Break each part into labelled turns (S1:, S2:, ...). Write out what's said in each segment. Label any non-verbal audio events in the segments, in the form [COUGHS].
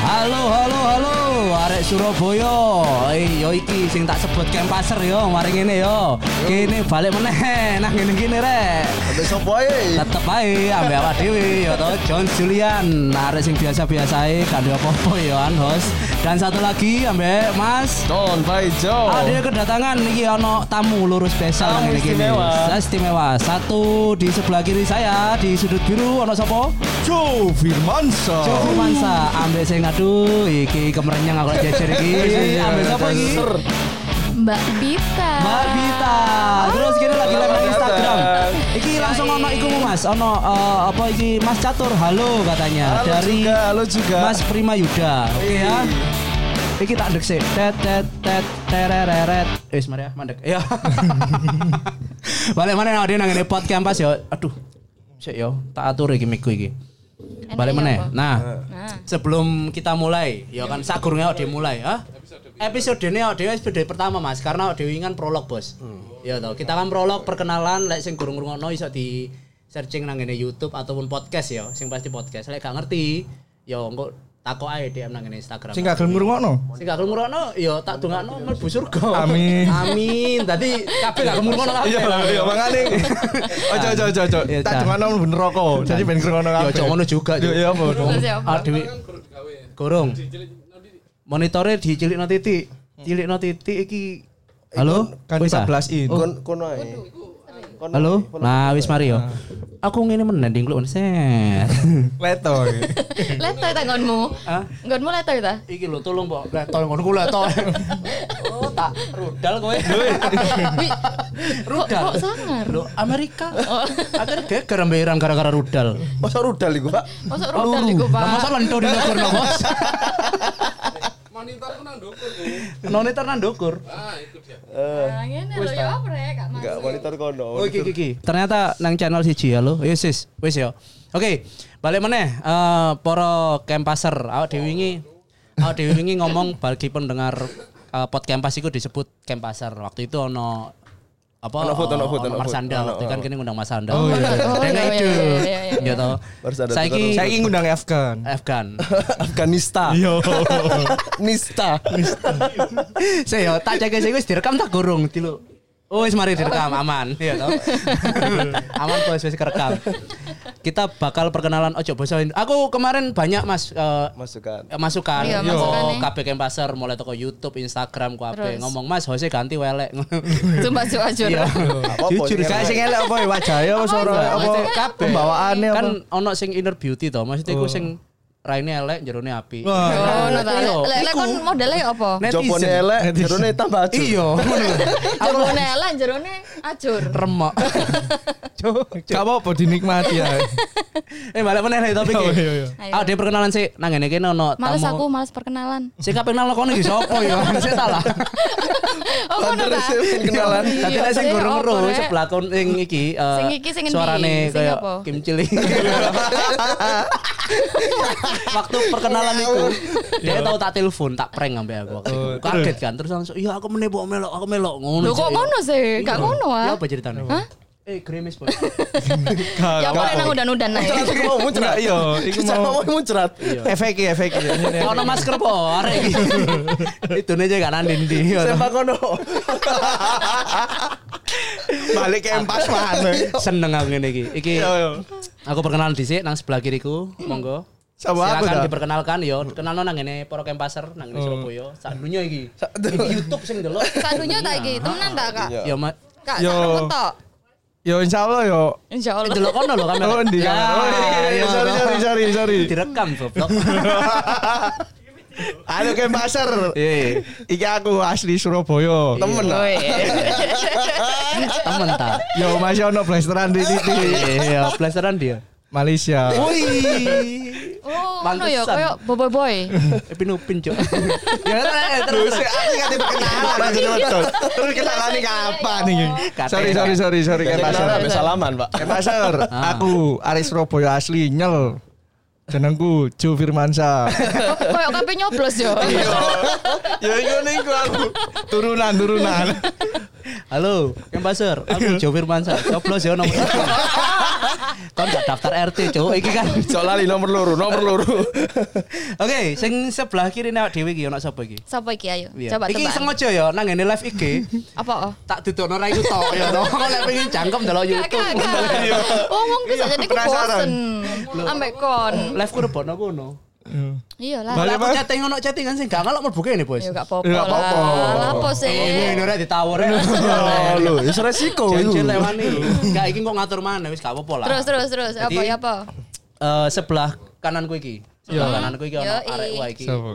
S1: Halo halo halo arek Surabaya. Eh yo iki sing tak sebut kempaser yo mari ngene yo. Kene balik meneh nah ngene gini rek.
S2: Sampai sopo ae.
S1: Tetep ae ambek awak dhewe yo to John Julian. Nah, Arek sing biasa-biasa ae kandhe apa-apa yo an host. Dan satu lagi ambek Mas
S2: Don Faijo.
S1: Ada kedatangan iki ono tamu lurus spesial
S2: Oh. Tamu
S1: ngene iki.
S2: istimewa.
S1: Istimewa. Satu di sebelah kiri saya di sudut biru ono sapa?
S2: Joe Firmansa.
S1: Joe Mansa ambek sing aduh iki kemerenyang aku lek jejer iki.
S2: Iya,
S1: Ambek sapa iki?
S2: Ser.
S3: Mbak Bita. Oh,
S1: Mbak Bita. Terus gini lagi live nang Instagram. Iki langsung ono iku Mas, ono eh, apa iki Mas Catur. Halo katanya
S2: Halo
S1: dari
S2: juga, Iya. halo juga.
S1: Mas Prima Yuda. Oke ya. Iki tak ndek sik. Tet tet tet tereret. Wis mari ya, mandek. Iya. Ya.
S2: [LAUGHS]
S1: Balik mana dia nang ngene pot kampas ya. Aduh. Sik yo, tak atur iki miku iki.
S3: Enak
S1: Balik
S3: ya,
S1: mana?
S3: apa?
S1: Nah,
S3: Nah.
S1: sebelum kita mulai, ya kan sagurnya awake dhewe mulai, ha? Episode ini awake dhewe episode pertama, Mas, karena awake dhewe kan prolog, Bos. Ya toh, kita kan prolog perkenalan lek sing gurung ngrungokno iso di searching nang ngene YouTube ataupun podcast ya, sing pasti podcast. Lek gak ngerti, ya engko takok ae DM nang ngene Instagram.
S4: Sing gak gelem ngrungokno.
S1: Sing gak gelem ngrungokno ya tak dongakno mlebu surga.
S4: Amin.
S1: Amin. Dadi kabeh gak gelem ngrungokno kabeh.
S4: Iya, iya
S1: [LAUGHS]
S4: makane. Ojo ojo ojo ojo.
S1: Iya,
S4: Tak
S1: Cak.
S4: dengono mlebu neraka. Jadi ben ngrungokno
S1: Ya
S4: kabeh.
S1: ojo ngono juga.
S2: Iya,
S1: Cuk.
S4: Yo yo apa dong.
S3: Terus siapa?
S1: Ah, Dewi. Gorong. Monitore dicilik no titik. Cilik no titik iki. Halo?
S4: Kan
S1: Wis, ah?
S4: 14 in. [LAUGHS]
S2: Kon kono ae. Kono
S1: Halo?
S2: ae, kono.
S1: Nah, wis mari yo. Aku ngene menen ding kluk set.
S4: Leto. iki.
S3: Leto ta nggonmu?
S1: Hah?
S3: Nggonmu leto ta?
S1: [LAUGHS] Iki lho tolong mbok letol ngono ku
S4: [LAUGHS]
S1: letol. Oh, tak rudal kowe.
S3: Wih,
S1: eh. Rudal.
S3: Kok- kok sangar?
S1: Lho, Amerika. Akhirnya geger ambe Iran gara-gara rudal.
S2: Masa rudal iku, Pak?
S3: Masuk rudal
S1: Peluru.
S3: iku,
S1: Lah, Masa
S3: Pak.
S1: lento di negor no, Bos.
S5: monitorku nang ndukur ku.
S1: Nonitor nang ndukur.
S5: Ah, itu dia.
S3: Nah, ngene lho ya oprek, gak
S2: Enggak
S3: masuk.
S2: monitor kono.
S1: Oh, iki, iki, iki. Ternyata nang channel siji halo. Yes, yes. Wis ya. Oke, balik meneh eh para kempaser awak dhewe wingi awak dhewe wingi ngomong bagi pendengar eh, pot kempas iku disebut kempaser. Waktu itu ono apa
S2: Ono food, ono food, ono food.
S1: Marsanda
S2: Ono,
S1: waktu itu kan kene ngundang Marsanda.
S4: Oh, iya.
S3: Oh,
S1: Dene
S3: iya, iya,
S1: itu.
S3: iya, iya, iya.
S1: Ya toh.
S2: Marsanda
S1: Saiki
S4: Saya ingin ngundang Afgan.
S1: Afgan.
S4: [LAUGHS]
S2: Afganista.
S4: Yo.
S2: Nista.
S1: [LAUGHS] Saya "Oh, tak cek sih wis direkam tak gorong dulu. Oh wis mari direkam aman. Iya toh. [LAUGHS] aman bos wis kerekam. Kita bakal perkenalan ojo boso. Indo- Aku kemarin banyak Mas eh,
S2: Masukan.
S1: eh, masukan
S3: Iya,
S1: Yo,
S3: masukan, eh.
S1: kabeh Kempaser mulai toko YouTube, Instagram ku kabeh
S3: Terus.
S1: ngomong Mas Jose ganti
S3: [LAUGHS]
S1: welek.
S3: Sumpah cuk ajur.
S1: Iya.
S2: Apa-apa,
S4: Jujur
S2: ini
S4: gak
S2: elek.
S4: sing elek apa ya, wajahnya apa suara
S3: Apa,
S4: apa
S3: maksudnya kabeh.
S4: pembawaannya
S3: Iya,
S4: apa.
S1: kan ono sing inner beauty to. Maksudnya iku sing raine elek, jerone api.
S4: Wah.
S3: Oh, no ta.
S1: Iya,
S3: Lek lek
S1: iku.
S3: kon modele ya apa?
S2: Jopone
S1: Netizen.
S2: elek,
S4: Netizen.
S2: jerone tambah ajur.
S1: Iya, ngono. Aku
S3: Jerone elek, jerone ajur. [LAUGHS]
S1: remek. [LAUGHS] Cuk.
S4: Gak apa-apa dinikmati ya.
S1: Eh balik meneh nih topik
S4: Iya, iya,
S1: iki.
S4: iya.
S3: Ayo.
S1: Ah, dia perkenalan sih. Nang ngene kene ono tamu.
S3: Males aku, males perkenalan.
S1: Sik kape nang kono iki sapa ya?
S3: [LAUGHS]
S1: Sik salah.
S3: Oh, ngono
S2: Panteres
S3: ta.
S2: ya, pengen kenalan.
S3: Iya,
S1: Tapi nek sing
S3: iya,
S1: gurung
S3: apa,
S1: ro
S3: Rek?
S1: sebelah kon sing iki eh,
S3: Sing iki sing endi?
S1: suarane
S3: Sing
S1: kaya
S3: apa?
S1: Kim Chili.
S3: [LAUGHS]
S1: Waktu perkenalan
S3: Iya,
S1: iku, dia tau tak telepon, tak prank ambek aku. waktu itu.
S4: Oh,
S1: Kaget kan terus langsung, "Iya, aku meneh mbok melok, aku melok." Ngono.
S3: Loh, kok
S1: Cuk.
S3: ngono sih?
S1: Iya.
S3: Gak ngono, ah.
S1: Ya apa ceritanya?
S3: Hah?
S1: Eh, gerimis, Bos. Iya,
S3: Ya apa nang udan-udan ae.
S2: Cerat iku mau muncrat.
S4: Iya, iku
S2: Iku mau
S4: mau
S2: muncrat.
S4: efek efek.
S1: Ono masker po
S3: [LAUGHS]
S1: arek iki. Idune aja gak nandin ndi.
S2: Sepak kono.
S4: Balik ke empas mana?
S1: Seneng aku ngene iki. Iki
S4: Yo yo.
S1: Aku perkenalan dhisik nang sebelah kiriku, monggo.
S4: Sama
S1: Silakan
S4: aku, Ta. Oh.
S1: diperkenalkan yo. Kenalno nang ngene Poro Kempaser nang ngene Surabaya. Sak dunya iki. Iki YouTube sing delok.
S3: Sadunya tak iki, temenan tak, Kak?
S2: Iya.
S1: Ya mak
S3: Kak,
S4: Yo.
S3: tak aku tok.
S4: Yo insyaallah yo.
S3: Insyaallah.
S1: delok Eh, kono lho
S2: Nah,
S1: kamera.
S4: Oh, ndi
S1: Ya,
S4: kamera? Oh, iya, iya, iya,
S1: ya,
S4: sorry,
S1: toh.
S4: sorry, sorry, sorry.
S1: Direkam goblok.
S4: [LAUGHS] Halo ke pasar. iya.
S1: Eh,
S4: Iki aku asli Surabaya.
S2: Temen lah.
S1: [LAUGHS]
S3: Woi.
S1: temen ta.
S4: Yo masih ono blasteran di titik
S1: Iya, blasteran dia.
S4: Malaysia.
S1: Woi.
S3: Oh, ngono ya,
S1: Pantesan.
S3: koyo boboiboy.
S1: Epin upin, Eh, Cuk. Ya
S4: Terus "Ah,
S1: terus.
S4: aku kate perkenalan terus terus. Gitu. Terus kenalan iki kapan iki? Sorry sorry sorry sorry ke
S2: Kayak
S4: pasar.
S2: kenalan, sampai salaman, Iya. Pak.
S4: Ke pasar. Aku arek Surabaya asli nyel. Jenengku Ju Firmansa.
S3: Koyo kabeh nyoblos yo.
S1: Iya.
S4: Ya iku niku aku. Turunan turunan.
S1: Halo, Kempaser. Aku Jo Firmansyah. Coblos ya nomor. Kon gak daftar RT, Cuk. Iki kan.
S2: Jok lali nomor loro, nomor loro.
S1: Oke, sing sebelah kiri nek dhewe iki ono sapa iki?
S3: Sapa iki ayo?
S1: Iya.
S3: Coba
S1: iki
S3: tebak.
S1: sengaja ya nang ngene live iki
S3: Apa? oh?
S1: tak dudukno ra iku tok ya to. Kok lek pengen jangkem delok
S3: Gak,
S1: YouTube.
S3: gak, gak. Ngomong bisa jadi ku
S2: penasaran.
S3: bosen. Ambek kon.
S1: Live ku rebono kono.
S3: Iya lah.
S1: Lah
S4: Balik,
S1: aku
S4: Mas.
S1: chatting ono chattingan sing Iya, gak ngalok mlebu kene, Bos.
S3: Ya gak apa-apa
S4: Nggak
S3: lah.
S4: apa-apa.
S3: Lapo
S1: Eh,
S3: sih?
S1: ngene ora ditawur.
S2: Oh,
S5: Iya.
S2: lho, wis resiko iku.
S1: Jangan lewani. Gak iki kok ngatur mana wis gak apa-apa lah.
S3: Terus terus terus
S1: Jadi-
S3: apa ya apa?
S1: Eh, sebelah kananku iki. Sebelah kananku iki ono
S3: Yoi.
S1: arek wah iki.
S4: Siapa?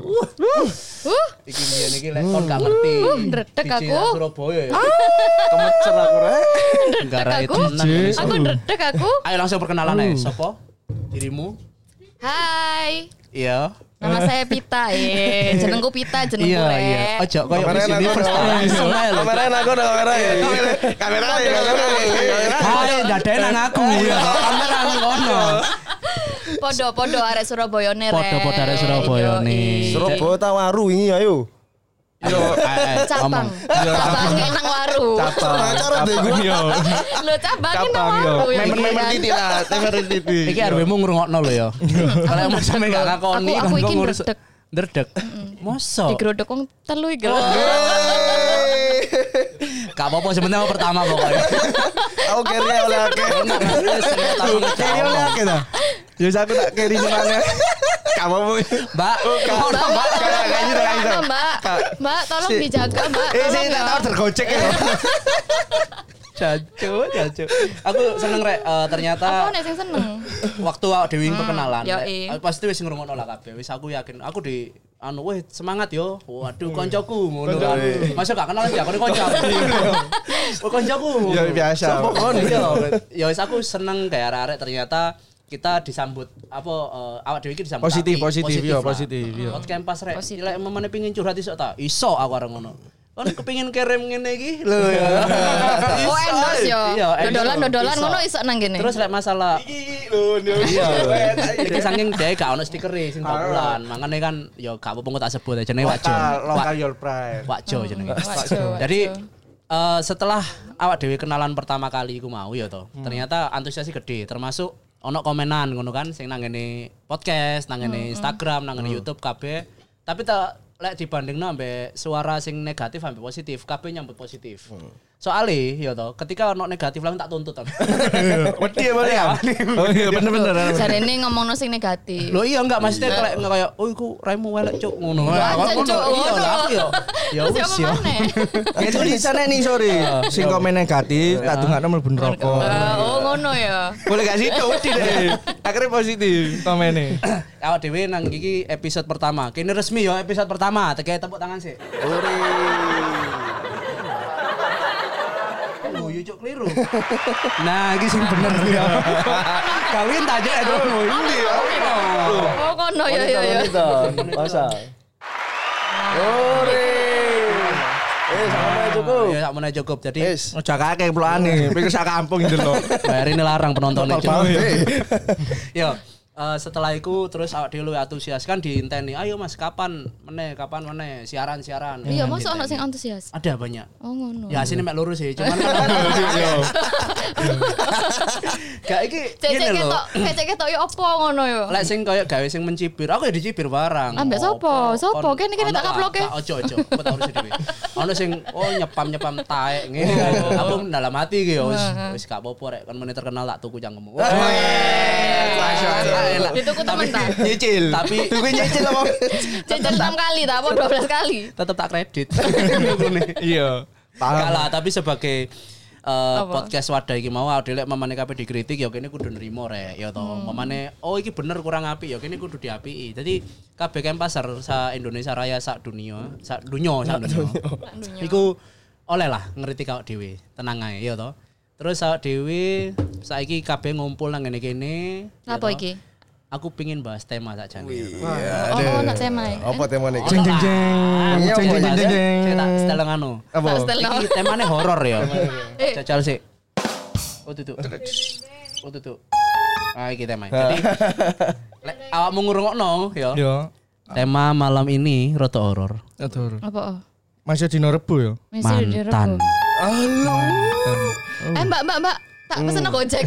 S3: Huh?
S1: Iki mbiyen iki lek kon gak ngerti.
S3: Uh, ndredeg
S1: Biji
S3: aku. Ah,
S1: nang Surabaya ya.
S2: Kemecer aku rek.
S1: Enggak ra
S3: aku. Nah,
S1: itu nang
S4: Biji.
S1: Indonesia.
S3: Aku ndredeg aku.
S1: Ayo langsung perkenalan ae. Sopo? Dirimu?
S3: Hai.
S1: Iya.
S3: Nama saya Pita,
S1: [LAUGHS]
S3: eh. Jenengku Pita, jenengku
S1: Iya,
S3: Rek.
S1: iya. Ojo koyo
S2: Kamera
S1: wis
S2: enak,
S1: ini
S2: kamera
S1: first time
S2: enak.
S1: langsung ae lho.
S2: [LAUGHS] Kamera aku ada kamera ya. Kamera ya, kamera ya.
S1: Hai, dadae nang Iya. aku ya. Kamera nang kono.
S3: Podo podo arek Surabaya ne. Rek.
S1: Podo-podo arek Surabayane.
S3: Yoi.
S2: Surabaya tawaru ini ayo.
S1: Yo, ae, ae,
S3: Cabang.
S1: ngomong.
S3: Cabang kayak nang waru.
S2: Acara deh gua.
S4: Yo.
S3: Lo cabangin
S5: iya.
S3: nang
S4: Cabang, yo.
S3: waru. ya,
S2: Iya. Member-member
S3: kan?
S2: titik lah, member titik.
S1: Iki RW-mu ngrungokno lho ya. Kalau emang sampe gak ngakoni
S3: Iya. Aku-
S1: kan
S3: aku iki
S1: kok ngurus.
S3: ndredeg.
S1: Ndredeg. Mosok.
S3: Digrodok wong telu iki lho.
S1: Gak apa-apa sebenarnya mau pertama pokoknya.
S2: Aku kira oleh akeh.
S1: Iya.
S2: Kira oleh akeh dah.
S4: Yo aku tak carry nang
S2: Kamu mau
S4: Eh,
S1: Mbak, mau dong, Mbak.
S2: kayak gitu, kayak gitu.
S3: Mbak, Mbak tolong
S2: Si-
S3: dijaga, Mbak.
S2: Eh,
S3: Tolong
S2: saya tak tahu
S3: ya.
S2: tergocek ya.
S1: Jacu, jacu. Aku seneng rek eh, ternyata
S3: Aku nek sing
S1: [LAUGHS]
S3: seneng.
S1: waktu awak dewi perkenalan.
S3: Hmm, yoi.
S1: Aku pasti wis ngrungokno lah kabeh. Wis aku yakin aku di anu weh semangat yo. Waduh koncoku ngono kan. Masa gak kenal ya kon
S4: [LAUGHS]
S1: koncoku. Oh koncoku.
S4: Ya, Iya, biasa.
S1: Sopo kon? Iya. Ya wis aku seneng kayak arek-arek ternyata kita disambut apa eh, awak dewi iki disambut
S4: Positif,
S1: apik.
S4: positif, iya,
S1: lah.
S4: positif, iya.
S1: Hot campus rek.
S3: Positif.
S1: Lek memene pengin curhat iso ta? Iso aku areng ngono. Kon kepengin kirim ngene iki lho ya.
S3: [LAUGHS] Oh,
S1: Iso,
S3: endorse yo.
S1: iya, endorse.
S3: Dodolan dodolan
S1: Iso.
S3: ngono iso nang kene.
S1: Terus lek masalah
S2: Iki lho, lho. Iya,
S1: Iki saking dhewe gak ono stiker e sing populan. Mangane kan ya gak apa-apa engko tak sebut aja jenenge Wakjo.
S4: Lokal your pride.
S1: Wakjo jenenge.
S3: Wakjo,
S1: Jadi eh, setelah awak dhewe kenalan pertama kali iku mau ya
S4: Hmm.
S1: to. Ternyata antusiasnya gede termasuk ono komenan ngono kan sing nang ngene podcast, nang
S3: Hmm,
S1: ngene Instagram, nang ngene
S4: Hmm.
S1: YouTube kabeh. Tapi tak lek dibandingno ambek suara sing negatif ambek positif, kabeh nyambut positif.
S4: Hmm.
S1: Soale ya to, ketika ono negatif langsung tak tuntut. Am.
S4: [LAUGHS] Wedi ya Bang, ya. Oh iya bener-bener.
S3: Jarene ngomongno sing negatif.
S1: Lo iya enggak maksudnya kayak enggak kayak oh iku raimu elek cuk ngono.
S3: Wah,
S1: Lah,
S3: Cuk,
S1: ngono. Iya
S3: ngono.
S1: lah Ah, aku
S3: [LAUGHS]
S1: yo. Ya
S3: Terus
S1: wis
S3: apa
S1: yo. [LAUGHS]
S3: maneh?
S4: Ya tulisannya nih sorry. Sing komen negatif, tak dungakno mlebu neraka.
S3: Eh, Oh ngono ya.
S4: Boleh gak sih tuh deh. Akhirnya positif komennya.
S1: Awak dhewe nang iki episode pertama. Kene resmi yo episode pertama. Teke tepuk tangan sih.
S2: Ori.
S1: Oh yo cuk keliru. Nah, iki sing bener yo. Kawin tak aja itu.
S3: Oh ngono
S5: iya,
S3: ya ya ya.
S2: Kita
S5: [LAUGHS] Nah.
S2: masa. Ori. Eh, sama cukup.
S1: Ya sakmene cukup. Jadi
S2: Eh,
S5: Oh,
S4: Ojo kakek pelokane, pikir sak kampung
S5: gitu
S4: ndelok.
S1: bayarin larang penontonnya cuk.
S2: eh.
S1: Yo, eh, setelah itu terus awak dhewe luwih antusias kan diinteni. Ayo Mas, kapan meneh? Kapan meneh siaran-siaran? gitu.
S3: Iya, mosok ono sing antusias.
S1: Ada banyak.
S3: Oh ngono.
S1: Ya sini mek lurus sih, cuman [LAUGHS] kan gak iki
S3: Cek
S1: ngene
S3: cek
S1: lho.
S3: ketok, cek cek ketok yo opo ngono yo.
S1: Lek sing koyo gawe sing mencibir, aku ya dicibir barang.
S3: Ambek
S1: Apa?
S3: Ah, sopo? Sopo?
S1: Kon-
S3: Kene-
S1: ono
S3: kene tak
S1: lah,
S3: upload-ke.
S1: tak- Ojo ojo, aku tak urus dhewe. Ono sing oh nyepam-nyepam taek ngene.
S3: Oh.
S1: Aku dalam hati iki ya wis
S3: Ah,
S1: wis gak apa-apa rek kon meneh terkenal tak tuku cangkemmu. Masya Allah, enak.
S3: Dituku temen ta?
S4: Nyicil.
S5: [LAUGHS]
S1: Tapi
S4: Kuwi nyicil apa?
S5: Iya,
S3: Jajan 6 kali ta apa 12 kali?
S1: tetep tak kredit.
S4: Iya.
S1: Enggak lah, tapi sebagai eh,
S3: Apa?
S1: podcast wadah iki mau awake lek memane kabeh dikritik ya kene kudu nrimo rek ya to.
S3: Hmm.
S1: Memane oh iki bener kurang apik ya kene kudu diapiki. Jadi kabeh kem pasar sa Indonesia Raya sak dunia, sak dunyo, sak dunyo. Iku oleh lah ngritik awak dhewe, tenang ae ya to. Terus awak dhewe saiki kabeh ngumpul nang ngene kene. ya
S3: Apa
S1: to.
S3: iki?
S1: Aku pingin bahas tema sakjane.
S3: Oh, oh, ono tema.
S2: Apa tema nih?
S4: Jeng jeng jeng.
S1: Iya,
S4: Jeng jeng jeng jeng. jeng.
S1: Cerita setelan anu.
S4: Apa?
S3: Tak setel no.
S1: Iki temane horor ya.
S3: Eh.
S1: Jajal sih. Oh tutup. Oh tutup. Ah iki temane. Jadi lek awakmu ngrungokno ya.
S4: Yo.
S1: Tema malam ini rada horor.
S4: Atur.
S3: Apa? oh?
S4: Masih Ya, dino rebo ya? yo.
S3: Mesti di
S1: Mantan.
S3: Eh, Mbak, Mbak, Mbak. Tak pesen aku Gojek.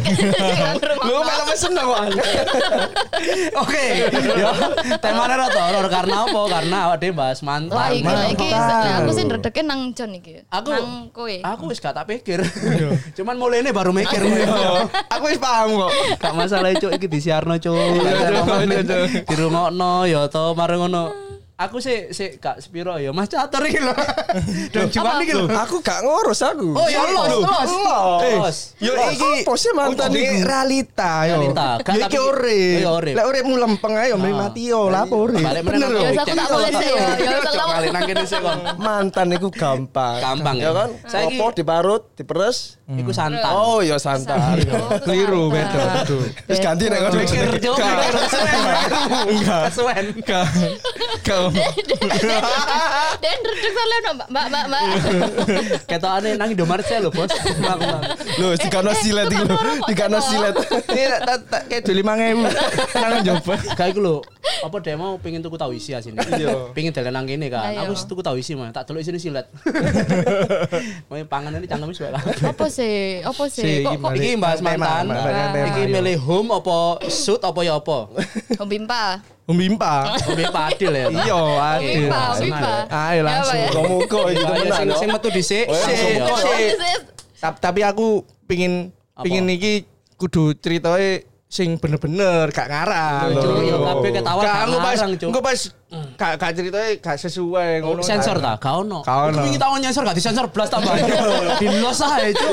S2: Lu malah pesen dong Wan.
S1: Oke. Yo, temane ra horor karena apa? Karena awake dhewe bahas
S3: Wah,
S1: mantan.
S3: iki iki
S4: Mantap.
S3: nah, aku sih ndredeke nang John iki.
S1: Aku- Ah,
S3: nang kowe.
S1: Aku wis gak tak pikir. Cuman mulainya baru mikir.
S2: Aku wis paham kok.
S1: Gak masalah cuk iki disiarno cuk. Dirungokno ya to mari ngono. Aku sih sih gak sepiro ya Mas Catur iki lho. Dan cuman iki lho.
S5: Aku gak ngurus aku.
S1: Oh Eh. ya los los. Los.
S5: Eh, Yo iki
S4: Apa sih mantan
S5: Udah
S4: ini?
S5: realita yo.
S1: Realita. Gak,
S5: Yo iki
S1: tapi-
S5: urip.
S1: Iya, urip.
S5: Lek uripmu lempeng ae yo mrih
S1: Ah.
S5: mati yo lah apa urip.
S1: Balik meneh
S5: Bener
S1: nang
S5: yo.
S3: Ya wis, aku tak boleh sih ya. Ya wis,
S1: Cuk,
S3: aku-
S1: balik nang kene sih kon.
S5: Mantan iku gampang.
S1: Gampang,
S5: ya
S1: ya.
S5: kan?
S1: Saiki-
S5: Opo diparut, diperes.
S1: Iku santan.
S5: Oh yo santai. Eh,
S4: Keliru, betul, betul.
S5: Terus ganti nek ngono.
S1: Mikir cuk. mikir. Kesuwen.
S4: Enggak.
S1: Kesuwen.
S4: Enggak. Enggak.
S3: Dan ndredek soalnya no, Mbak, Mbak, Mbak, Mbak.
S1: Ketokane nang Indomaret saya [LAUGHS] lho, Bos. Mang, mang.
S5: Lho, dikano
S3: eh,
S5: silet iku.
S3: tukang rokok,
S5: Dikano
S3: Ceko.
S5: silet. Ini tak- tak- tak kayak dulu 5000.
S4: Tangan coba.
S1: Kayak iku lho, apa dia mau pengen tuku tahu isi asine. Pengen dalan nang kene kan.
S3: Ayo.
S1: Aku wis tuku tahu isi mah, tak delok isine [LAUGHS] silet. Mau panganan iki cangkem wis wae lah.
S3: Apa sih? Apa
S4: Si,
S3: sih? Kok kok
S1: Iki bahas
S5: Tema,
S1: mantan.
S5: tema,
S3: tema.
S1: Iki milih home apa shoot apa ya [LAUGHS] apa?
S3: Bimpa.
S4: Membimpa.
S1: Hobi padil ya. toh?
S4: Iya, adil.
S3: Bimpa,
S1: langsung
S3: Bimpa.
S1: aja.
S4: Ah, Ayo langsung.
S3: Ya, Pak, ya.
S5: Muka-muka iki
S1: Ayo,
S5: temenan
S1: Sing
S5: yo.
S1: sing metu dhisik.
S5: Oh,
S1: sik,
S5: langsung
S1: ya.
S5: kok,
S1: Sik.
S4: Ta- Tapi aku pingin
S1: Apa?
S4: pingin iki kudu ceritanya sing bener-bener gak ngarang.
S1: Cuk,
S4: Loh.
S1: ya kabeh ketawa
S4: Gak,
S1: gak
S4: engko pas
S1: ngarang, Cuk. Oh,
S4: engko pas gak gak ceritanya gak sesuai ngono.
S1: sensor
S4: Gak- [LAUGHS]
S1: ta? Gak ono.
S4: Gak ono.
S1: Iku wingi tawon nyensor gak disensor blas
S4: [LAUGHS]
S1: tambah.
S4: Iya,
S1: Di los ae itu.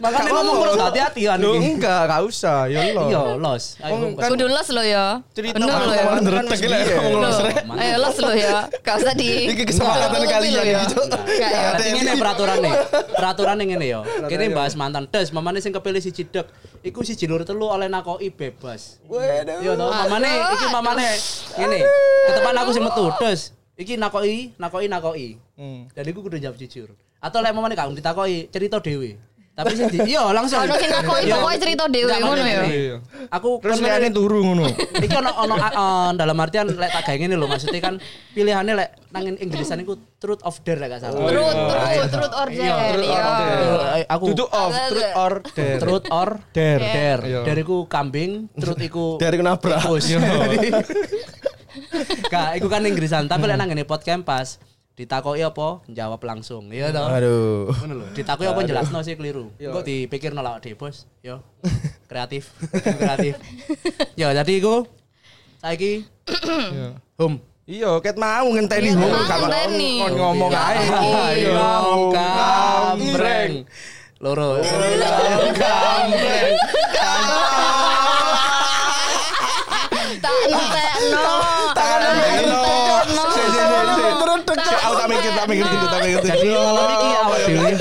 S1: Makane
S4: Gak
S1: ngomong
S4: apa-apa.
S1: perlu hati-hati kan
S4: Loh,
S1: iki.
S4: enggak, gak usah. Ya Allah.
S1: Iya, los. Ayo,
S4: Wong
S1: ngomong
S4: kan-
S3: Kudu los lo ya.
S4: Cerita
S3: Bener ya. lo ya.
S4: mantan-
S5: Ndretek lek ngomong
S3: Loh,
S5: los rek.
S1: Mantap.
S3: Ayo los lo ya. Gak usah di.
S5: Iki kesempatan
S3: Tutupi
S5: kalian
S3: lo ya.
S5: gitu.
S3: Gak ya.
S1: Berarti ngene
S4: gitu.
S1: peraturannya. Peraturannya ngene ya. Kene bahas mantan tes, mamane sing kepilih si Cidek. Iku si Jilur telu oleh nakoki bebas.
S5: Waduh.
S1: Yo to, mamane
S3: Aduh,
S1: iki mamane ngene. Ketepan aku sing metu tes. Iki nakoki, nakoki, nakoki.
S4: Hmm.
S1: Dan iku kudu jawab jujur. Atau lek mamane gak ditakoki, cerita dhewe. Tapi sing di- iya langsung.
S3: Ono sing nakoki,
S1: Iya.
S3: pokoknya cerita dhewe,
S1: Nggak,
S3: ngono ya.
S4: Iya.
S1: Aku kan
S4: Terus
S1: pernah-
S4: liane turu ngono.
S1: Iki ono ono eh, dalam artian lek tak gawe ngene lho maksudnya kan pilihannya lek nang Inggrisan iku truth of dare lek gak salah.
S3: Truth, truth, truth or
S1: Iya,
S3: dare,
S1: truth or
S3: iya.
S1: dare. Eh, Aku
S4: Duduk off truth or dare.
S1: truth or
S4: Dare.
S1: dare.
S4: Iya.
S1: Dare iku kambing, truth iku
S5: Dari kenabrak.
S1: tikus. [LAUGHS] Gak, iku kan Inggrisan, tapi lek nang ngene podcast pas ditakoki apa jawab langsung. Iya toh.
S5: Aduh.
S1: Ngono lho. Ditakoki apa jelasno sih keliru. Engko dipikirno lawak dhewe, Bos. Yo. Kreatif, kreatif. Yo, jadi iku saiki
S4: Iya.
S1: home.
S4: Iya, ket mau
S3: Iya,
S4: ngenteni ngomong
S3: mau
S4: gak bakal
S3: ngenteni.
S4: kon ngomong Iya. ae.
S1: Ayo Iya. kambreng. Loro. Kambreng.
S3: Ah, Tak entek no.
S5: Tangan
S3: Tak
S5: entek, no.
S3: entek, no.
S5: Sik, sik, sik, sik. Teretek, Cek. Aku tak mikir, tak mikir gitu, tak mikir gitu.
S4: Iya.
S1: Jadi iya, malam iki awak dhewe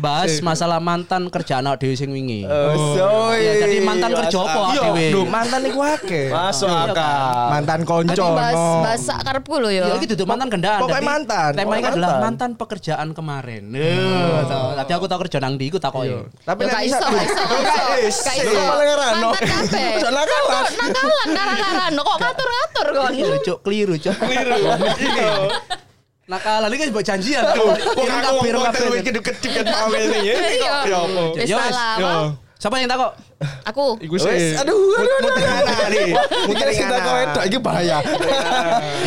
S1: bahas masalah mantan kerjaan awak dhewe sing wingi.
S5: Oh, soy.
S1: Ya, jadi mantan kerja apa awak
S4: Iya,
S1: dhewe?
S4: lho mantan iku akeh.
S5: Masuk akal.
S4: Mantan konco.
S3: Ini bahas
S4: no.
S3: bahas sak karepku lo ya.
S1: Ya iki duduk mantan kendaan.
S4: Pokoknya
S1: tapi
S4: mantan.
S1: Tema ini
S4: Pokoknya
S1: adalah
S4: mantan. Iya.
S1: mantan pekerjaan kemarin. Loh, tau. Tadi aku tau kerja nang ndi iku takoki.
S4: Tapi
S3: Tapi Ya, gak iso, gak iso, gak iso. Gak iso.
S5: Lu malah ngerano.
S3: Mantan kabeh.
S5: Soalnya kalah.
S3: Nakalan, nakalan. Kok ngatur-ngatur kon.
S1: Keliru, Cuk. Keliru, Cuk. Keliru.
S5: Iya.
S1: Nakalan iki kan mbok janjian.
S5: Wong
S1: Kirim
S5: aku
S1: takbir
S5: wong
S1: kabeh.
S5: konten kedip-kedip kan pame ini ya. Ini kok, Ya apa?
S3: Wis
S1: Ya, wis.
S3: salah.
S4: Yo. Iya.
S3: apa?
S1: Siapa yang takok?
S3: Aku.
S4: Iku
S5: Wis,
S4: sih.
S5: aduh, aduh, aduh.
S4: Muter ngana nih. Muter
S5: Mungkin kita kowe
S4: ngana.
S5: tok iki bahaya.
S4: Iya.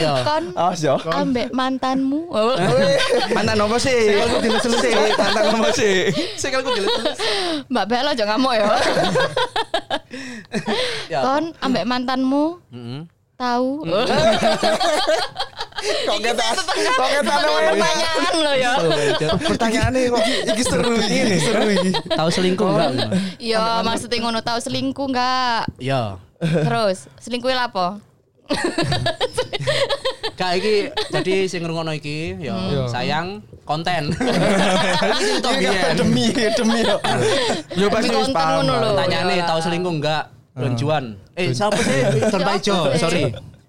S1: Yo.
S3: Kon
S5: Awas yo.
S3: ambek mantanmu.
S4: Mantan apa sih? Aku dilesel Mantan apa sih?
S1: Sing aku dilek.
S3: Mbak Bella aja ngamuk ya.
S1: Ya.
S3: Kon ambek mantanmu
S1: Heeh.
S3: tahu. [LAUGHS]
S5: Kok kita kok kita
S3: Pertanyaan-
S5: nang-
S3: Pertanyaan lo ya.
S4: [LAUGHS] Pertanyaannya kok
S5: Iki seru iki ini, seru iki.
S1: Tahu selingkuh enggak?
S3: Iya, maksudnya ngono tahu selingkuh enggak?
S1: Ya.
S3: Terus selingkuhnya lapo?
S1: Kak iki jadi sing ngrungokno iki ya sayang konten. Iki cerita
S5: Ini
S4: Iya.
S5: kan
S1: biyen.
S5: demi demi ya? yo.
S4: yo pasti
S3: Tapi
S4: wis
S3: konten
S4: paham.
S3: ngono lho.
S4: lah.
S1: Tanyane
S3: Ya. [LAUGHS]
S1: tahu selingkuh enggak? Don Juan. Eh, siapa sih? Don Paijo,
S3: Siapa sih?
S1: sorry.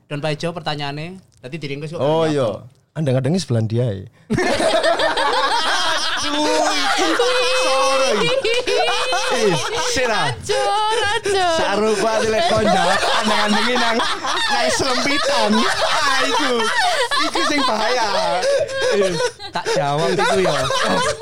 S1: Don Paijo pertanyaannya tadi diringkus kok.
S5: Oh yo. Anda ngadengnya sebelahan dia ya.
S4: Sira.
S3: Acur, acur.
S4: Sarupa dilek kon jawab andang-andangin nang nang selempitan. Ah iku. Iku sing bahaya.
S1: tak jawab itu yo.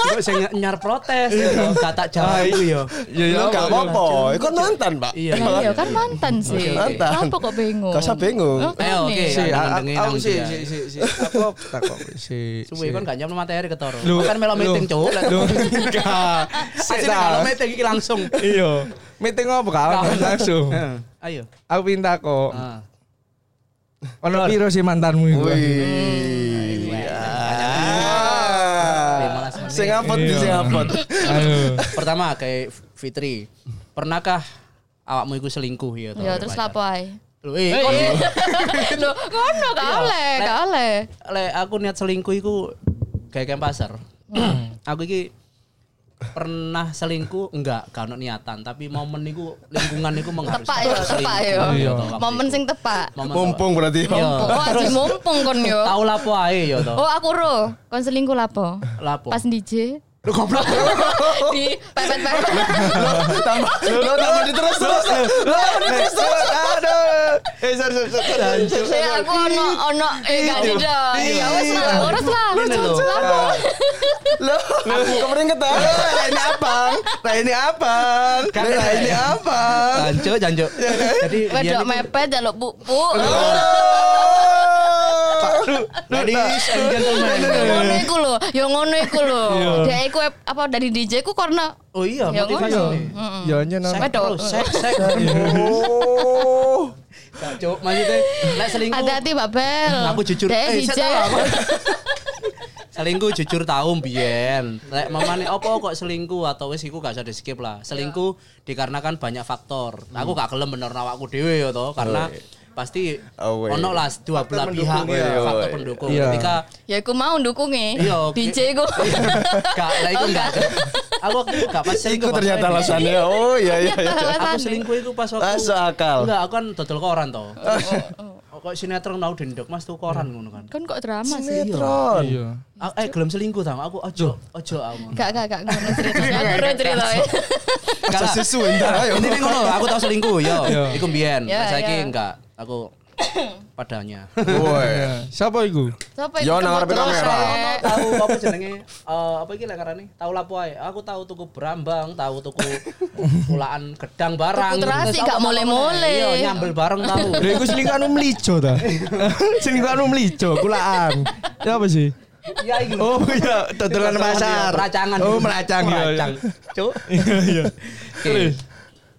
S1: Kok sing nyar protes yo. Tak tak jawab itu yo.
S4: Ya ya.
S5: Lu gak
S4: apa, ya.
S5: apa-apa. Iku mantan, Pak.
S1: Iya.
S3: Iya kan mantan sih.
S5: Mantan.
S3: Kenapa kok bingung?
S5: Gak usah bingung.
S3: Oh,
S1: Eh,
S3: kan
S1: oke.
S3: nih.
S4: Si,
S1: Iya,
S4: a-
S1: nandengin
S4: aku
S1: nang
S4: si
S1: dia.
S4: si si si. Aku tak kok si.
S1: Suwe
S4: si.
S1: kon gak nyampe materi ketoro.
S4: Lu-
S1: Kan melo
S4: lu-
S1: meeting cuk.
S4: Lu
S1: [LAUGHS]
S4: enggak.
S1: Sik
S4: Sik,
S1: nek kalau
S4: tak.
S1: meeting iki
S4: [LAUGHS]
S1: langsung.
S4: Iya. Meeting apa kawan langsung.
S1: Heeh. Ayo.
S4: Aku pinta kok.
S1: Ah.
S4: Ono piro sih mantanmu iku?
S5: Iya. Wih. Ah.
S1: 15 menit.
S5: Sing apot,
S4: Iya.
S5: sing apot.
S4: Aduh.
S1: Pertama kayak Fitri. Pernahkah awakmu iku selingkuh ya
S3: Ya terus lapo ae.
S1: Loh, eh, kok
S3: Lho, ngono gak oleh, gak oleh.
S1: le aku niat selingkuh iku kayak kayak pasar.
S3: Hmm.
S1: aku iki pernah selingkuh enggak karena niatan tapi momen iku lingkungan iku mengharuskan
S3: Tepak yo, tepak yo.
S4: Iya.
S1: toh, waktu
S3: Momen
S1: itu.
S3: sing tepak.
S1: Momen
S5: Mumpung berarti.
S1: Iya.
S3: Mumpung, oh, aji
S1: Terus-
S3: mumpung kon yo.
S1: tepak. tahu lapo ae yo to
S3: Oh, aku ro, kon selingkuh lapo?
S1: lapo
S3: Pas DJ
S1: lu goblok
S5: kan?
S3: di pepet-pepet.
S5: Tambah, lo tambah diterus terus.
S4: Lo terus terus. Aduh. Eh, sorry sorry sorry.
S3: Ya aku ono ono eh gak sih dong. Ya wes lah, urus lah.
S1: Ini lho.
S3: Lapo?
S5: Lo, aku kemarin kata.
S4: Lah ini abang, lah ini abang, lah ini abang.
S1: janjo janjo
S5: Iya kan?
S1: jadi dia Iya, niku- Oh, iya.
S3: Wedok mepet Oh, jaluk pupu. iya.
S1: ladies and
S3: Yo
S1: gentlemen
S3: ngono iku lho, yo ngono iku lho.
S1: Iya.
S3: Dek iku ep- apa dari DJ ku karena
S1: oh iya
S3: Ya,
S1: motivasi
S3: ngono.
S1: nih.
S3: Mm-mm.
S4: Ya nyenang.
S1: Sek,
S3: Wedok.
S1: terus, sek,
S3: [LAUGHS]
S1: sek.
S5: Oh.
S1: Gak, Cuk. maksudnya lek selingkuh
S3: hati-hati Mbak Bel.
S1: aku jujur
S3: Dek
S1: eh,
S3: DJ.
S1: saya tahu apa. selingkuh jujur tahu mbiyen lek mamane opo kok selingkuh atau wis iku gak usah di skip lah selingkuh dikarenakan banyak faktor aku
S5: Hmm.
S1: gak gelem bener awakku dhewe ya to karena pasti
S5: Oh, weh.
S1: ono lah dua belah pihak
S5: pendukung, iya.
S1: faktor
S5: Weh.
S1: pendukung
S4: Iya.
S1: ketika
S3: Ya aku mau dukunge.
S1: Iya, oke.
S3: DJ ku. [LAUGHS]
S1: gak lah iku
S3: Oh,
S1: gak
S3: gak.
S1: aku waktu itu gak pas
S5: Iku
S1: selingkuh pas
S5: ternyata
S1: wedding.
S5: alasannya. Oh iya iya iya.
S1: aku selingkuh itu pas waktu
S5: Masuk akal.
S1: enggak aku kan dodol koran
S4: [LAUGHS]
S1: to
S4: Oh.
S1: kok sinetron tau dendok mas tuh koran ngono kan
S3: Kan kok drama sih.
S5: Sinetron.
S4: Iya.
S1: A- eh gelem selingkuh tau aku ojo ojo
S4: [LAUGHS]
S1: aku
S3: Gak gak gak ngono ceritanya. Aku ro cerita. ya.
S1: Gak
S5: Aja sesuai ntar ayo.
S1: Intinya ngono, aku tau selingkuh, yo. Iku mbiyen.
S3: Ya,
S1: Lah saiki
S3: ya.
S1: enggak, aku
S3: [COUGHS]
S1: padanya.
S5: Woi.
S4: Siapa iku?
S3: Sapa
S5: Yo, nang ngarepe kamera.
S3: eh.
S1: tahu apa jenenge? eh, apa iki lek ngarani? Tahu lapo ae. Aku tahu tuku brambang, tahu tuku pulaan gedang barang.
S3: Tuku terasi,
S1: Terus
S3: gak
S1: apa-apa
S3: mole-mole.
S1: meneh. Iya, nyambel bareng
S4: [LAUGHS]
S1: tahu.
S4: Lha iku selingkuhanmu mlijo ta. selingkuhanmu mlijo, kulaan. Ya apa sih?
S1: Iya iki.
S4: Oh iya, dodolan pasar.
S1: Meracangan.
S4: Oh, melacang iya, iya.
S1: Meracang. Cuk.
S4: Iya iya.
S1: Oke.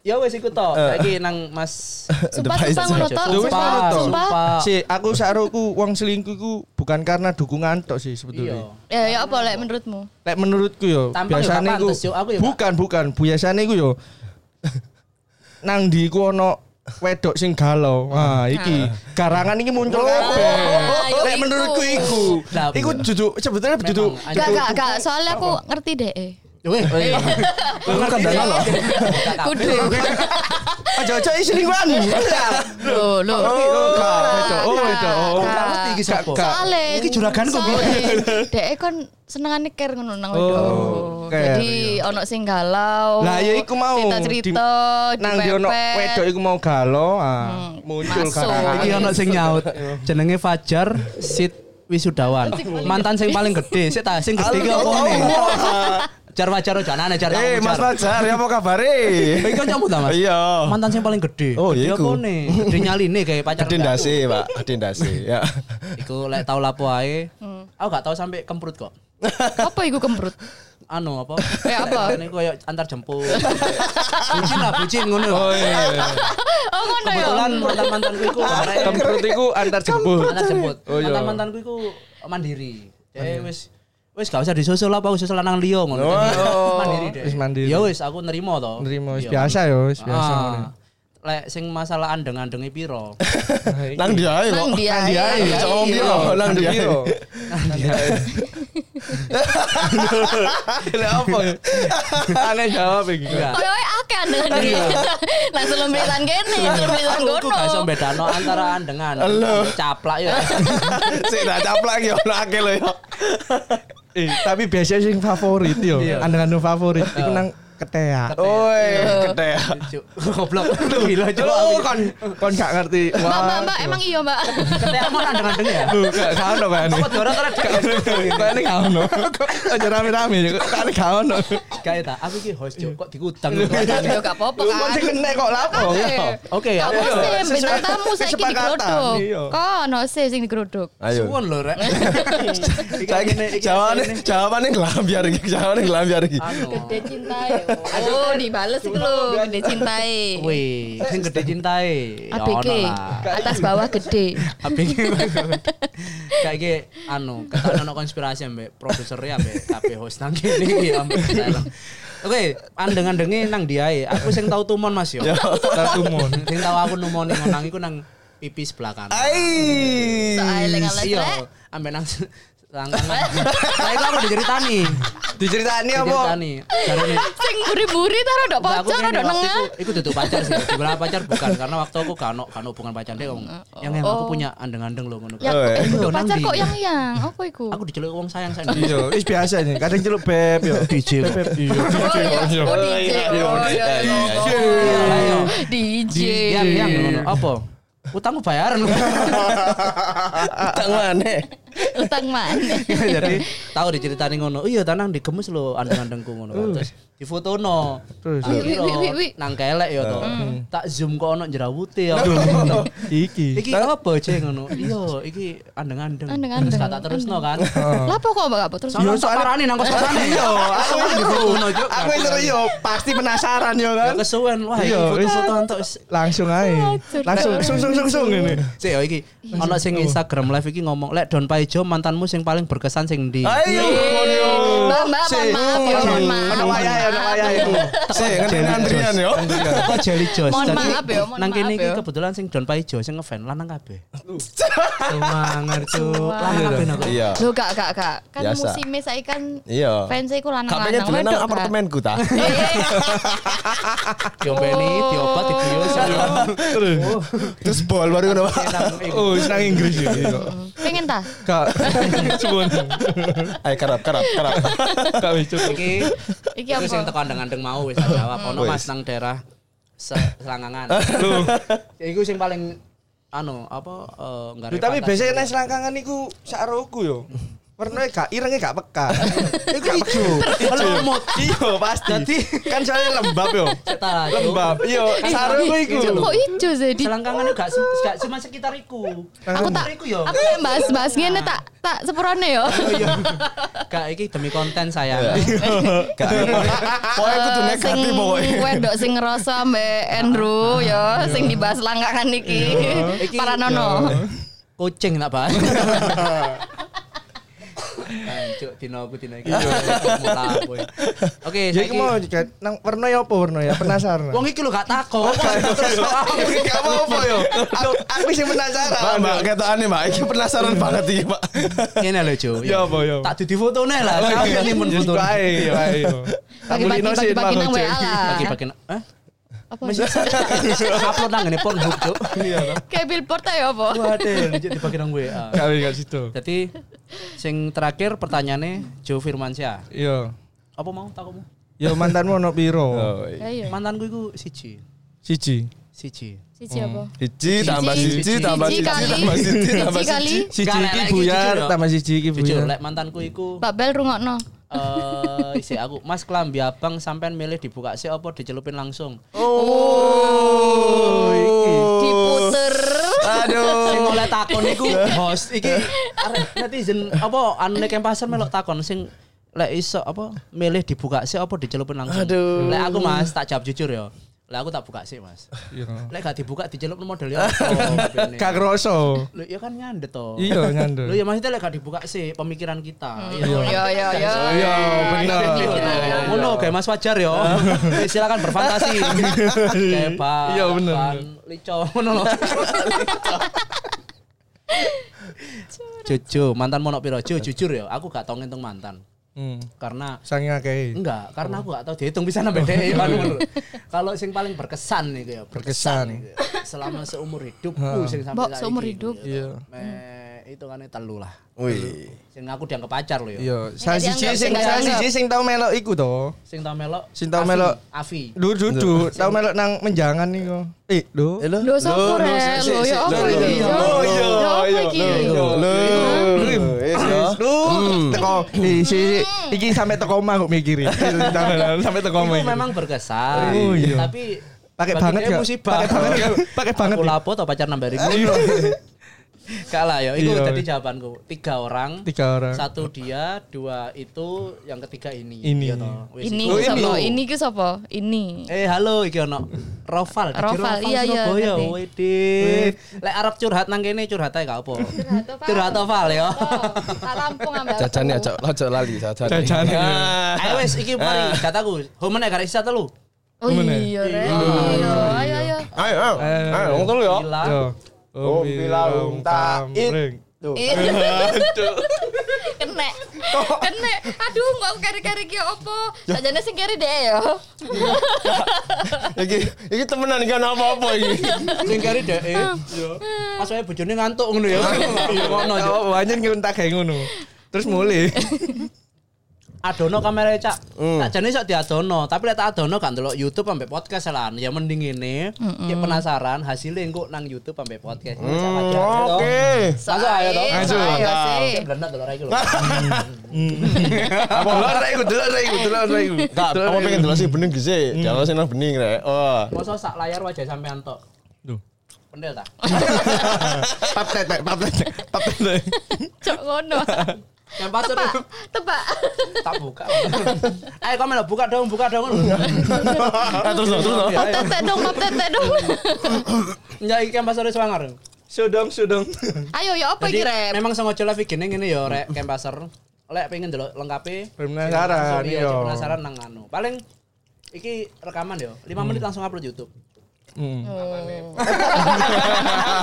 S1: Ya wis iku to. Saiki nang Mas
S3: Sumpah sumpah ngono tok.
S4: Sumpah,
S3: Sumpah
S4: ngono tok.
S3: sumpah.
S4: Si, aku saruku wong selingkuh ku bukan karena dukungan tok sih sebetulnya.
S1: Iya.
S3: Ya ya apa lek menurutmu?
S4: Lek menurutku yo
S1: Tampang yo
S4: biasane
S1: gak
S4: iku
S1: pantes, yo. Aku yo gak-
S4: bukan bukan biasane iku yo nang ndi iku ono wedok sing galau. Wah, iki garangan iki muncul kabeh.
S3: yo
S4: Lek
S3: iku.
S4: menurutku iku.
S1: Lah,
S4: Iku
S1: bener.
S4: duduk sebetulnya duduk
S1: Memang,
S3: Gak gak gak soalnya aku ngerti deh. eh.
S1: Weh, Iya. weh.
S5: Lu kan dana
S1: Iya.
S5: loh.
S1: [LAUGHS]
S3: Kudu.
S4: aja-aja isi selingkuhanmu.
S3: Loh loh.
S4: Oh, gak, wedok. Oh, wedok.
S3: Gak,
S4: Oh, gak.
S1: ngerti iki sapa.
S4: Gak.
S3: soale
S1: Iki juraganku, Bu.
S4: [LAUGHS]
S3: dek kon senengane care ngono nang
S4: Oh,
S3: wedok
S4: care,
S3: jadi ono sing galau
S4: Lah, ya iku mau.
S3: cerita cerita
S4: Nang di ono wedok iku mau galau, ah,
S3: Hmm,
S4: muncul
S3: masuk.
S4: garangan.
S3: [LAUGHS]
S1: Iki ono sing nyaut. Jenenge Fajar Sid Wisudawan. Mantan sing paling gede. Sik ta sing gede iki opo
S5: Oh,
S1: ne?
S5: iya.
S1: Jar Fajar janane jar
S5: Eh Mas Fajar, ya apa kabare?
S1: Iki kan nyambut ta Mas.
S5: Iya.
S1: Mantan sing paling gede.
S5: Oh, iya
S1: Gede
S5: iku.
S1: opo ne? Gede nyaline kayak pacar.
S5: Gede
S1: enggak?
S5: ndase, Pak. Gede ndase. Ya.
S1: Iku lek tau lapo ae. Aku gak tau sampai kemprut kok.
S3: apa iku kemprut
S1: Anu
S4: [LAUGHS]
S1: apa?
S3: Eh, apa?
S1: Ini koyo antar jemput. Bucin lah, bucin ngono.
S4: Oh iya.
S3: oh ngono ya
S1: Kebetulan mantan-mantanku iku arek-
S4: Kemprut iku antar jemput.
S1: Mantan jemput.
S4: Oh, iya. Oh,
S1: Mantan mantanku iku mandiri. Dek wis wis gak usah disusul lah, aku susul lanang liya ngono. [LAUGHS] Mandiri deh.
S4: Oh. Wis mandiri.
S1: Ya wis aku nerima to.
S4: Nerima
S1: Iya.
S4: wis biasa yo, wis biasa
S1: Ah.
S4: ngono.
S1: Lek sing masalah andeng-andengi
S4: [LAUGHS]
S1: piro?
S5: Nang dia ae, Pak.
S3: nang dia
S4: dia,
S3: ae.
S4: iya.
S5: Cowok piro?
S1: Oh,
S5: Nang dia. ae.
S4: [LAUGHS] Lah apa? ya? Aneh jawab iki.
S1: Enggak.
S3: Koyoke akeh dengan dia. [LAUGHS] Nah, sebelum beritan kene, sebelum beritan
S1: Aku aku gak iso
S3: gono.
S1: bedano antara andengan
S5: Elo.
S1: caplak ya. [LAUGHS]
S5: Sik tak caplak yo ono akeh lho yo.
S4: Eh, tapi biasanya sing favorit yo,
S1: Iya.
S4: Iya. andalan favorit iku nang ketea.
S1: Ketea.
S4: Oi, ketea.
S1: Cuk, Goblok. Lu gila coba.
S4: Lu kan kon gak ngerti.
S3: Mbak, mbak,
S4: Wah.
S3: mbak, emang iya mbak.
S1: Ketek mau nandeng-nandeng ya?
S4: Lu gak gak ono bayane.
S1: Apa dorong karena dia
S4: Bayane gak ono. Kok Aja rame-rame kan gak ono.
S1: Kayak tak, aku ki host Cuk, kok diutang.
S3: Yo gak apa-apa
S4: Lu
S3: kan.
S4: kon sing kena kok lapo.
S1: Oke, ya.
S3: Kok
S1: aku
S3: sih
S4: Iya,
S3: bintang
S4: sesuai-
S3: tamu saiki
S4: kesepakatan,
S3: digeruduk.
S4: iya.
S3: Kok ono sih sing digeruduk?
S5: Ayo.
S1: suwon lho rek.
S5: Saya jawabannya jawabannya ngelambiar iki, jawabannya ngelambiar iki.
S3: Gede cintai. Oh, dibales iku lho, gede cintai.
S1: [LAUGHS] Wih, sing gede cintai. Ya
S3: ABG,
S1: ono lah.
S3: atas bawah gede.
S1: ABG [LAUGHS] kayak gini anu kata ono konspirasi ambek produsernya ambek kabeh host nang kene iki ambek saya. Oke, andeng-andenge nang diae. Aku sing tau tumon Mas yo.
S4: Tatumon.
S1: Sing tau aku numoni nang iku nang pipi sebelah kanan.
S5: Ai.
S3: Soale lengan
S1: Iya,
S3: lek.
S1: ambek nang [LAUGHS] langkang. Lah iku aku diceritani.
S4: Diceritani apa?
S1: Diceritani. Jarene
S3: Sing buri-buri taro ndok
S1: Enggak, aku
S3: pojok,
S1: ngene, waktu
S3: ndok nengah.
S1: Iku iku duduk pacar sih. Dibilang pacar bukan karena waktu aku kan kan hubungan pacar dia ngomong. Yang yang aku
S3: Oh.
S1: punya andeng-andeng loh ngono.
S3: Ya,
S5: Oh,
S3: eh,
S1: iya.
S3: pacar
S1: Nang
S3: kok
S1: di-
S3: yang-yang? Apa iku?
S1: Aku diceluk wong sayang saya.
S5: [LAUGHS]
S4: Iya, wis biasa nih. Kadang celuk beb yo. DJ beb. Iya.
S3: Oh, iya. Oh, DJ. Oh, iya, iya.
S1: Ayo.
S3: DJ.
S1: Iya. Yang yang ngono. Apa? Utangku bayaran.
S5: Utang maneh.
S3: Utang mana?
S1: [LAUGHS] Jadi tahu diceritain ngono. Iya tanang digemes lo andeng-andengku ngono. Terus difotono.
S4: Terus.
S1: Tak
S3: Wi, wi, wi, wi.
S1: kira nang kelek ya to. Tak zoom kok ono jerawute ya.
S4: Iki.
S1: Iki apa cek ngono? [LAUGHS] Iya, iki andeng-andeng.
S3: Andeng-andeng.
S1: Terus kata terusno kan.
S3: Lapo kok mbak apa terus?
S1: Soalnya kan parani [LAUGHS] nang kos-kosan.
S4: Iya, aku
S1: Soalnya difotono juga.
S4: aku seru yo, pasti penasaran yo kan.
S1: Gak kesuwen wah
S4: Iya,
S1: iki
S4: wis.
S1: foto entuk
S4: Langsung aja. Langsung sung sung sung sung ini.
S1: Cek ya iki
S3: Iya.
S1: ana sing Instagram live iki ngomong lek Don Paijo mantanmu sing paling berkesan sing ndi? Iya. [LAUGHS]
S5: Ayo.
S3: Mbak, mbak, mohon maaf, ya, mohon maaf.
S4: Ono wayahe, ono wayahe iku.
S5: Sik, ngenteni antrian yo.
S1: Kok Jelly Jos.
S3: Mohon
S1: Jadi,
S3: maaf ya, mohon
S1: Nang
S3: maaf
S1: kene iki
S3: ya.
S1: kebetulan sing Don Paijo sing ngefan lanang kabeh. Semangat cuk. Lanang kabeh nang
S5: Iya.
S3: Loh, gak, gak, gak. Kan
S5: Biasa.
S3: musimnya saya kan
S5: Iya.
S1: Oh.
S3: fansnya iku
S5: Katanya
S3: lanang-lanang.
S5: dolan nang
S3: wedok, Kak.
S5: apartemenku ta.
S1: diompeni,
S3: Oh.
S1: diobat, ya. dibius. [LAUGHS]
S5: Terus bol baru ngono. Pak.
S4: Oh, senang Inggris yo.
S3: [LAUGHS] Pengen ta?
S4: Kak, [LAUGHS] cuman
S5: Ayo karap karap karap.
S4: kak wis cukup.
S1: Iki
S3: Iki
S1: Iki
S3: apa?
S1: sing teko andeng-andeng mau wis tak jawab ono Mas nang daerah Se- Selangangan.
S4: Loh,
S1: Ya iku sing paling anu apa eh, nggak
S4: Loh,
S1: ada
S4: tapi
S1: pantas.
S4: biasanya nek selangkangan iku sak rogo yo. Warnane gak irenge gak peka. Iku ijo.
S1: Lemot.
S4: Iya, pasti.
S1: Jadi
S4: kan soalnya lembab yo.
S1: Setara, Cuk.
S4: Lembab. Iya,
S3: Eh,
S4: sarungku iku.
S3: Cuk, Kok ijo sih? Di-
S1: selangkangan itu gak, se- gak cuma sekitar iku.
S3: Aku tak,
S1: Iku yo. Oh, iya.
S3: aku yang bahas-bahas gini tak, tak sepurane yo.
S1: Gak iki demi konten saya.
S4: Iya.
S5: Pokoke kudu
S3: Eh,
S5: negatif pokoke.
S3: Wedok sing ngerasa Mbak Andrew yo, sing dibahas langgangan iki.
S1: Iki-
S3: [LAUGHS] Para nono.
S1: Kucing tak
S4: [LAUGHS]
S1: bahas. Cuk, dino aku dino iki. Lapo. Oke,
S4: Iya. Ya iku mau
S1: saiki
S4: juga nang warna ya apa warna ya penasaran.
S1: Wong iki lho gak
S4: [LAUGHS]
S1: takon. Terus
S4: Aku Iya, gak mau apa yo. Aku- Aku sih
S5: Mbak,
S4: penasaran.
S5: mbak, ketokane mbak, iki penasaran banget iki, Pak.
S1: ngene lho, Cuk.
S4: Ya Iya. apa yo.
S1: Tak dudi fotone lah. Sampe nimun fotone.
S4: Baik, baik.
S3: Bagi-bagi bagi-bagi nang WA lah.
S1: Bagi-bagi. Hah?
S3: Apa?
S1: Masih upload nang ngene Pornhub, Cuk.
S3: Kayak billboard ae apa?
S1: Waduh, Cuk, dibagi nang WA.
S4: Kami gak situ.
S1: Jadi sing terakhir pertanyaannya Joe Firmansyah.
S4: Yo.
S1: Apa mau takutmu?
S4: Yo mantanmu ono piro?
S5: Oh, iya.
S3: Ayo.
S1: Mantanku iku siji.
S4: Siji.
S1: Siji.
S3: Siji apa?
S5: Siji tambah siji tambah
S3: Siji
S5: siji
S3: kali.
S5: tambah siji tambah
S3: Siji kali.
S5: siji.
S4: Siji
S1: Gak, lek,
S4: iki
S1: lek, iki jujur,
S4: buyar
S1: yo.
S4: tambah siji iki
S1: Jujur
S4: buyar.
S1: lek mantanku iku
S3: Babel rungokno.
S1: eh isi aku Mas Klambi Abang sampean milih dibuka sih apa dicelupin langsung.
S5: Oh,
S3: Diputer.
S1: Sing oleh takon iku host iki arek netizen apa anu nek pasar melok takon sing lek iso apa milih dibuka sih apa dicelupin langsung. Aduh. Lek aku Mas tak jawab jujur ya. Lek aku tak buka sih Mas.
S4: Yo.
S1: Lek gak dibuka dicelup model ya. apa?
S4: Gak kroso.
S1: Lu ya kan nyandet toh.
S4: Iya
S1: Lu
S4: ngandel.
S1: ya maksudnya lek gak dibuka sih pemikiran kita. Iya.
S3: Yo yo yo.
S4: Iya, bener.
S1: Ngono kayak Mas Wajar yo. Eh, Silakan berfantasi.
S4: [LAUGHS]
S1: Bebas.
S4: Iya, bener.
S1: Pan Lico [LAUGHS] ngono lho. Jujur, mantan mau piro? Ju, jujur ya, aku gak tau ngitung mantan.
S4: Hmm.
S1: Karena
S4: Sange akeh.
S1: enggak, karena aku gak tau dihitung bisa nambah deh kan ngono lho. Kalau sing paling berkesan nih ya, berkesan
S4: Berkesan.
S1: iku ya. Selama seumur hidupku sing sampai
S3: Mbok, seumur
S1: saiki,
S3: hidup.
S1: gitu.
S4: Iya.
S1: Mek, nek hitungane telu lah.
S5: Wih.
S1: Sing aku dianggap pacar lho ya.
S4: Iya, saya
S3: Nggak
S4: siji
S3: dianggap,
S4: sing
S3: nggak
S4: saya
S3: dianggap.
S4: siji sing tau melok iku to.
S1: Sing tau melok
S4: Sing tau
S1: Afi.
S4: melok.
S1: Afi.
S4: Duh dudu, tau melok nang menjangan niku. Eh, lho.
S5: Eh,
S3: Lho
S5: Lho, lho,
S3: sopo rek?
S5: sik,
S3: Lho
S5: sik,
S3: ya
S5: lho,
S3: apa
S5: lho,
S3: iki?
S5: lho,
S3: Ya
S5: lho,
S3: apa
S5: lho,
S3: iki?
S5: lho, lho. Eh, lho.
S4: Duh, teko eh, si, si, iki sampe teko omah kok [LAUGHS] mikirin. Sampe teko omah.
S1: Itu
S4: iki.
S1: memang berkesan.
S4: Oh, iya.
S1: Tapi
S4: Pakai
S1: bagi
S4: banget
S1: dia
S4: gak?
S1: musibah.
S4: Pakai banget gak? Pakai banget
S1: Aku
S4: ya?
S1: lapo atau pacar nambah ribu. Kalah ya, itu
S4: Iya.
S1: tadi jawabanku. Tiga orang.
S4: Tiga orang.
S1: Satu dia, dua itu, yang ketiga ini.
S4: Ini.
S1: Iya toh. Wis,
S3: Ini
S1: iku.
S3: ki sopo? Ini ki sopo? Ini.
S1: Eh halo iki ono Roval, Haji
S3: Roval, iya, iya,
S1: Surabaya.
S3: ngerti.
S1: Wede. Lek arep curhat nang kene curhat ae gak apa. Curhat Roval ya.
S3: Oh, Tak rampung ambek.
S5: Jajan ya, cok, cok lali jajan. ya.
S4: Jajan.
S1: Ayo wes iki
S4: Ah.
S1: mari kataku. Homen gak isa telu.
S3: Oh iya rek. Iya, ayo ayo.
S5: [LAUGHS] Ayo, ayo, ayo, ngomong dulu ya.
S1: Gila.
S4: Yo. Om Bilaung Tamring.
S3: Eh, iya. [LAUGHS] Kene. Kene. Aduh, kok aku kari-kari ki opo? Sajane sing kari deh ya.
S5: Iki, iki temenan kan apa-apa
S3: [LAUGHS]
S5: iki.
S1: Sing kari dhek.
S3: Ah.
S1: Mas wae bojone ngantuk ngono ya. Ngono yo.
S4: Oh, anjen ngentak kayak ngono. Terus [LAUGHS] mulai.
S1: Adono kamera ya, cak. Tak jane sok diadono, tapi lek tak adono gak ndelok YouTube ambek podcast lah. Ya mending ngene. Ki penasaran hasilnya engko nang YouTube ambek podcast. Cak, aja, aja, toh.
S5: Hmm, Oke.
S1: Langsung ayo toh.
S3: Ayo. Ayo sih.
S1: Kayak Belenak delok ra iki lho.
S5: Apa lho rek iku, delok rek iku, delok rek iku. Hmm. Enggak, apa pengen delok sing bening gese. Delok sing nang bening rek. Oh.
S1: Masa sak layar wajah sampean tok.
S4: Duh.
S1: Pendel ta?
S4: Pap tet, pap tet, pap tet.
S3: Cok ngono.
S1: Yang pasir
S3: Tebak, tebak.
S1: tak buka. [LAUGHS] Ayo komen lah, buka dong, buka dong. Ya,
S5: Ah, terus dong, terus
S1: [LAUGHS]
S5: dong.
S3: Pap tetek dong, pap tetek dong.
S1: Enggak iki yang pasir swangar.
S4: [LAUGHS] Sudong, sudong.
S3: [LAUGHS] Ayo ya apa
S1: Jadi
S3: iki rek?
S1: memang sengaja lah gini gini yo rek camp pasar. Lek pengen delok lengkapi.
S4: Penasaran,
S1: iya.
S4: iya.
S1: cek Penasaran nang anu. Paling iki rekaman yo, 5 menit langsung upload YouTube.
S4: Hmm.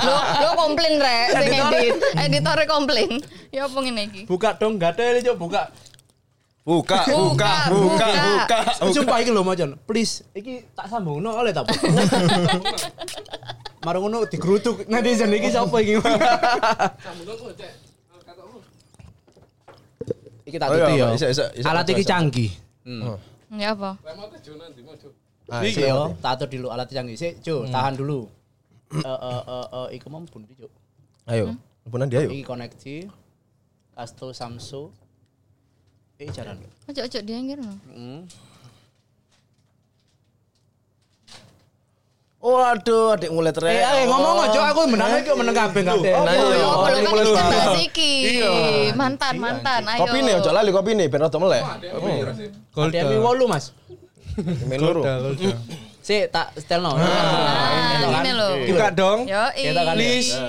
S3: Lo lo komplain rek, sing edit. Editore komplain. Ya apa ngene iki?
S1: Buka dong, enggak ada ini cok buka.
S5: Buka, buka,
S3: Buka,
S5: buka,
S3: buka.
S5: buka.
S1: Sumpah iki lho Majon, please iki tak sambungno oleh tak. [LAUGHS] Marung ngono digerutuk netizen iki sapa iki? Iki tak
S5: Oh iya,
S1: tuti yo.
S5: iso, iso, iso,
S1: Alat
S5: iso,
S1: iki
S5: iso.
S1: canggih.
S3: Ya apa?
S5: Ah,
S1: Iki
S5: sih,
S1: yo, tak atur dulu alat canggih. Sik, Cuk, tahan dulu. Eh eh eh eh, iku mau bunuh Cuk.
S5: Ayo. Teleponan dia yuk.
S1: Iki koneksi Astro Samsung. Iki Eh, jalan.
S3: Ojo-ojo dia ngono.
S1: Heeh.
S5: Waduh, adik mulai trek.
S1: Eh, eh, ngomong aja aku menang iki meneng kabeh kabeh.
S5: Nah,
S3: Oh,
S5: iya,
S3: ya
S5: iya.
S3: apa lo kan
S5: Mulai
S3: wis
S5: dulu.
S3: tebak iki. Mantan, mantan. Ayo.
S5: Kopi ya, nih, ojo lali kopi nih, ben rada melek.
S1: Ada mi 8, Mas.
S5: Min loro.
S1: Sik, tak setelno.
S3: Nah,
S1: kan.
S3: ini lho.
S4: Buka dong.
S3: Yo,
S1: Kita kan
S3: i.
S1: ya.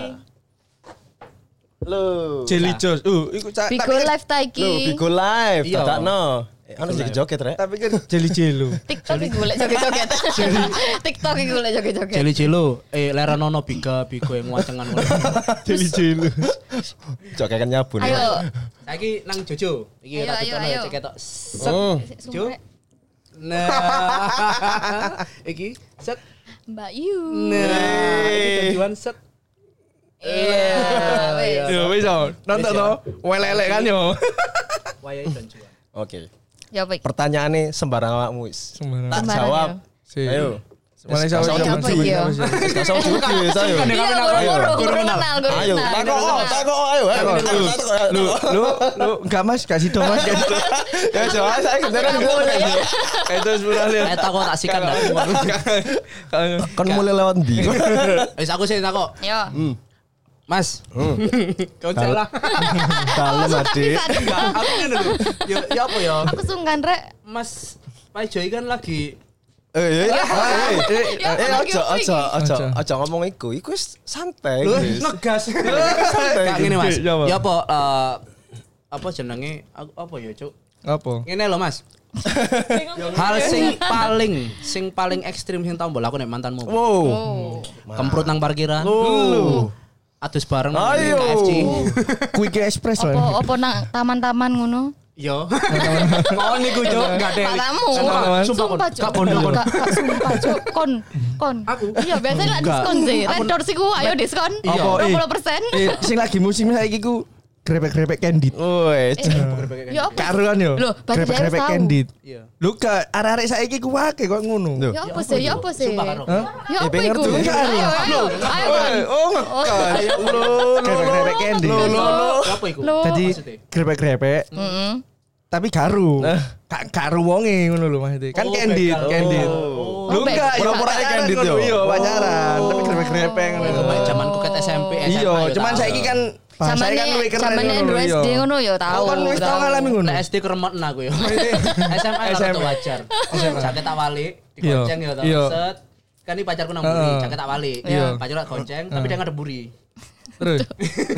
S5: Lho.
S4: Jelly Jones. Uh, iku cak.
S3: Bigo
S1: kan-
S3: live ta
S5: Lho,
S3: iki.
S5: Bigo Live,
S1: Iya.
S5: dadakno. Eh, Anu sing joget rek.
S4: Tapi kan jelly jelo.
S3: TikTok iki golek
S1: [LAUGHS]
S3: joget-joget. TikTok iki golek joget-joget.
S1: Jeli jelo, eh lera nono biga bigo yang wacengan ngono.
S4: Jelly jelo.
S5: Joget kan nyabu nih.
S3: Ayo.
S1: [LAUGHS] Saiki nang Jojo. Iki
S3: Ayo,
S1: tak
S3: ayo,
S1: tutono ya,
S3: ayo.
S1: cek ketok. Set.
S5: Hmm.
S1: Jo.
S3: Sumpah,
S1: Nah. [LAUGHS] Iki set.
S3: Mbak Yu.
S1: Nah. Iki tujuan set.
S3: Iya. wes.
S4: Yo wis yo. Nonton to. Welelek kan yo.
S1: Wayahe tujuan.
S5: Oke.
S3: Ya baik.
S5: Pertanyaannya sembarang awakmu wis.
S4: Sembarang.
S5: Tak
S3: Sembarang,
S5: jawab.
S4: Si.
S5: Ayo.
S4: Mulai
S5: Wis,
S4: sama
S5: gak usah
S3: Apa iki yo?
S5: jujur. Wis, gak usah jujur, wis, ayo.
S3: Iya, guru-guru, guru kenal, guru
S5: Ayo,
S3: kenal.
S5: takok, oh,
S3: guru kenal.
S5: takok, oh, ayo. ayo,
S4: Takok,
S5: takok, takok, ayo,
S4: Lu
S5: takok.
S4: lu lu enggak Mas, kasih dong
S1: [LAUGHS]
S4: Mas. Gak sido.
S5: Ya jawab saya kendaraan dulu.
S4: Kayak itu sepuluh lihat.
S1: Eh tak kok tak sikat dah.
S5: Kan mulai lewat ndi?
S1: Wis Eh, aku sih tak kok.
S3: Yo.
S1: Mas. Kau salah.
S5: Dalem adik.
S1: Aku ngene lho. Ya ya apa ya?
S3: Aku sungkan rek.
S1: Mas Pak Joy kan lagi
S5: Eh, eh, eh, eh, eh,
S3: Ya, apa
S5: ojo,
S3: lagi,
S5: ojo,
S3: apa
S5: ojo,
S4: Ojo.
S5: ojo ngomong iku. Iku wis santai.
S1: Loh, nah.
S5: wis.
S1: [LAUGHS] negas.
S5: santai,
S1: Kayak ngene Mas.
S4: Gede, ya, Mas.
S1: Ya apa eh, apa jenenge Aku- apa ya, Cuk?
S4: Apa?
S1: Ngene lho, [LAUGHS] Mas. Hal sing paling sing paling ekstrim sing tau mbok lakoni nek mantanmu.
S5: Wow.
S3: Oh.
S1: Kemprut nang parkiran. Adus bareng nang
S5: Ayo.
S1: KFC. [LAUGHS]
S4: Quick Express
S3: Opo
S4: lah.
S3: opo nang taman-taman ngono.
S4: [LAUGHS]
S1: Yo. Kon niku Cuk,
S4: Iya.
S1: enggak ada.
S3: Patamu.
S1: Sumpah, sumpah kon.
S3: Cuk.
S1: Kak bondo kon.
S3: Kak, kak, sumpah, Cuk. Kon, kon.
S1: Aku?
S3: Iya, biasanya lah diskon sih. Red Doors iku ayo diskon.
S1: Iya.
S4: Apa, eh?
S3: 20%.
S4: Eh, sing lagi musim saiki ku grepek-grepek candid.
S5: Woi,
S3: Ya apa?
S4: Karuan yo.
S3: Loh, berarti
S4: Grepek-grepek
S3: saya tahu.
S4: candid.
S1: Iya.
S4: Lu ke arek-arek saiki ku wake kok ngono.
S5: Duh.
S3: Ya apa sih? Ya apa sih?
S1: Sumpah kan, karo.
S4: Hah?
S3: Ya apa
S5: pengen
S3: iku?
S5: tuh.
S3: Ayo, ayo. Ayo, kon.
S4: Oh, ngekan. Grepek-grepek candid.
S5: Lo, lo, lo.
S1: Apa iku?
S3: Loh.
S4: Jadi
S1: maksudnya?
S4: grepek-grepek
S3: Mm-mm.
S4: tapi garu. Gak garu wonge ngono lho Mas. Kan
S1: Oh,
S4: candid,
S1: begal.
S4: candid.
S1: Oh.
S4: Lu
S3: Oh,
S4: enggak ya,
S3: begal.
S5: Pura-pura aja candid, yo.
S4: Iya, pacaran, tapi grepek-grepek ngono.
S1: Kowe zaman kuket SMP SMA.
S4: Iya,
S1: yo
S4: cuman
S1: tau.
S4: saiki kan bahasanya kan
S3: Zamannya
S4: luwih keren
S3: zamannya
S4: ngono lho,
S3: dulu
S4: iya.
S3: SD ngono ya tahu.
S4: Oh, kan wis tau
S3: tahu.
S4: ngalami ngono. Oh, iya.
S1: Lah SD keremetan aku yo. [LAUGHS] SMA lah
S4: SMA.
S1: tuh wajar. Jaket tak wali, digoceng yo tau.
S4: Iya.
S1: Set. Kan ini pacarku nang buri,
S4: Heeh.
S1: jaket tak wali.
S4: Iya.
S1: Pacar tak gonceng, tapi dia ngadep buri.
S4: Terus.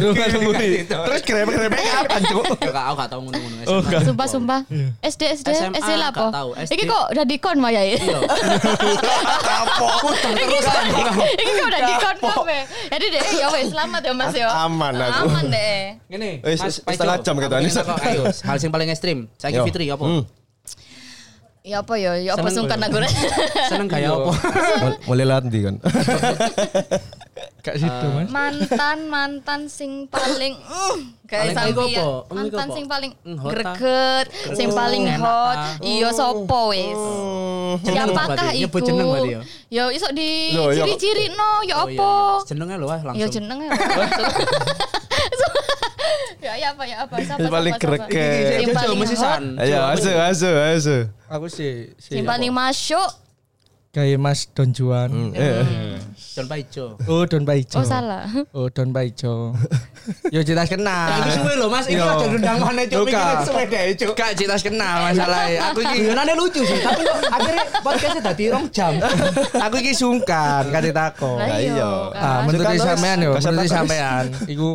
S4: Lu nggak sembunyi. Terus grepek-grepek kapan, Cuk?
S1: Ya kak, aku gak tau ngono-ngono SMA.
S4: Oh, nggak.
S3: Sumpah, sumpah. SD, SD,
S1: SMA,
S3: SD lah
S1: nggak
S3: apa?
S1: tahu. SD.
S3: Iki kok udah dikon Maya [LAUGHS] ya?
S1: Iya. Kapok puter terus kan. Iya, aku.
S3: [LAUGHS] Iki kok udah dikon kabe. Jadi deh, ya wes selamat ya Mas ya.
S5: Aman aku.
S3: Aman deh.
S1: Ngene,
S5: Eh,
S1: Mas
S5: se- setengah
S1: Paijo,
S5: jam
S1: aku
S5: ketani.
S1: pengen takok, Ayo, hal sing paling ekstrim. Saiki
S5: Yo.
S1: Fitri apa?
S5: Hmm.
S3: Ya apa ya? Ya apa
S1: Seneng
S3: sungkan
S1: kok
S3: aku.
S1: [LAUGHS] Seneng gaya apa?
S5: Mul- Mulai latih kan.
S4: Kak situ, Mas.
S3: Mantan mantan sing paling mm,
S1: Paling
S3: kayak
S1: iku apa?
S3: sampeyan
S1: Iku
S3: mantan
S1: apa?
S3: sing paling
S1: Mm, hot, ah.
S3: greget, sing
S1: Oh,
S3: paling
S1: enak,
S3: hot. Iya sopo wes?
S5: Oh. Hmm.
S1: Jeneng apa
S3: Siapakah
S1: berarti?
S3: iku?
S1: Nyebut jeneng berarti ya?
S3: Ya iso di
S5: Loh, ya.
S3: ciri-ciri no, ya
S1: Oh, iya,
S3: apa?
S1: iya. Jenenge lho ah,
S3: Ya
S1: langsung.
S3: jeneng ya. langsung. ya ya apa ya apa sapa
S5: Yang paling
S3: sapa, sapa.
S5: greget. Iya,
S1: Jeneng
S3: Yang paling
S1: mesti
S3: hot,
S1: san.
S5: Ayo, asu, asu, asu.
S4: Aku sih sih
S3: yang paling masuk.
S4: kayak Mas Don Juan.
S5: Eh,
S1: Jon Paijo.
S4: Oh, Don Paijo.
S3: Oh salah.
S4: Oh, Don [LAUGHS] Paijo. Yo citas
S1: Ya, Iku
S4: kenal.
S1: suwe lho Mas, iki
S4: Yo.
S1: aja undang mana
S4: Yo,
S1: cuk mikirin
S4: Kak.
S1: suwe deh cuk.
S4: Kak citas kenal [LAUGHS] masalahnya. Aku iki
S1: Guyonane lucu sih, tapi kok
S3: [LAUGHS]
S1: akhirnya podcastnya dadi rong jam. [LAUGHS]
S4: aku iki sungkan kan kate takon.
S5: Lah, iya.
S4: Nah, Ah, menurut
S5: Suka, Mas.
S4: sampean yo,
S5: Kasar
S4: menurut
S5: takon.
S4: sampean iku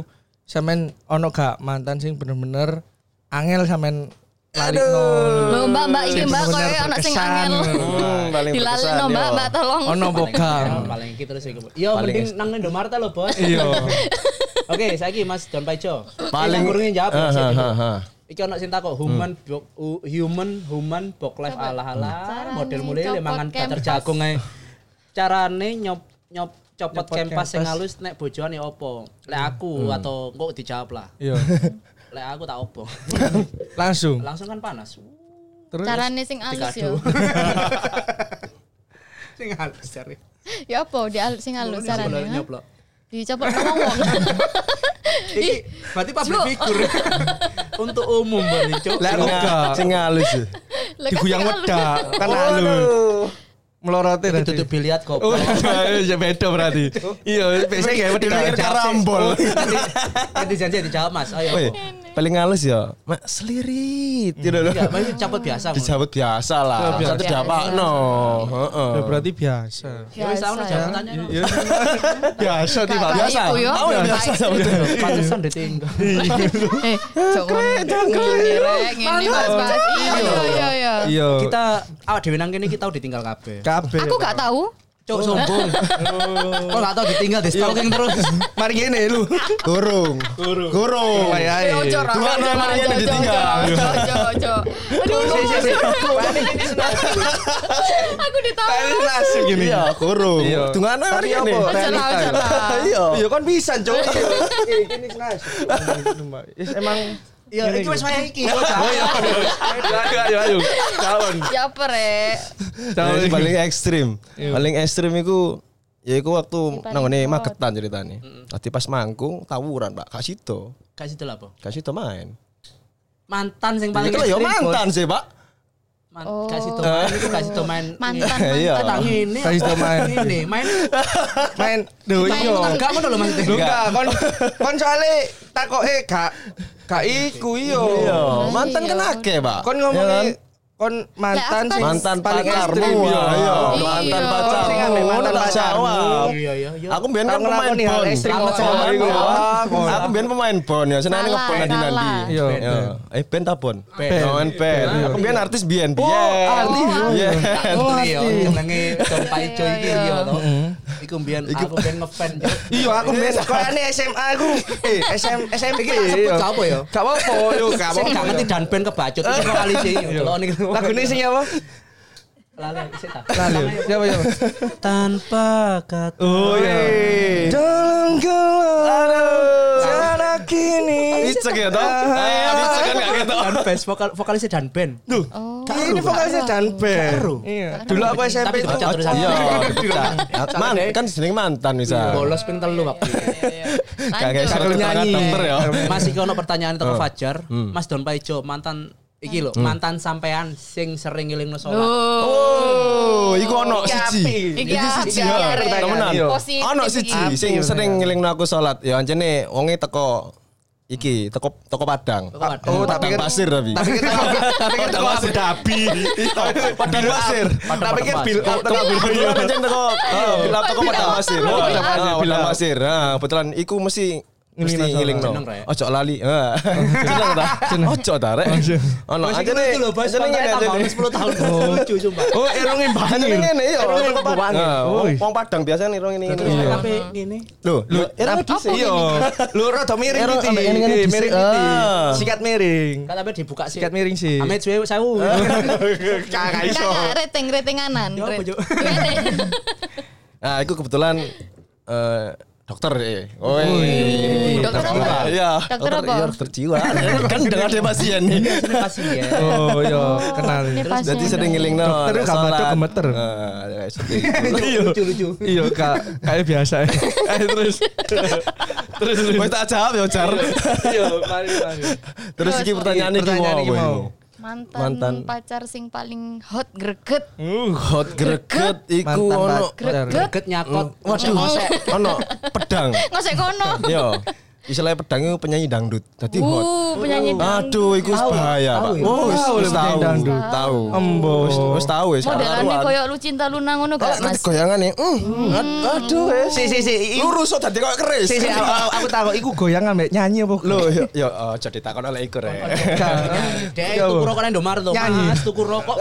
S4: sampean ono gak mantan sing bener-bener angel sampean lari
S3: Loh, Mbak Mbak iki Mbak koyo ana sing angel.
S5: Hmm, paling
S3: Dilalekno
S5: berkesan,
S3: Mbak,
S5: yo.
S3: Mbak tolong.
S4: Ono
S1: Ya,
S4: bogang.
S1: Paling iki terus iku. Yo
S5: Paling
S1: mending nang Indomaret lho, Bos.
S4: Iya.
S1: Oke, saiki Mas Jon Paijo.
S5: Paling-
S1: Aku kurungin jawab.
S5: Ah,
S1: Mas. ya.
S5: ah, ah, ah.
S1: Iki ono sing takok human bo- u- human human box life ala-ala
S3: Carane
S1: model mulai
S3: copot
S1: mangan butter
S3: kempas.
S1: jagung ae. Carane nyop nyop copot kempas sing
S4: kempas.
S1: halus nek bojoan ya opo? Lek aku atau kok dijawab lah.
S4: Iya.
S1: Lek aku tak opo.
S4: Langsung.
S1: Langsung kan panas.
S4: Terus
S3: Carane sing halus
S1: Dikado.
S3: yo.
S1: Sing halus cari.
S3: Ya apa di al- sing halus carane. ha?
S1: nyoplok.
S3: Dicopot sama wong.
S1: Iki berarti public figure. Untuk umum berarti, Cuk.
S4: Lah,
S5: Sing-
S4: enggak.
S5: Sing halus. ya.
S3: Lah, kan
S4: diguyang
S3: sing halus.
S4: wedak kan halus. Melorote
S1: Iki
S4: berarti.
S1: duduk biliat kok.
S5: [LAUGHS]
S4: Oh, ya beda berarti. Iya, biasanya kayak
S5: Dipikir karambol.
S1: Nanti janji dijawab Mas. Ayo.
S5: Oh, iya. Woi, paling halus ya. Mak selirit. Gitu loh.
S1: Iya, Mas itu copot biasa. Mas.
S5: Dijawab biasa lah.
S4: Biasa.
S5: Satu diapa no. Heeh.
S4: Ya, berarti biasa.
S1: Ya wis aku jawab
S3: Biasa, ya.
S1: pertanyaan.
S4: Iya.
S5: Biasa
S3: Kak, kak iku yo.
S5: Tahu ya biasa.
S4: iya.
S3: Kak iku.
S1: Pantesan ditinggal.
S3: Eh, jangan ngene rek, ngene mas-mas. Iya, iya, iya.
S4: Iya.
S1: Kita awak dhewe nang kene kita tau ditinggal kabeh.
S4: kabeh.
S3: Aku
S5: iya.
S3: gak tahu.
S1: Cuk sombong. Kok gak tau ditinggal
S4: Iya.
S1: di stalking terus.
S4: Mari ngene lu.
S5: Gorong. Gorong.
S3: Eh,
S4: Wayahe.
S5: Iya, Dua nomornya yang ditinggal. [LAUGHS]
S3: Aduh, aku ditolak.
S4: Langsung gini.
S5: Iya, gorong.
S4: Iya.
S5: Tungan
S4: Tapi apa?
S3: Ojolah, ojolah.
S5: Iya.
S4: Iya kan bisa, Cuk. Ini sengaja. Yes, emang
S1: Ya iki wis waya iki.
S4: Iya. Oh, ayo ayo ayo. Calon.
S3: Ya apa rek?
S5: Jadi paling ekstrim.
S4: Iya.
S5: Paling ekstrim itu ya itu waktu
S3: paling
S5: nangone
S3: kuat.
S5: magetan ceritanya. Tadi pas mangkung tawuran Pak Kak Sito.
S1: Kasih itu lah, Po.
S5: Kak Sito main.
S1: Mantan sing paling
S5: Itu
S4: Iya.
S5: ya
S1: ekstrim, Bos.
S5: mantan sih, Pak.
S1: Man,
S3: Oh.
S1: kasih to main, itu kasih to main.
S3: Mantan,
S5: Iya.
S3: mantan.
S1: Tang ini.
S4: Kasih to main.
S1: Ini main.
S4: Main duh
S1: Main
S4: iya.
S1: tangga ngono lho Mas.
S4: Lu enggak kon kon soalé takoke gak gak iku iya.
S5: Iya,
S3: Iya.
S5: mantan kan akeh, Pak.
S4: Ah, Kon
S5: Ya kan?
S4: ngomongin kon iya mantan
S3: Lah, aku
S4: sih
S3: kan-
S5: mantan
S4: paling
S5: pacarmu.
S4: ekstrim,
S5: ya.
S4: iya.
S5: Iya,
S3: Iya.
S5: mantan
S3: Kon
S5: pacarmu.
S4: sing ambil mantan
S5: tak
S4: pacarmu.
S5: jawab.
S1: Iya, iya, iya.
S5: Aku biyen kan
S4: Tau
S5: pemain
S4: ngelakoni hal
S5: bon.
S4: ekstrim
S5: Aku
S4: kok.
S5: sama
S4: Iya.
S5: aku.
S4: Iya.
S5: Aku biyen pemain bon ya, senane
S3: Salah,
S5: ngebon nanti nanti.
S3: salah.
S4: Iya.
S5: Eh ben ta bon?
S1: Ben.
S5: Oh, ben. Aku biyen artis biyen biyen.
S4: Oh, artis. Iya.
S5: Biyen.
S1: ya, Iya, jenenge Don Paijo iki
S3: iya.
S4: Mm-hmm.
S1: iya to. iku mbiyen aku mbiyen ngefan.
S4: Iya aku mes sekolahane SMA aku. Eh SM SMP.
S1: Iki tak sebut
S4: iya.
S1: gak apa ya?
S4: Gak apa-apa yo gak
S1: Sing gak
S4: apa-apa.
S1: ngerti dan band kebacut iki kali sih.
S4: Iya.
S1: Delokne iki.
S4: Lagune sing apa?
S1: Lali, sik tak.
S4: Lali. iya. Siapa siapa?
S1: Tanpa kata.
S4: Oh iya. Dalam gelap cara kini.
S5: Dicek ya toh? Ah, Dicek kan gak ketok.
S1: Dan bass vokal vokalisnya dan band.
S4: Duh.
S3: Oh.
S4: Ini vokalisnya Dan Ben.
S1: Karo.
S4: Iya. Dulu aku
S1: Tapi
S4: SMP itu
S1: dibaca terusan.
S5: Iya, bisa. Man, kan jeneng mantan bisa.
S1: Bolos ping telu waktu. itu.
S5: Gak kayak
S3: Lanjut.
S5: syarat keterangan
S4: nyanyi.
S5: dokter ya.
S1: Masih kono pertanyaan teko Fajar, Mas Don Paijo mantan iki lho, mantan sampean sing sering ngelingno salat.
S5: Oh, iku ono
S4: Iki
S5: siji.
S4: apik.
S3: Iki
S5: siji.
S3: apik,
S5: ya,
S3: arek.
S5: Temenan.
S4: Iya.
S3: Positif
S5: Ono siji
S3: iki.
S5: sing sering ngelingno aku salat. Ya ancene wonge teko iki, teko teko Padang.
S1: Teko Padang.
S5: Oh,
S4: Oh,
S5: tapi
S4: tapi kan-
S5: pasir tapi.
S4: tapi kita tapi kita
S5: Padang
S4: Abu
S5: pasir.
S4: Dhabi.
S5: Padang pasir.
S4: Tak pikir
S1: Padang
S4: build up
S5: Teko Iya, ancen teko. Oh, Bila teko Padang pasir.
S4: Padang
S5: Oh,
S4: pasir,
S5: Padang
S4: bilang.
S5: Padang pasir. Nah, kebetulan Ah, iku mesti mesti
S4: Ngelingno salat.
S5: ngelingno.
S1: Jeneng, Rek.
S5: Ojo lali. Heeh. Jeneng ta? Ojo ta, Rek. Oh, Ono
S1: Wis iki
S5: ancene.
S1: lucu lho, Bas.
S5: ancene ngene,
S1: Kontraknya tambah
S5: ancene.
S1: 10 tahun. Lucu sumpah.
S4: Oh, erunge
S5: eh, Ini
S4: banget.
S5: ngene ya.
S4: Erunge
S5: orang Padang.
S4: banget.
S5: Nah,
S4: Oi.
S5: Wong Padang biasanya irung ini ngene.
S1: Iya. Tapi ngene.
S5: Lho, lho,
S4: Erung eh, dhisik. Iya. Lho rada miring
S5: Erung
S4: iki.
S5: ambek ngene ngene
S4: Eh,
S5: dhisik.
S4: Miring iki.
S5: Ah.
S4: Sikat miring.
S1: Kan tapi dibuka sih.
S4: Sikat miring sih.
S1: Amit suwe sewu.
S5: Kakak
S3: Enggak, enggak, rating-ratinganan.
S1: Ya apa, Jo?
S3: [LAUGHS]
S5: Nah, aku kebetulan eh dokter eh. Oi.
S3: Dokter apa?
S5: jiwa. Iya,
S3: Dokter apa?
S5: iya, dokter jiwa. [LAUGHS] kan dengan ada pasien nih.
S1: Ini pasti ya.
S4: Oh, iya, kenal.
S3: Ini
S5: Terus jadi
S3: pasien.
S5: sering ngeling no.
S4: Dokter
S5: nek
S4: gak batuk
S5: sholat.
S4: gemeter.
S5: Nah, ya, seperti itu. [LAUGHS]
S1: Lucu lucu.
S4: Iya, kak, kayak biasa. Eh, terus. Terus terus.
S5: Wes tak jawab ya, Jar.
S4: Iya, mari mari.
S5: Terus iki pertanyaan iki
S4: Pertanyaan
S5: mau
S4: iki
S5: apa
S4: mau?
S5: iku?
S3: Mantan,
S5: Mantan. Iya.
S3: pacar sing paling hot greget.
S4: Uh,
S5: Hot greget iku
S4: mantan
S5: ono Mm,
S4: pacar.
S1: Greget nyakot.
S5: Oh. waduh ono pedang.
S3: Ngosek kono.
S5: Yo, istilahnya pedang itu penyanyi dangdut. Dadi Iya, hot.
S3: Uh, penyanyi dangdut.
S5: Aduh, iku wis
S1: Tahu,
S5: bahaya,
S1: tahu
S5: Pak.
S1: ya?
S5: Oh, wis
S4: Tahu
S5: wis
S4: lebih
S5: tahu.
S4: dari dangdut.
S5: Tahu. Oh.
S4: Embo.
S5: Wis wis tahu wis.
S3: Modelane
S5: karuan.
S3: koyo lu cinta Luna ngono
S5: Kalau
S3: gak,
S5: nanti
S3: Mas?
S5: goyangannya, mm, ad- aduh, eh. wes.
S4: Hmm. Si si si. i-
S5: lurus kok tadi kok keris.
S4: Si si aku, aku- aku tahu iku goyangan mek nyanyi apa?
S5: Loh, yo, yo, oh, jadi takon oleh iku rek.
S1: Dek tuku rokok nang Indomaret lho.
S4: Nyanyi.
S1: Mas, tuku rokok.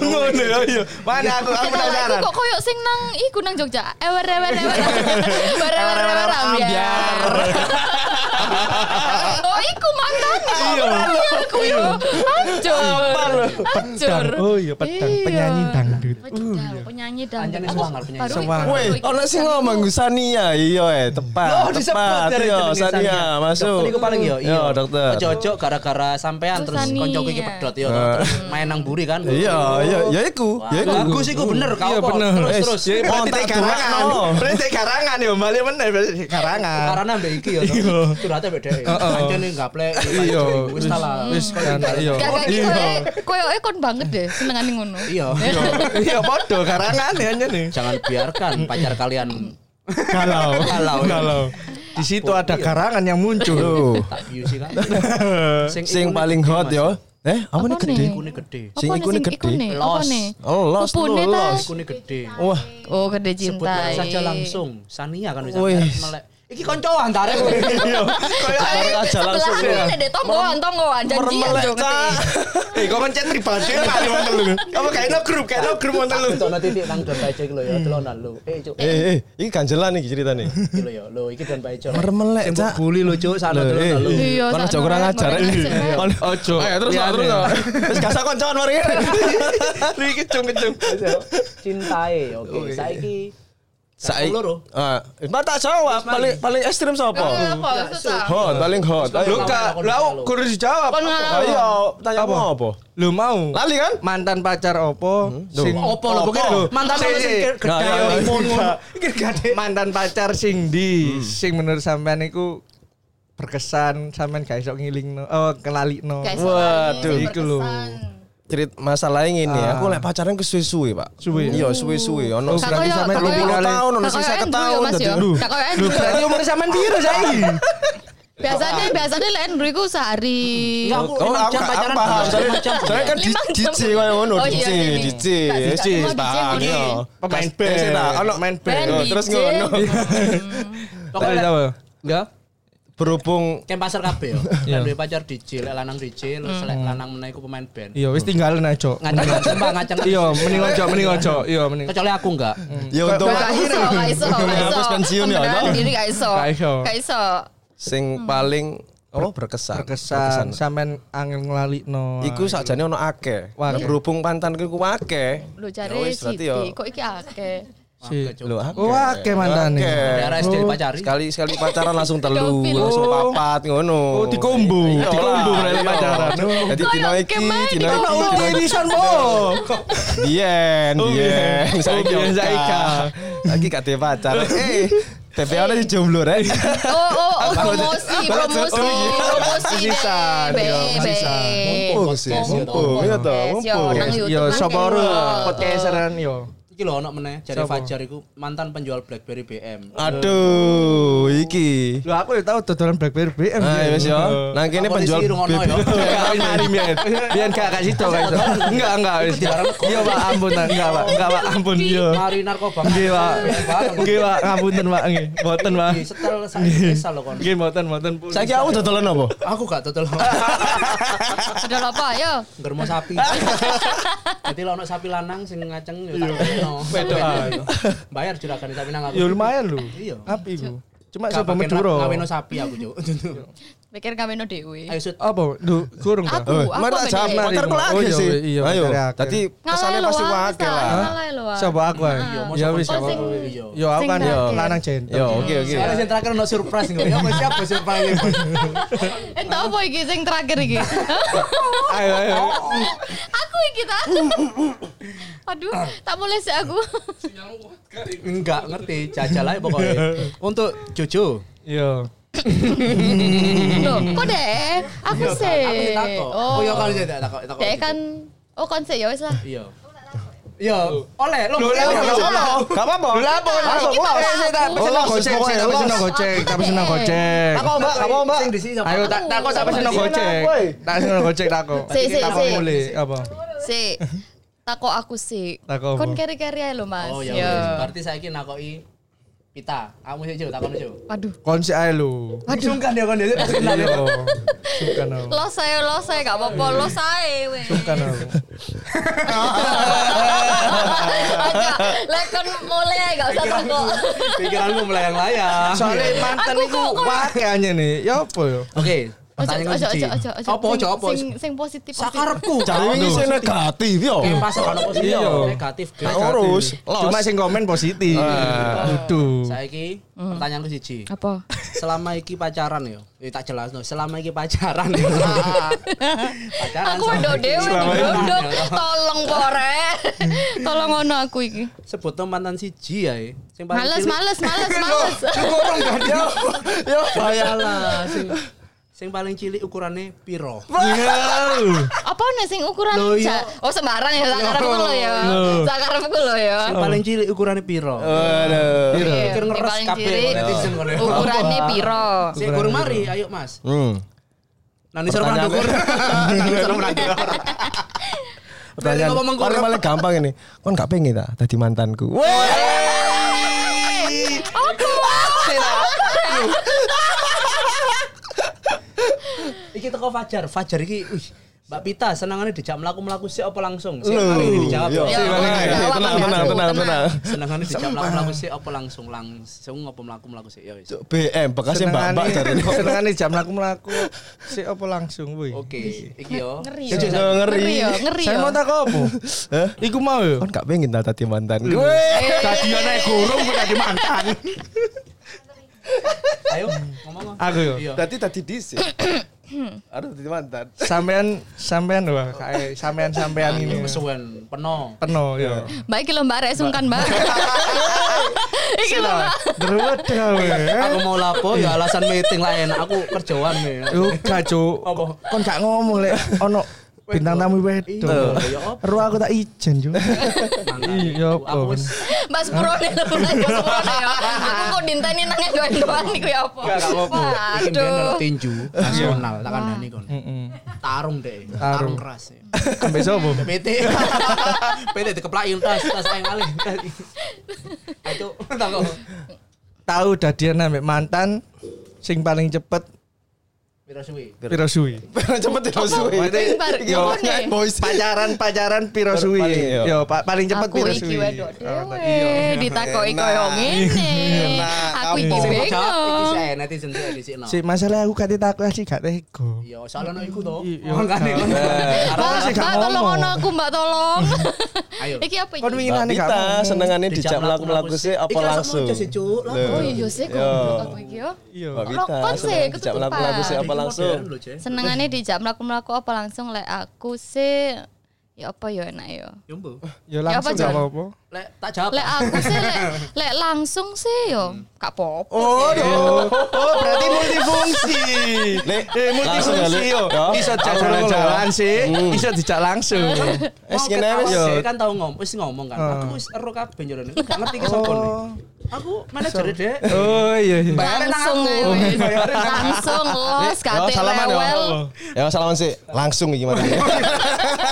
S4: Ngono ya, iya. Mana aku aku
S3: Kenapa
S4: penasaran.
S3: aku kok koyo sing nang iku nang Jogja. Ewer ewer ewer. Ewer ewer ewer ambiar. Oh, iku mangkane. Iya. Aku yo. Hancur. Hancur.
S4: Pedang. Oh iya, pedang
S3: Iya.
S4: penyanyi dangdut.
S3: Pedang, Penyanyi dangdut.
S1: Anjane
S3: Aku
S1: sewangar penyanyi.
S3: baru
S4: Sewangar.
S3: iku-
S5: Woi, ono sing ngomong Gus Sania, iya eh, tepat, tepat. Yo, Sania masuk.
S1: Ini paling yo.
S4: iya.
S5: Yo, dokter.
S1: Cocok gara-gara sampean
S3: Terus
S1: terus
S3: Sania.
S1: koncoku iki pedot yo. Terus Main nang buri kan.
S5: Iya, iya, ya iku,
S1: Wah,
S5: ya iku.
S1: Bagus iku bener kau
S4: Iya,
S1: kok.
S4: bener.
S1: Terus
S5: Eh,
S1: terus. Kan
S5: ya,
S4: Berarti
S5: Kontak
S4: dari karangan.
S5: doang, no.
S4: Berarti dari karangan yo, balik mana berarti dari karangan.
S1: Karena ambek iki yo.
S4: Iya.
S1: Curhatnya beda.
S4: Heeh.
S1: Anjene gaplek.
S4: Iya,
S1: Wis ta lah.
S4: Wis kan iya.
S3: Gak kayak
S4: Iya.
S3: koyo koyoke kon banget deh senengane ngono.
S1: Iya.
S4: Iya, podo karangan ya nih.
S1: Jangan biarkan pacar kalian
S4: Galau.
S1: Galau.
S4: Galau. Di situ ada karangan yang muncul.
S5: Tuh,
S1: tak biusi kan.
S5: sing paling hot yo. Eh, apa nih
S3: Apa
S5: gede?
S3: nih?
S1: Ikune gede.
S5: Sing
S3: Apa nih,
S5: ikune gede.
S3: ikune? Apa
S1: Los.
S3: nih?
S5: Oh, los,
S3: Pupune
S5: lu,
S3: ta?
S5: los.
S1: Ikune gede.
S5: Wah,
S3: Oh, gede
S1: Sebut
S3: cinta.
S1: saja langsung. Sania kan bisa
S5: Wih.
S1: melek. Iki koncoan [LAUGHS] tarik.
S5: Tarik aja langsung ya.
S3: Sebelahku ada tonggoan, tonggoan, janjian
S5: Merem-
S3: jo ngerti.
S4: Eh, kok mencet pribadi kali wonten lu. Apa kayak no grup, kayak no grup wonten [LAUGHS] lu.
S1: Contohnya titik nang Don Baijo iki lho ya, telonan lho. Eh, Cuk.
S5: Eh, eh, ini ganjelan nih ceritanya.
S1: Iki lho ya. Lho, iki Don Baijo.
S5: Mermelek, Cak.
S1: Buli lho, Cuk, sana
S5: Loh, eh,
S1: telonan lho.
S5: eh,
S3: Iya,
S5: Kan
S3: sakno
S5: aja kurang
S3: rek,
S5: ajar.
S3: kurang ajar.
S5: Iya. Kan-
S4: Ojo. iya.
S5: Ayo, terus,
S4: Liane.
S5: terus. Terus gak usah koncoan
S4: [LAUGHS]
S5: mari.
S4: Lu iki cung-cung.
S1: Cintae, oke. Saiki
S5: Saiki.
S1: Loro.
S5: Ah, Mbak tak jawab. Paling paling ekstrim
S3: Eh,
S5: sapa?
S3: Apa susah?
S5: Hot, paling hot. Ayo.
S4: Lu kak, lu aku kudu dijawab.
S3: Kon ngalah.
S5: Ayo, tanya
S4: Apa?
S5: mau apa?
S4: Lu mau?
S5: Lali kan?
S4: mantan pacar opo
S5: Hmm? Duh.
S1: Oh, Opo lho, pokoknya lho. Mantan lho
S4: Sik,
S1: sing
S4: sik.
S1: gede
S5: Nah,
S1: ya,
S5: iya, iya.
S1: imun ngono. Iki gede.
S4: mantan pacar sing
S5: Hmm.
S4: di sing menurut sampean iku berkesan sampean gak iso ngilingno oh kelalikno
S3: Guys,
S5: Waduh,
S3: lagi
S4: iku lho.
S3: berkesan.
S5: Cerit masalahnya ini ya. Aku lek pacaran ke suwe-suwe, Pak.
S4: Suwe.
S5: Iya, suwe-suwe. Ono
S4: Kak,
S5: berarti
S4: kok-
S5: sampe
S4: kok-
S5: 20
S4: kok-
S5: tahun, ono sing
S3: Kak,
S5: 50
S3: kok Andrew ya,
S5: tahun.
S3: Mas,
S5: dadi-
S3: ya?
S5: Duh,
S3: Kak, kok Andrew ya?
S4: berarti umur sampean piro saiki
S3: Biasanya biasanya lah Andrew iku sehari.
S1: Enggak, Iya, aku
S5: Oh,
S1: lima
S5: aku
S1: jam
S5: gak- aku
S1: pacaran.
S5: paham.
S1: Lima
S5: Soalnya
S1: jam.
S5: soalnya kan di-
S3: Lima jam.
S5: DJ kaya ngono,
S3: Oh, iya,
S5: DJ,
S3: iya.
S5: DJ.
S3: Gak sih,
S5: DJ,
S3: gak mau
S5: paham,
S3: DJ,
S5: iya.
S4: pemain
S5: Kas- kasih tak,
S4: band
S5: Ono
S4: main
S3: Band
S5: Oh,
S4: band
S5: Terus
S3: DJ.
S5: ngono.
S1: Pokoknya
S4: apa
S1: enggak.
S5: berhubung
S1: Kayak pasar kabeh yo.
S4: Iya.
S1: Lek duwe pacar dicil, lek lanang dicil, lek lanang meneh iku pemain band.
S4: Iya, wis tinggalin aja. Cok.
S1: Ngaceng
S5: [LAUGHS]
S1: sumpah ngaceng.
S4: Iya, mending ojo, mending ojo. Iya, mending.
S1: Kecuali aku enggak.
S5: ya untuk
S3: Gak iso, gak iso,
S5: Untuk
S3: gak iso.
S5: menghapus pensiun ya,
S3: Pembenahan
S5: toh?
S3: diri gak iso.
S4: Gak iso.
S3: Gak iso.
S5: sing paling oh berkesan.
S4: Kesan sampean angel nglalikno.
S5: Iku sakjane ono akeh.
S4: Wah,
S5: Nah, Berhubung pantanku iku akeh.
S3: Lu
S5: Ya
S3: cari
S5: wis, berarti
S3: Siti,
S5: ya.
S3: kok iki akeh.
S4: Si-
S5: Lho, akeh.
S4: Wah, akeh mantane.
S5: Akeh.
S1: Daerah SD dipacari.
S5: Sekali sekali pacaran langsung telu,
S3: Dompil.
S5: langsung
S4: Oh.
S5: papat ngono.
S4: Oh, dikombo.
S5: Iya,
S4: Dikombo
S5: lah.
S4: nek
S5: Iya.
S4: pacaran.
S5: Jadi dino iki,
S3: kemarin
S5: dino
S3: dikombo.
S5: iki, dino iki.
S4: Edition po.
S5: Biyen,
S4: Oh,
S5: biyen. Saiki
S4: biyen, saiki
S5: saiki.
S4: gak.
S5: Saiki gak duwe pacar. Eh, TPA ora jomblo rek.
S3: Oh, oh, oh, promosi, promosi,
S5: oh, iya.
S3: promosi.
S5: Sisan,
S3: Be,
S5: iya,
S3: be.
S5: Mumpung sih, mumpung. Iya toh,
S3: Podcast, yo,
S5: mumpung.
S3: nang YouTube
S4: Yo
S3: nang
S4: sapa
S3: kayak
S4: ora
S3: ngono.
S4: podcasteran yo.
S1: Iki lho ono meneh jare
S4: Siapa?
S1: Fajar iku mantan penjual BlackBerry BM.
S5: Ah, Aduh, iki.
S4: Lho aku ya tau dodolan BlackBerry BM.
S5: Nah,
S4: Bian.
S5: wis yo.
S4: Nah,
S5: Nang kene
S1: Apa
S5: penjual
S1: disiru ngono
S5: [LAUGHS] bebek. Iya,
S1: yo?
S4: Bian, mari Bian. Bian gak kasih to guys. Enggak, enggak wis. Iya Pak, ampun Pak. enggak Pak, enggak Pak, ampun yo.
S1: Mari narkoba.
S4: Nggih Pak. Nggih Pak, ngapunten Pak nggih. Mboten Pak.
S1: Di setel saiki kesal lho kon.
S4: Nggih mboten, mboten pun.
S5: Saiki aku dodolan apa?
S1: Aku gak total.
S3: Sudah apa, yo.
S1: Germo sapi. Jadi lo ono sapi lanang sing ngaceng yo tak kena. Bayar juragan sapi nang aku.
S4: Yo Ya, lumayan lho.
S1: Iya.
S4: Api ku. Cuma
S1: Gak
S4: sapa
S1: pakai
S4: Madura.
S1: ngaweno sapi aku, Cuk.
S3: Mikir kami no dewe.
S1: Ayo sut.
S4: Apa? Lho, kurung ta?
S3: Aku,
S5: Eh,
S3: aku
S5: mana
S3: ambek
S5: jam
S3: dia.
S5: pacarku
S4: Oh,
S5: lagi
S4: iya,
S5: sih.
S4: iya,
S5: Ayo.
S4: pacarnya akeh.
S5: Tadi
S3: Ngalai
S5: pesannya
S3: lho,
S5: pasti
S3: wah,
S5: wae
S3: bisa,
S5: lah.
S3: ngalai ah. lho, wah.
S4: Sapa aku ae?
S3: Iya,
S1: Yo
S4: Ya
S1: mosok
S4: wis
S1: sapa.
S4: ya.
S1: Yo.
S4: Yo aku
S3: Oh, Sing
S4: kan yo
S3: terakhir.
S4: lanang gentle.
S5: Yo, Iya, oke oke.
S1: Soalnya sing terakhir ono surprise ngono. Ya siap surprise.
S3: Eh, tau apa iki sing terakhir iki?
S4: Ayo ayo.
S3: [LAUGHS] aku iki ta. Aduh, tak boleh sih aku.
S1: Enggak ngerti jajal ae
S4: [LAUGHS]
S1: pokoknya. Untuk Jojo.
S4: Yo.
S3: Loh, kok deh? Aku
S1: Iya,
S3: sih.
S1: Oh, ya kan
S3: Oh,
S1: tidak takok. takok.
S3: deh kan Oh, kon sih ya wis lah.
S1: Iya. Iya, oleh lo.
S4: Loh,
S1: boleh,
S4: loh,
S1: boleh.
S4: loh, loh.
S5: Gak apa-apa.
S4: Lapo langsung
S3: Kita
S4: los.
S3: lapo.
S4: Tapi senang
S5: Los,
S4: goceng,
S5: pokoknya,
S4: tapi
S5: los.
S4: senang goceng, tapi senang
S3: Oke.
S4: goceng.
S5: Apa Mbak? Apa Mbak?
S1: Sing di sini siapa?
S4: Ayo tak tak kok sampe senang
S5: Apa?
S4: goceng.
S5: Apa?
S4: Tak senang goceng tak kok.
S3: Si, si,
S4: Tak kok
S3: si.
S4: mulai apa?
S3: Si. Tako aku sih.
S4: Tako apa?
S3: Kon keri-keri ae lho, Mas.
S1: Oh ya
S4: Iya.
S3: Yo.
S1: wis. Berarti saiki nakoki Pita. Kamu sih Jo, takon Jo.
S3: Aduh.
S4: Konsi ae lu.
S1: Sungkan ya
S4: [LAUGHS]
S1: kon
S4: Nah.
S1: dia kenal ya.
S4: Yo. Sukan aku.
S3: Los saya, los saya gak apa-apa, los saya weh. [LAUGHS]
S4: Sukan aku.
S3: Aja, lah kon mulai ae, gak usah tako.
S1: [LAUGHS] Pikiranmu melayang-layang.
S4: Soale mantan
S3: Aku
S4: iku
S3: kok- kok-
S4: wake anyar nih. Ya apa yo?
S1: Iya. Oke,
S3: Ojo,
S1: pertanyaan
S3: ojo,
S1: kunci.
S3: ojo, ojo, ojo.
S1: Apa ojo
S3: Sing-
S1: apa?
S3: Sing sing positif. positif.
S1: Sakarepku.
S5: Cari ini sih negatif yo.
S1: Kayak pas kalau positif
S4: Iya.
S1: negatif.
S5: Gak urus.
S4: Cuma
S5: [LAUGHS]
S4: sing komen positif. Dudu.
S1: Saiki
S3: Hmm.
S1: pertanyaanku siji.
S3: Apa?
S1: Selama iki pacaran yo. Eh tak jelas no. Selama iki pacaran
S3: [LAUGHS]
S1: yo. pacaran.
S3: Ah. Aku
S1: selama
S3: udah
S1: iki.
S3: dewe
S1: Selama iki.
S3: ndok tolong pore. [LAUGHS] Tolong ngono aku iki.
S1: Sebut no mantan siji ya. eh. Sing paling
S3: Males,
S1: cilik.
S3: males, males, males.
S5: kan? Yo
S1: Ya
S5: bayar.
S1: lah, sing sing paling cilik ukurannya piro?
S5: Iya.
S3: Apa nih sing ukuran?
S1: Loh, iya.
S3: Cak? Oh sembarang ya sakarepku lho ya.
S4: Loh.
S3: Sakarepku lho ya.
S1: Sing paling cilik ukurannya piro?
S5: Aduh.
S4: Piro?
S1: Pikir
S3: Iya, Sing
S1: ngeres
S3: paling
S1: kabeh
S3: cilik,
S1: netizen kali.
S3: Ukurannya piro?
S1: Sik kurang mari, ayo Mas.
S5: Hmm.
S1: Nanti suruh menang
S5: Pertanyaan-
S1: dukur. Nanti suruh menang dukur.
S5: [LAUGHS] Pertanyaan
S1: ngomong kurang.
S5: paling paling gampang ini. Kon gak pengen ta dadi mantanku? Wah.
S1: Iki teko Fajar, Fajar iki wih, Mbak Pita senangannya dijak melaku-melaku sik apa langsung? Sik
S5: Loh.
S1: kali ini dijawab.
S3: Iya,
S5: Yo,
S1: Iya, Sik kali
S5: sik,
S1: ini.
S5: makanya.
S3: Jawab,
S5: Iya, Tenang,
S3: Mas.
S5: tenang, tenang, tenang.
S1: Senangannya dijak melaku-melaku sik apa langsung langsung apa melaku-melaku sik ya wis.
S5: Cuk, BM bekasnya mbak-mbak dari [LAUGHS]
S4: senengane jam mlaku-mlaku si apa langsung woi.
S1: Oke, iki yo.
S3: Ngeri
S5: Yo,
S3: ya. Ngeri
S5: ngeri.
S3: ya, ngeri
S4: Saya
S3: ya.
S4: mau tak apa?
S5: Hah?
S4: Iku mau yo.
S5: Kon gak Kan pengen ta dadi mantanku? Weh.
S4: Tadi ana gurung kok dadi mantan.
S1: Ayo ngomong.
S4: Aku yo.
S1: Iya.
S5: Dadi dadi
S3: [COUGHS]
S5: dis. ya? Aduh dadi mantan. [LAUGHS]
S4: Sampean sampean wah kae sampean sampean ini. ya.
S1: Iya. Kesuwen peno.
S4: Peno yo.
S3: Mbak iki lho Mbak Rek sungkan Mbak. [LAUGHS] Iki lho Mbak.
S4: Drewedah ya, weh.
S1: Aku mau lapo ya alasan meeting lah enak aku kerjaan nih.
S4: Yo gak Cuk.
S1: Apa?
S4: Kon gak ngomong lek ono bintang tamu wedok.
S1: Iya, apa?
S4: Ro aku tak ijen Cuk. Iya, apa?
S1: Aku wis
S3: Mbak Sepurone lho Mbak Sepurone ya. Aku kok dinteni nang doan-doan iku ya apa?
S1: Gak apa-apa. Iki mbiyen ono
S3: Waduh.
S1: tinju nasional tak kandhani kon.
S4: Heeh.
S1: Tarung deh,
S4: Tarung.
S1: tarung keras. ya.
S4: Sampai sapa?
S1: PT. [LAUGHS] PT dikeplakin tas tas ae kali.
S3: [LAUGHS]
S1: Ayo [LAUGHS] tak kok.
S4: Tahu dadian ambek mantan sing paling cepet
S1: Piro suwi?
S4: piro suwi?
S5: Pengen cepet ya, itu suwe.
S3: Sing bar-
S5: Yo,
S3: apa nih?
S5: boys.
S4: Pacaran-pacaran piro suwi?
S5: Paling, iya.
S4: Yo pa- paling cepet
S3: aku
S4: piro
S3: iki
S4: suwi?
S3: wedok
S4: Oh, tak-
S3: dhewe ditakoki koyo ngene.
S5: Enak,
S3: Aku
S1: Sing
S5: kamu.
S3: iki
S1: mau jawab iki
S3: bingung.
S1: sih eh, netizen tuh di sini.
S4: Si masalah aku kate takut sih gak tega.
S1: Iya, soalnya iku to.
S4: Iya.
S1: Makane kan.
S3: Mbak,
S4: Aku sih gak
S3: mbak tolong
S4: ngomong.
S3: ono aku mbak
S4: [LAUGHS]
S3: tolong.
S1: Ayo.
S3: Iki apa
S4: Kon
S3: iki?
S4: wingi- Ini gak
S5: Kita
S4: ngomong.
S5: senengannya
S1: Dijak
S5: dijak melaku-melaku
S1: melaku-melaku
S5: sih
S1: sih. Iki
S5: apa
S1: langsung
S5: langsung?
S1: muncul sih, Cuk. Lah,
S5: Loh.
S3: Oh iya sih
S5: Yo.
S3: goblok apa iki yo.
S4: Iya.
S5: Mbak Wita,
S3: Rokok
S5: seneng
S3: sih,
S5: dijak
S3: ketutupan.
S5: melaku-melaku sih apa
S1: Iki
S5: langsung?
S1: modern lho, Jen.
S3: Senengane dijak mlaku-mlaku apa langsung lek aku sih ya apa yo enak yo.
S1: Yo, Mbok.
S4: Yo
S3: Ya
S4: langsung
S3: apa,
S4: gak
S3: Jan?
S4: apa-apa.
S1: Lek tak jawab.
S3: Lek aku sih lek lek langsung sih yo gak apa-apa.
S4: Oh, oh berarti multifungsi.
S5: Lek, langsung
S4: Eh,
S5: ya,
S4: multifungsi
S5: Lek.
S4: yo.
S5: Yo.
S4: Iso dijak
S5: Langsung ya,
S4: jalan-jalan sih,
S5: Hmm.
S4: iso dijak langsung.
S5: Es
S1: Mau
S5: kena Eh,
S1: ketawa
S5: wis.
S4: Yo.
S1: sih, kan tau ngom, wis ngomong
S4: Ah.
S1: kan. Aku wis ero kabeh yo Ren. Gak ngerti ki sapa nih. Aku manajer Dek.
S4: Oh iya iya.
S3: Langsung weh. langsung los
S5: Yo,
S3: kate
S5: Oh, salaman yo.
S3: rewel.
S5: Ya salaman sih. Langsung iki [LAUGHS] mari.
S3: [LAUGHS]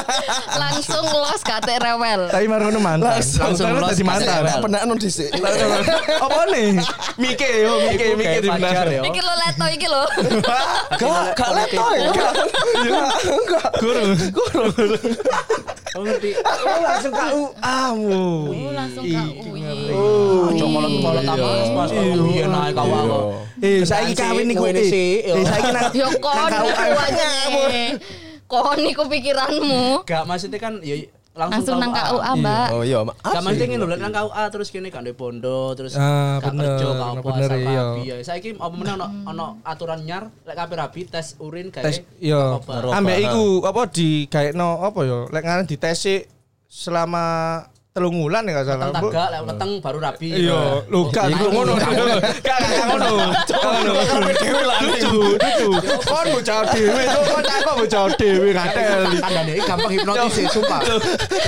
S3: Langsung los kate rewel.
S4: Tapi marono mantan.
S1: Langsung
S4: Terus
S1: los
S4: dadi [LAUGHS] mantan.
S1: kasih
S5: Pernah anu dhisik.
S4: Apa nih? Mike yo, Mike,
S1: Iku
S4: Mike
S1: kayak
S4: di
S1: pacar,
S4: benar.
S1: yo.
S3: Iki lo leto iki
S5: [LAUGHS]
S3: lo.
S5: Gak, gak leto ya.
S4: Guru.
S1: Oh ngerti.
S4: Oh, langsung kau amu.
S3: Oh, langsung ka UI. Oh.
S4: Oh,
S1: Ojo molot-molot
S5: Iya.
S1: tambah pas Iya naik
S5: Iya.
S1: kawang.
S4: Eh, saiki kawin niku
S1: Kowe ini sih,
S4: eh.
S1: yo.
S4: Eh, saiki nang
S3: [LAUGHS] Yo kon
S4: nang
S3: iku
S4: kau-
S3: wajane. Kon iku pikiranmu.
S1: Gak maksudnya kan ya
S3: Langsung
S1: langsung
S3: nang KUA, Mbak.
S5: Oh iya,
S1: Gak
S5: maaf.
S1: penting lho, lek nang KUA terus kene gak ndek bondo, terus
S4: Ah,
S1: gak
S4: bener,
S1: kerja, gak apa
S4: bener,
S1: sama
S4: iya.
S1: abi ya. Saiki apa meneh ono ono aturan nyar lek kabeh rabi tes urin kayak
S4: tes iya. yo
S1: narkoba.
S5: Narkoba.
S4: ambek iku apa di gaekno apa yo lek ngaran dites sik selama telung wulan ya gak salah
S1: Teng
S4: Bu.
S1: tangga lek leteng baru rabi.
S4: iya lho gak
S1: Iya.
S4: iku ngono gak gak ngono gak ngono dudu dudu kon bocah dhewe kok kon tak kok bocah dhewe katel
S1: Kandane iki gampang hipnotis ya, sumpah.
S4: Iya.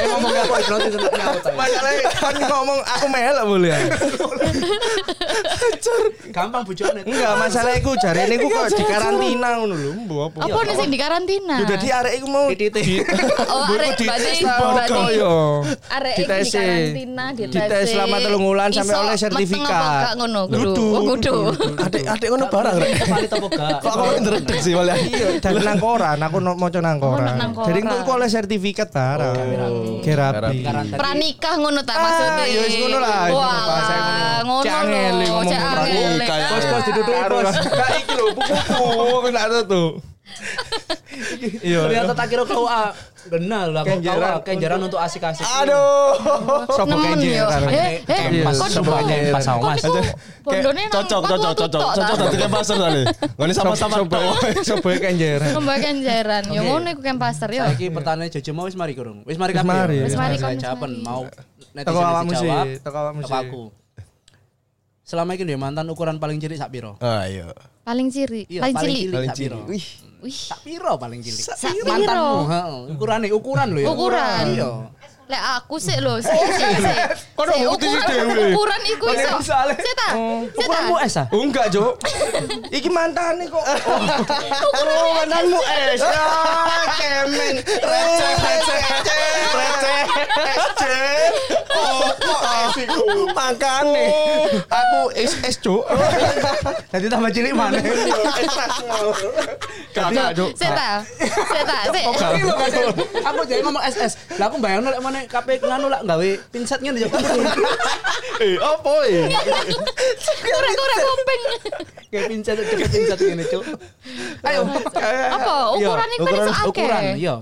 S1: Eh ngomong apa hipnotis sama aku tadi.
S4: masalahnya kon ngomong aku melek boleh ya
S1: Gampang bojone.
S4: enggak masalah iku jarene iku kok di karantina ngono lho mbok apa
S3: Apa nih sing di karantina?
S4: Jadi arek iku mau
S1: Titik.
S3: iya. Oh, arek berarti berarti arek iki di
S4: Dites e.
S3: karantina dites.
S4: Dites
S3: e.
S4: selama telung wulan sampai
S3: Iso
S4: oleh
S3: meteng
S4: sertifikat.
S3: apa gak ngono, kudu.
S4: Kudu,
S3: Oh, kudu.
S5: Adik, adik ngono barang rek.
S1: Paling topo gak.
S5: Kok kamu ngeredek sih malah.
S4: Iya, dari nang koran, aku no, mau nang koran.
S3: nang koran. iya,
S4: Jadi aku oleh sertifikat barang. Oh, Kerapi.
S1: Karan tadi.
S3: Pranikah ngono tak
S4: Ah,
S3: maksudnya.
S4: ya wis ngono lah,
S3: Wah,
S4: ngono, bahasa ngono.
S3: ngono.
S4: Cek angel
S3: lho,
S4: ngomong
S3: cek angel.
S5: pranikah.
S3: Ah.
S5: Bos, bos,
S4: duduk [LAUGHS] bos. Kak iki lho pupuku, aku nak ada tuh. Iya.
S1: Ternyata tak kira kau ah benar lah kau ah
S4: Kenjeran.
S1: kenjaran untuk asik-asik.
S5: Aduh.
S4: Sopo
S3: Nemen
S4: kenjir. [LAUGHS]
S3: yo. Eh, eh,
S4: Iya,
S1: Pas
S3: kok
S1: sumpah pas sama
S3: kok
S1: mas.
S3: iku bondone
S5: Kayak
S3: nang
S5: cocok,
S3: paku
S5: cocok, cocok,
S3: tutok,
S5: cocok
S3: tak?
S5: tadi kayak pasar tadi. Gak sama-sama
S4: Sopo
S5: tok.
S4: sopo kenjir. [LAUGHS]
S3: Pembagian jaran. Yo ngono iku kan pasar yo.
S1: Saiki pertanyaan Jojo mau wis mari kurung. Wis mari
S4: Wis
S1: kabeh. ya.
S4: mari.
S1: Wis
S4: Wis
S1: mari saya
S3: mari, kon, wis
S1: jawaban
S3: mari.
S1: mau netizen
S4: Teko awakmu sih,
S1: dijawab.
S4: teko awakmu
S1: Teko
S4: sih.
S1: aku. Selama iki duwe mantan ukuran paling cilik sak piro?
S5: Ayo.
S3: Paling ciri,
S4: Iya,
S3: paling cilik.
S1: paling
S5: Paling
S1: sak piro?
S5: cilik. Wih.
S3: Wih,
S1: Sak piro paling cilik?
S3: sak piro?
S1: Mantanmu, heeh. Ukurane ukuran lho ya.
S3: Ukuran.
S1: Iya.
S3: Lek aku sih lho, sik sik sik.
S4: Kok
S3: Sik,
S4: ngerti sih
S3: ukuran-
S4: dhewe?
S3: Ukuran iku iso.
S1: Kok soalnya-
S3: Sik ta? Sik Iya ta?
S1: Ukuranmu es ah.
S4: Oh enggak, Cuk. Iki mantan [LAUGHS] kok. Oh,
S3: Kan
S4: mantanmu es. Ya, kemen. Receh, receh, Oh, receh. Oh, Receh. Oh,
S5: Makane.
S4: Aku es es, [LAUGHS] Cuk.
S1: Jadi tambah cilik mana?
S4: Enggak, Cuk.
S3: Sik ta? Sik ta? Sik.
S1: Ini lho, kan, aku jadi ngomong SS. Lah aku bayangno lek mana KP nganu lak gawe pinset ngene ya.
S4: Eh, opo e?
S3: Kurang-kurang kuping.
S1: Kayak pinset cepet pinset ngene, Cuk. Ayo. Iya,
S3: Apa? Ukuran iku kan iso akeh.
S1: Ukuran, iya.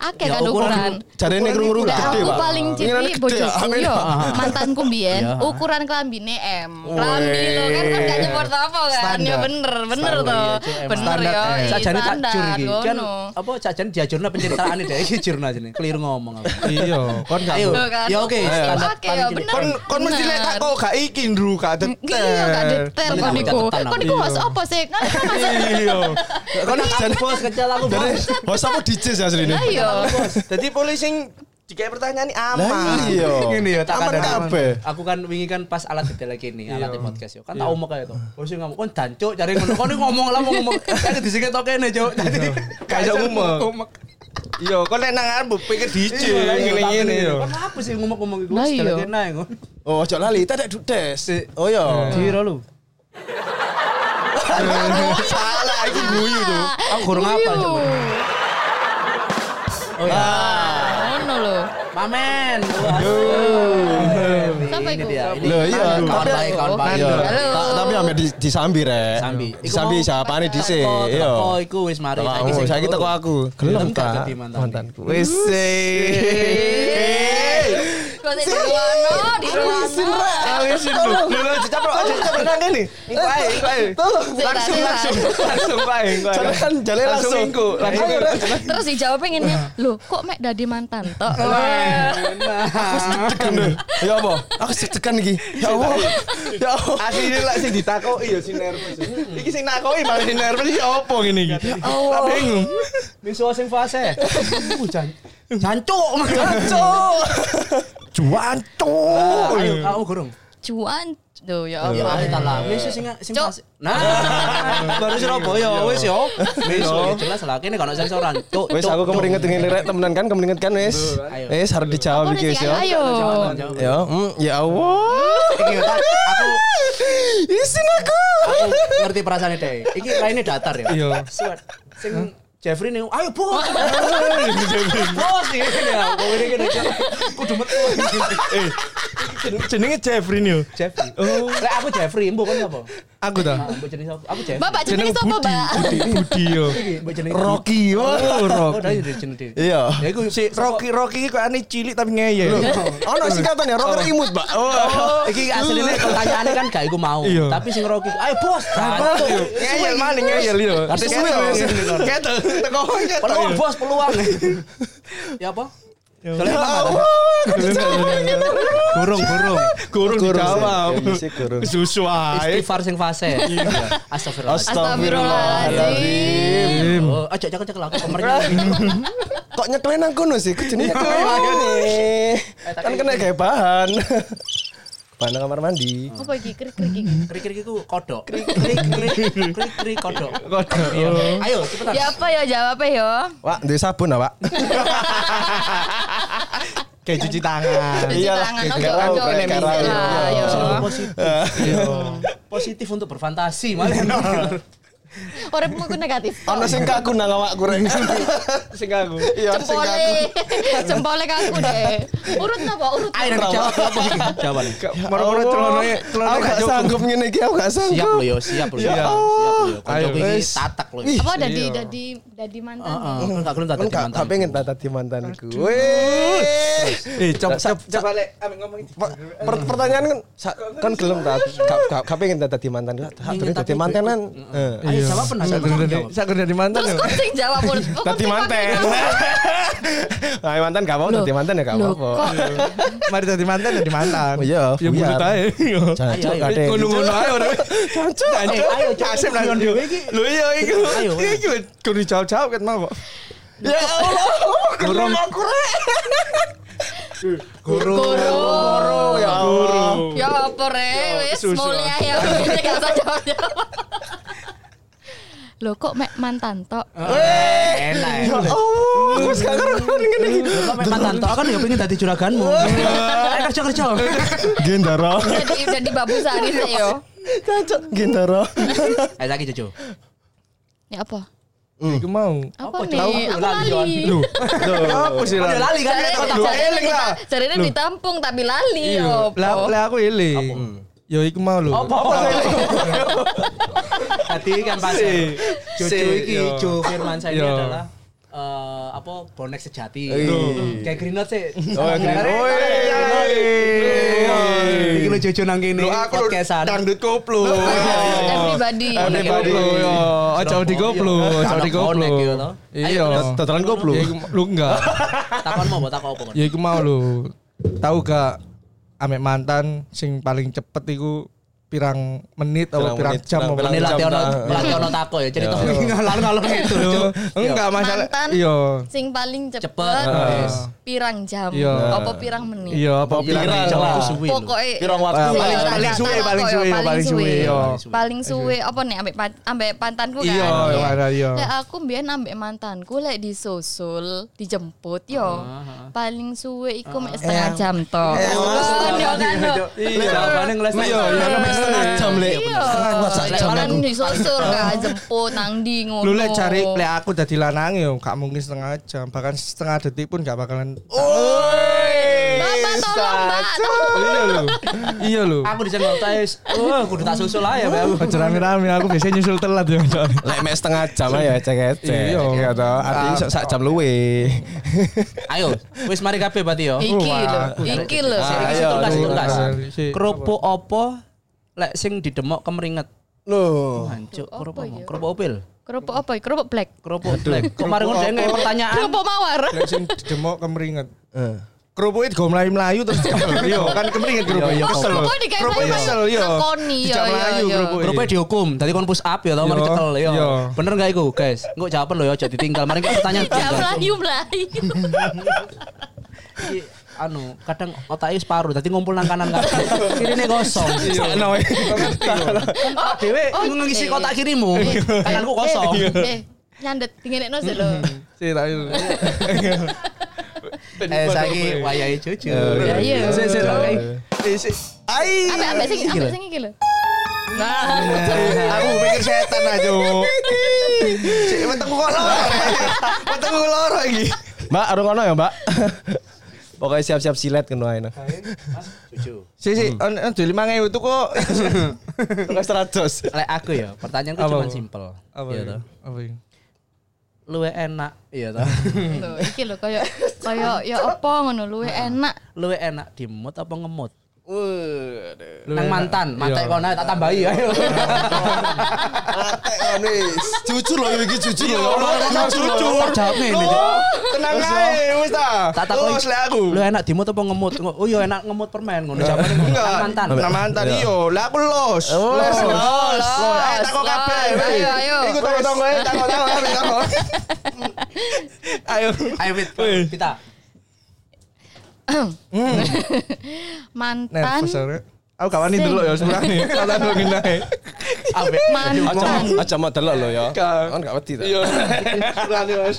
S3: Akeh
S1: Ya,
S3: kan
S1: ukuran.
S3: ukuran.
S5: Cari ini kerungu
S3: Lah,
S5: gede
S3: aku
S5: pak.
S3: paling
S5: Pengenannya
S3: cilik
S5: gede,
S3: bojoku
S5: amin.
S3: yo. Mantanku
S1: Iya.
S3: mbiyen ukuran klambine M. Klambi lo kan kan gak nyebut apa kan. Ya bener, bener to.
S1: iya,
S3: Bener yo.
S1: Eh,
S3: iya,
S1: sajane tak jur iki. Kan
S3: ngono.
S1: apa sajane diajurna penceritaane dhek iki jurna jenenge. Keliru ngomong aku.
S4: Iya, kon gak.
S1: Ayo.
S3: Tuh kan.
S1: Ya oke,
S3: Ayo.
S1: standar
S3: Oke,
S1: paling
S3: ya,
S1: cilik.
S3: bener.
S4: Kon kon mesti lek tak kok gak iki, Ndru, gak detail.
S3: Iya, gak
S1: Bener,
S3: detail kon
S1: bener.
S3: iku.
S1: Bener,
S3: Kon iku
S4: bener.
S3: host apa sih? Kan kan
S4: [LAUGHS]
S3: masa
S4: Iya.
S1: Kon nak jan bos kecil aku
S5: Jadi,
S1: bos.
S5: bos aku DJ sih asli ini.
S3: Lah yo.
S4: Dadi polisi sing dikai pertanyaan ini aman.
S5: Lah iya.
S4: Ngene ya, tak
S5: Aman
S4: kadang.
S5: kabeh.
S1: Aku kan wingi kan pas alat detail lagi nih, alat
S4: Iya.
S1: di podcast yo. Kan tak omong kayak to. Bos yo ngomong kon dancuk cari ngono. Kon ini ngomong lah mau
S4: [LAUGHS]
S1: ngomong. Kan disingkat to kene, Cuk.
S4: Iya.
S1: Jadi
S4: Gak iso ngumek. Iya, kon lek nang arep pikir DJ
S5: Iya,
S4: ngene-ngene Iya, yo.
S1: Kon Iya, kan apa sih ngomong-ngomong iku?
S3: Lah, iya.
S1: Sedek kene ngono.
S5: Hmm. Oh, ojo lali, tak ada dudes. Oh iya.
S1: Dira lu.
S5: [LAUGHS] Salah iki guyu tuh.
S1: Aku kurang apa
S3: Yuh.
S1: coba. Oh ya.
S3: Ngono lho.
S1: Mamen.
S3: Siapa
S1: Ini
S3: iku? Oh,
S1: dia. ini.
S5: Loh iya,
S1: Kawan
S5: tapi
S1: baik, kawan baik.
S5: Iya.
S3: Halo.
S5: Ta- Tapi ambil di disambi rek.
S1: Sambi.
S5: Disambi siapane dhisik. Iya.
S1: Teko oh, iku wis mari.
S5: Teko aku,
S1: sing
S5: saiki
S1: turu.
S5: teko Iya, aku. Gelem eh.
S1: Gelem gak
S5: Kak?
S1: dadi
S4: iya.
S1: mantan?
S5: mantanku.
S4: Wis.
S3: Kok sik diruwono, diruwono.
S4: Wis. Lu lu dicaplok, dicaplok nang kene. Iku ae, iku ae. Langsung langsung langsung ae, iku ae.
S5: Soalnya kan jalan
S4: Langsung
S5: langsung.
S4: iku, langsung
S5: Ayo,
S4: iku.
S5: Rek.
S3: Terus dijawab pengennya, "Loh, kok mek dadi mantan tok?" [LAUGHS]
S5: Ya apa? Aku deg-degan iki. Ya Allah. Ya Allah.
S4: Asli lek sing ditakoki ya sing nervous.
S5: Hmm.
S4: Iki sing nakoki malah sing nervous iki opo ngene iki? Tak bingung.
S1: Misuwa sing fase. [LAUGHS] Uh, jan. Jancuk, Mas.
S5: Cuanto.
S1: Ayo, aku gurung.
S3: Cuan. Duh, ya
S1: Ya
S3: Allah.
S1: ayo ta lah. Wis sing sing
S3: Cuk.
S1: fase. Nah. [LAUGHS] Baru Surabaya wis yo. Wis yo, jelas lah kene kono sensoran. Cuk.
S5: Wes
S1: cuk,
S5: aku
S1: cuk.
S5: kemeringet ngene rek temenan kan kemeringet kan wes.
S1: Ayo.
S5: Wes harus dijawab
S3: Aku
S5: iki
S3: udah
S5: wes ya.
S3: ayo.
S1: Jangan, jangan.
S5: Ya, mm, ya Allah.
S1: Iki yo, tak- aku
S5: Isin aku.
S1: aku ngerti perasaannya deh. Iki lainnya datar ya.
S5: Iya.
S1: Suat. Sing Jeffrey nih, ayo bos, [LAUGHS] bos ini ya, gue ini gini, kudu metu.
S4: Eh, Jenenge Jeffrey New.
S1: Jeffrey, Oh.
S5: Oh.
S1: Lek aku Jeffrey, mbok kan apa?
S4: Aku ta.
S1: Mbok jenis apa? Aku Jeffrey.
S3: Bapak jenenge sapa, Mbak?
S4: Budi, Budi yo.
S1: Iki, mbok jenis
S5: Rocky.
S4: Oh,
S1: Oh, dari
S4: Rocky.
S1: jenis dia.
S5: Iya.
S1: Ya iku
S4: Si Rocky Rocky iki ane cilik tapi ngeyel.
S5: Ono singkatannya Rocker Imut, Pak.
S1: Oh, iki aslinya pertanyaannya kan gak iku mau.
S4: Iya.
S1: Tapi sing Rocky, ayo bos. Nah, Satu.
S4: Ngeyel maning ngeyel yo.
S1: Artis suwe, Mas.
S4: Ketok. Teko ketok.
S1: Peluang bos, peluang. Ya apa? Soalnya apa?
S4: Gorong, gorong. Gorong
S5: Iya,
S4: dijawab.
S5: Emosi gorong.
S4: Susu ae.
S1: Istighfar sing fase. Astagfirullah.
S3: Astagfirullahaladzim.
S1: Oh, aja cek cek lah aku pemerintah.
S5: Kok nyeklen aku no sih? Kejenis nyeklen. Kan kena kayak bahan. Bahan kamar mandi.
S3: Apa iki krik-krik iki?
S1: Krik-krik iku kodok. Krik-krik krik-krik
S5: [LAUGHS]
S1: kodok.
S4: Kodok.
S1: Iya.
S5: Oh.
S1: Ayo cepetan.
S3: Ya apa ya jawabnya yo?
S5: Wak, duwe sabun ah, Pak.
S4: Kayak cuci tangan.
S3: Cuci
S5: Iyalah,
S3: tangan,
S5: kayak
S3: ojo
S5: kerau,
S3: ojo
S5: kayak
S3: ngisi
S5: kerau,
S3: lah, yo.
S1: Selalu positif.
S5: Ya
S1: Iya. Positif untuk berfantasi malah.
S5: Iya.
S3: Uripmu ku negatif.
S5: Ono sing kaku nang awakku rek.
S4: Sing aku.
S5: Iya, sing
S3: Jempole,
S5: kaku.
S3: jempole kaku deh. Urut napa? Urut.
S1: Ayo nanti jawab apa sih? Jawaban.
S4: Moro-moro celonanya,
S5: Aku
S4: celonanya
S5: gak sanggup ngene iki, aku gak sanggup.
S1: Siap lo yo, siap lo.
S5: Ya
S1: Siap
S5: Allah.
S1: lo. Kodok
S5: Ayo.
S1: ini
S5: Wes.
S1: tatak lo.
S5: Ih.
S3: Apa dadi dadi dadi mantan?
S1: Heeh, enggak gelem
S5: Kan
S1: tatak
S5: gak gak
S1: mantan.
S5: pengen tak tadi mantanku. Weh.
S4: Eh, cep cep cep.
S5: Coba lek ngomong pertanyaan kan sa- kan gelem ta. Gak gak gak pengen tak dadi mantan. Tak durung dadi mantan kan. Eh.
S1: Ayo jawab penasaran.
S4: Sakur dari
S1: Jawab.
S4: sakur dari mantan
S3: Terus
S4: yo.
S3: kok sing jawab urut? Kok
S5: Dadi
S3: sing
S5: mantan. Nah, mantan gak mau [LAUGHS] dadi mantan ya gak
S3: Loh,
S5: apa-apa.
S3: kok
S4: Mari dari mantan dari mantan.
S5: Oh, iya,
S4: Ya
S5: buyar.
S4: bulut ae.
S5: Jangan
S1: Ayo,
S5: cok,
S1: ayo.
S5: gak ada. yang
S4: Ngono-ngono ae ora.
S5: Jancuk.
S1: Eh, Ayo jawab.
S4: Asep lah.
S1: Guyon dhewe iki.
S4: Lho iya iku.
S1: Ayo, ayo.
S4: Iku kudu jawab-jawab ket mau. Pak.
S5: Ya Allah.
S4: Gorong.
S3: guru?
S5: Oh, ya Allah.
S3: Ya apa re, wis
S4: susu.
S3: mulia ya. [LAUGHS] Wis gak usah jawab-jawab. Loh kok mek mantan tok?
S1: Eh, Enak.
S5: Ya Allah. Aku gak ngerti ngene iki.
S1: Kok memang tanto kan ya pengen tadi
S5: [LAUGHS]
S1: juraganmu. Ayo kerja kerja.
S5: Gendara.
S3: Jadi jadi babu sehari sih yo.
S5: Jancuk gendara.
S1: Ayo lagi cucu.
S3: Ya apa?
S4: Iku mau.
S3: Apa
S1: Apa,
S3: nih?
S1: jawab
S3: Aku
S1: lali,
S3: lali.
S1: Johan.
S4: Lho. Apa sih
S1: Ayo
S4: lah?
S1: lali kan.
S3: Jarene-
S1: Kotak.
S4: Lho,
S3: jarene
S4: eling
S3: dita-
S4: lah.
S3: Jarene
S4: Lho.
S3: ditampung tapi lali yo.
S4: Iya. Lah
S3: apa?
S4: lah aku eling. Yo iku mau lho.
S1: Apa apa [LAUGHS] Tadi kan pasir. Jojo
S4: Si,
S1: iki
S4: yo.
S1: Jo Firman saya ini
S4: Yo.
S1: adalah eh, apa bonek sejati.
S5: Iya.
S1: Kayak Green Note sih.
S5: Oh, ya, Green Note.
S1: Karena-
S5: iya,
S4: Oi.
S1: Iki lo Jojo nang kene
S4: Lho aku lho,
S1: podcastan.
S4: dangdut koplo.
S3: Everybody.
S5: Eh,
S4: Everybody. Yo, aja di koplo, aja di koplo.
S1: Anak bonek, yo, toh.
S4: Iya.
S5: Tataran koplo.
S4: Ya, iku- Lu enggak.
S1: Takon mau botak apa kan?
S4: Ya iku mau lho. Tahu gak amek mantan sing paling cepet iku pirang menit atau
S5: Pirang
S4: pirang
S5: menit,
S4: jam
S5: pirang-
S4: apa?
S5: pirang-
S1: Ini
S5: Jam
S1: latihan
S5: dah.
S1: latihan tako ya cerita
S5: Yo.
S1: ngalor-ngalor gitu.
S4: Lho,
S1: Jo.
S4: Enggak masalah.
S3: Mantan.
S4: Iya.
S3: Sing paling cepet,
S1: Cepet,
S4: wes.
S3: pirang jam.
S4: Iya.
S3: Apa pirang menit?
S4: Iya, apa
S5: Pirang
S4: pirang
S5: jam.
S4: jam.
S1: Suwi lho.
S3: Pokoknya
S5: Pirang waktu.
S3: Iya,
S4: Paling-
S3: tak-
S4: paling
S3: tak-
S4: suwe,
S3: tak
S4: paling
S3: kok yo,
S4: suwe, paling suwe, yo.
S3: Paling suwe apa nih ambek pan- ambek pantanku kan.
S4: Iya,
S3: Ya.
S4: Oh, ada, iya.
S3: Lek aku mbiyen ambek mantanku lek disusul, dijemput yo. Paling suwe iku mek setengah jam to.
S5: Eh,
S3: Kan, yo, kan, yo.
S1: Iya, jawabannya ngeles.
S5: Iya, iya,
S1: Iya,
S5: nek
S2: setengah jam lek.
S3: Iya.
S2: Setengah kuat sak
S3: Lek
S2: jam
S3: kan
S2: aku.
S3: disosor gak jemput nang ndi ngono.
S4: Lu lek cari lek aku udah dilanang yo, gak mungkin setengah jam, bahkan setengah detik pun gak bakalan.
S3: Bapak tolong, Mbak.
S4: Iya lu. Iya lu.
S1: Aku disenggol tais. Wah, Oh, kudu tak susul aja ya, aku.
S4: Aja rame-rame aku biasanya nyusul telat ya.
S2: Lek mek setengah jam ya ecek-ecek.
S4: Iya.
S2: Iya toh, artinya sak- sak jam luwe.
S1: Ayo, wis mari kabeh berarti yo.
S3: Iki lho,
S4: Wah,
S3: iki lho.
S2: Ah,
S1: Iki
S2: iya,
S1: tuntas,
S2: aduh,
S1: tuntas.
S4: ah, si.
S1: Kerupuk opo lek sing didemok kemeringet.
S2: Loh.
S1: Hancuk kerupuk
S3: Oh. apa
S1: opo?
S3: ya?
S1: Kerupuk opil.
S3: Kerupuk apa? ya? Kerupuk black.
S1: Kerupuk black. Kemarin udah nggak pertanyaan.
S3: Kerupuk mawar.
S4: Lek sing demok kemeringet.
S2: Eh.
S4: Kerupuknya go melayu-melayu terus kesel. Iya, kan kemeringet kerupuk. Iya, kesel.
S3: kerupuknya digawe
S4: Kerupuknya
S3: melayu.
S4: kesel, iya.
S3: Lakoni, iya,
S4: Dijak
S3: iya,
S4: melayu
S3: iya.
S4: kerupuknya.
S1: Kerupuk dihukum, tadi kon push up ya tau,
S2: Iya,
S1: mari
S4: Yo,
S1: cekel yo.
S4: yo.
S1: Bener nggak iku, guys? Enggak jawaban lo ya, aja ditinggal. Mari kita pertanyaan.
S3: Jangan melayu melayu.
S1: Iki, anu kadang otaknya separuh tadi ngumpul nang kanan kanan kirinya
S3: [LAUGHS]
S1: kosong
S4: Iya.
S2: Sakno, eh.
S1: oh, dewe
S3: Iya. oh,
S1: ngisi
S3: eh.
S1: kotak kirimu kananku kosong
S3: Iya. Eh, nyandet dingin no sih lo.
S4: Si, tak iya.
S1: eh saiki wayahe jujur
S3: Ya, iya.
S1: Sik, sik, tak kei.
S4: Eh, si. Ai.
S3: Apa apa sing apa sing iki lho. Nah,
S1: Nah,
S4: Aku pikir setan aja. Cek wetengku kok loro. Wetengku loro iki.
S5: Mbak, arung ono ya, Mbak?
S2: Pokoknya siap-siap silet kena ae. nah.
S1: Jujur.
S4: Si si, on on duwe 5000 itu kok.
S5: Tukang seratus.
S1: Lek aku ya, pertanyaanku
S4: Apa,
S1: cuma
S4: apa?
S1: simpel.
S4: Apa
S1: Iya
S4: itu?
S1: toh.
S4: Apa itu?
S1: Luwe enak, iya toh.
S3: Lho, Iki lho koyo koyo ya apa ngono luwe enak.
S1: Luwe enak dimut apa ngemut? Nang mantan, mantek
S4: Iya.
S1: kono tak tambahi ayo.
S2: Jujur loh iki jujur loh.
S1: Oh, iya. Jujur. Jawab ngene. Cuk.
S4: Tenang ae, wis ta.
S1: Tak
S4: Lurus
S1: takoni.
S4: lek aku.
S1: Lu enak dimut apa ngemut? Ngo- Oh iya enak ngemut permen ngono jawabane ngono.
S4: Enggak,
S1: Nang mantan.
S4: Nang mantan iyo. Lah aku los.
S1: Oh.
S4: Los.
S3: los,
S4: Eh,
S3: los,
S4: takok
S3: los.
S4: kabeh.
S3: Ayo, ayo.
S4: Iku tonggo-tonggo eh takok-takok kabeh takok. Ayo.
S1: Ayo wit, kita.
S3: Mantan
S4: Aku gak wani dulu ya sebenarnya. Kata lu gini ae.
S1: Abe.
S2: Aja
S3: mantan
S2: aja mau delok loh ya.
S4: Gak.
S2: Kan gak wedi
S5: Iya,
S2: ta.
S4: Iya. Sebenarnya, Mas.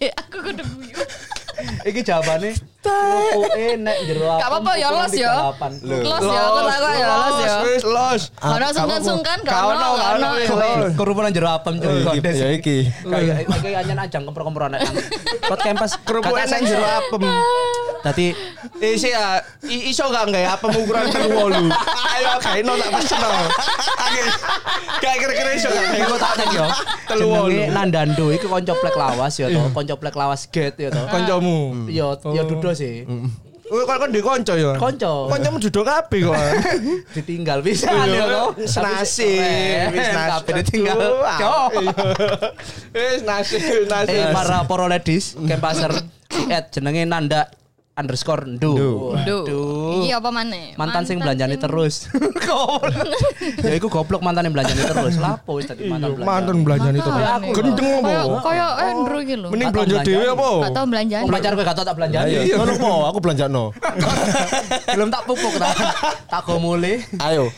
S3: Eh, aku kudu guyu
S1: Iki jawabane rupuke nek jero.
S3: gak apa-apa ya los ya los ya aku takut ya los ya
S4: wis, los.
S3: Gak ono sungkan-sungkan, gak ono, gak ono.
S1: Kerupunan jero apem cuy
S4: iya,
S1: kondes.
S2: Ya iki.
S1: Kayak kayak anyan ajang kemper-kemperan nek nang pot kempas
S4: Kerupuk
S1: kakak
S4: enak ya.
S1: saya-
S4: jero apem.
S1: Tadi
S4: [LAUGHS] Eh sih ya, i- iso gak nggak ya pengukuran kuwo lu. Ayo kain no tak pesen no. Oke, gak kira-kira iso gak kain
S1: iku tak tek yo.
S4: Telu
S1: Jenenge
S4: wolu.
S1: Nandando iku kanca plek lawas ya to,
S4: Iya.
S1: kanca plek lawas get ya to.
S4: Koncomu.
S1: Yo
S4: Oh.
S1: yo dudo sih.
S4: Mm. Kowe kok kon di konco ya?
S1: Konco.
S4: Koncomu duduk kabeh [LAUGHS] kok.
S1: Ditinggal bisa ya to.
S4: Senasib, Iya. wis nasib.
S1: Tapi ditinggal.
S4: Aduh, ah.
S1: Yo.
S4: Wis nasib, nasib.
S1: Eh para para ladies kempaser at jenenge Nanda underscore ndu.
S3: Duh.
S1: Waduh.
S3: Iki apa maneh?
S1: mantan sing belanjani terus. [LAUGHS] Goblok. ya iku goblok mantan yang belanjani terus. Lapo wis dadi mantan belanjani.
S4: Iya, Mantan belanjani itu.
S3: Mantan.
S4: Gendeng apa?
S3: Kayak kayak Andrew eh, iki lho.
S4: Mending belanja dhewe apa?
S3: Gak tau belanjaan.
S1: Pacar kowe gak tau tak
S4: Iya,
S1: belanjani.
S2: Ayo, iya. ngono mau aku belanjano.
S1: Belum tak pupuk tak. Tak go mulih.
S2: Ayo.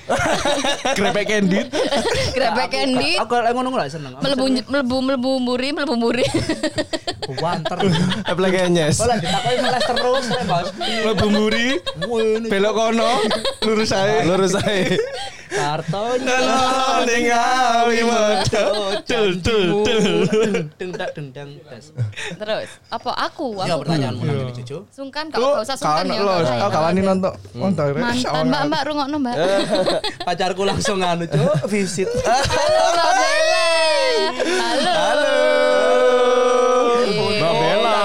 S4: Grepek candid.
S3: Grebek
S1: Aku-
S3: candy.
S1: Aku lek ngono gak seneng. Aku
S3: Melebu melebu melebu mburi, melebu [LAUGHS] mburi.
S1: seneng. Wanter.
S2: Apply nyes.
S1: Lah ditakoki meles terus rek, Bos.
S4: Lebu muri. Belok kono. Lurus ae.
S2: Lurus ae.
S1: Kartonya.
S4: Tolong tinggal metu.
S1: Oh,
S4: Dul dul dul.
S1: Dengdak dendang. Tes.
S3: Terus apa aku?
S1: Ya
S3: Aku
S1: pertanyaanmu
S4: Iya.
S1: nanti Cucu.
S3: sungkan kalau gak usah sungkan ya. gak
S4: Los,
S3: usah,
S4: aku
S3: gak
S4: kawani
S3: usah.
S4: nonton. Nonton.
S3: Mantan Mbak
S4: Eh,
S3: Mbak rungokno Mbak.
S1: Pacarku langsung anu, Cuk,
S4: [LAUGHS]
S1: visit.
S3: [LAUGHS] Halo Mbak Bella. Halo. Iya.
S2: Mbak Bella.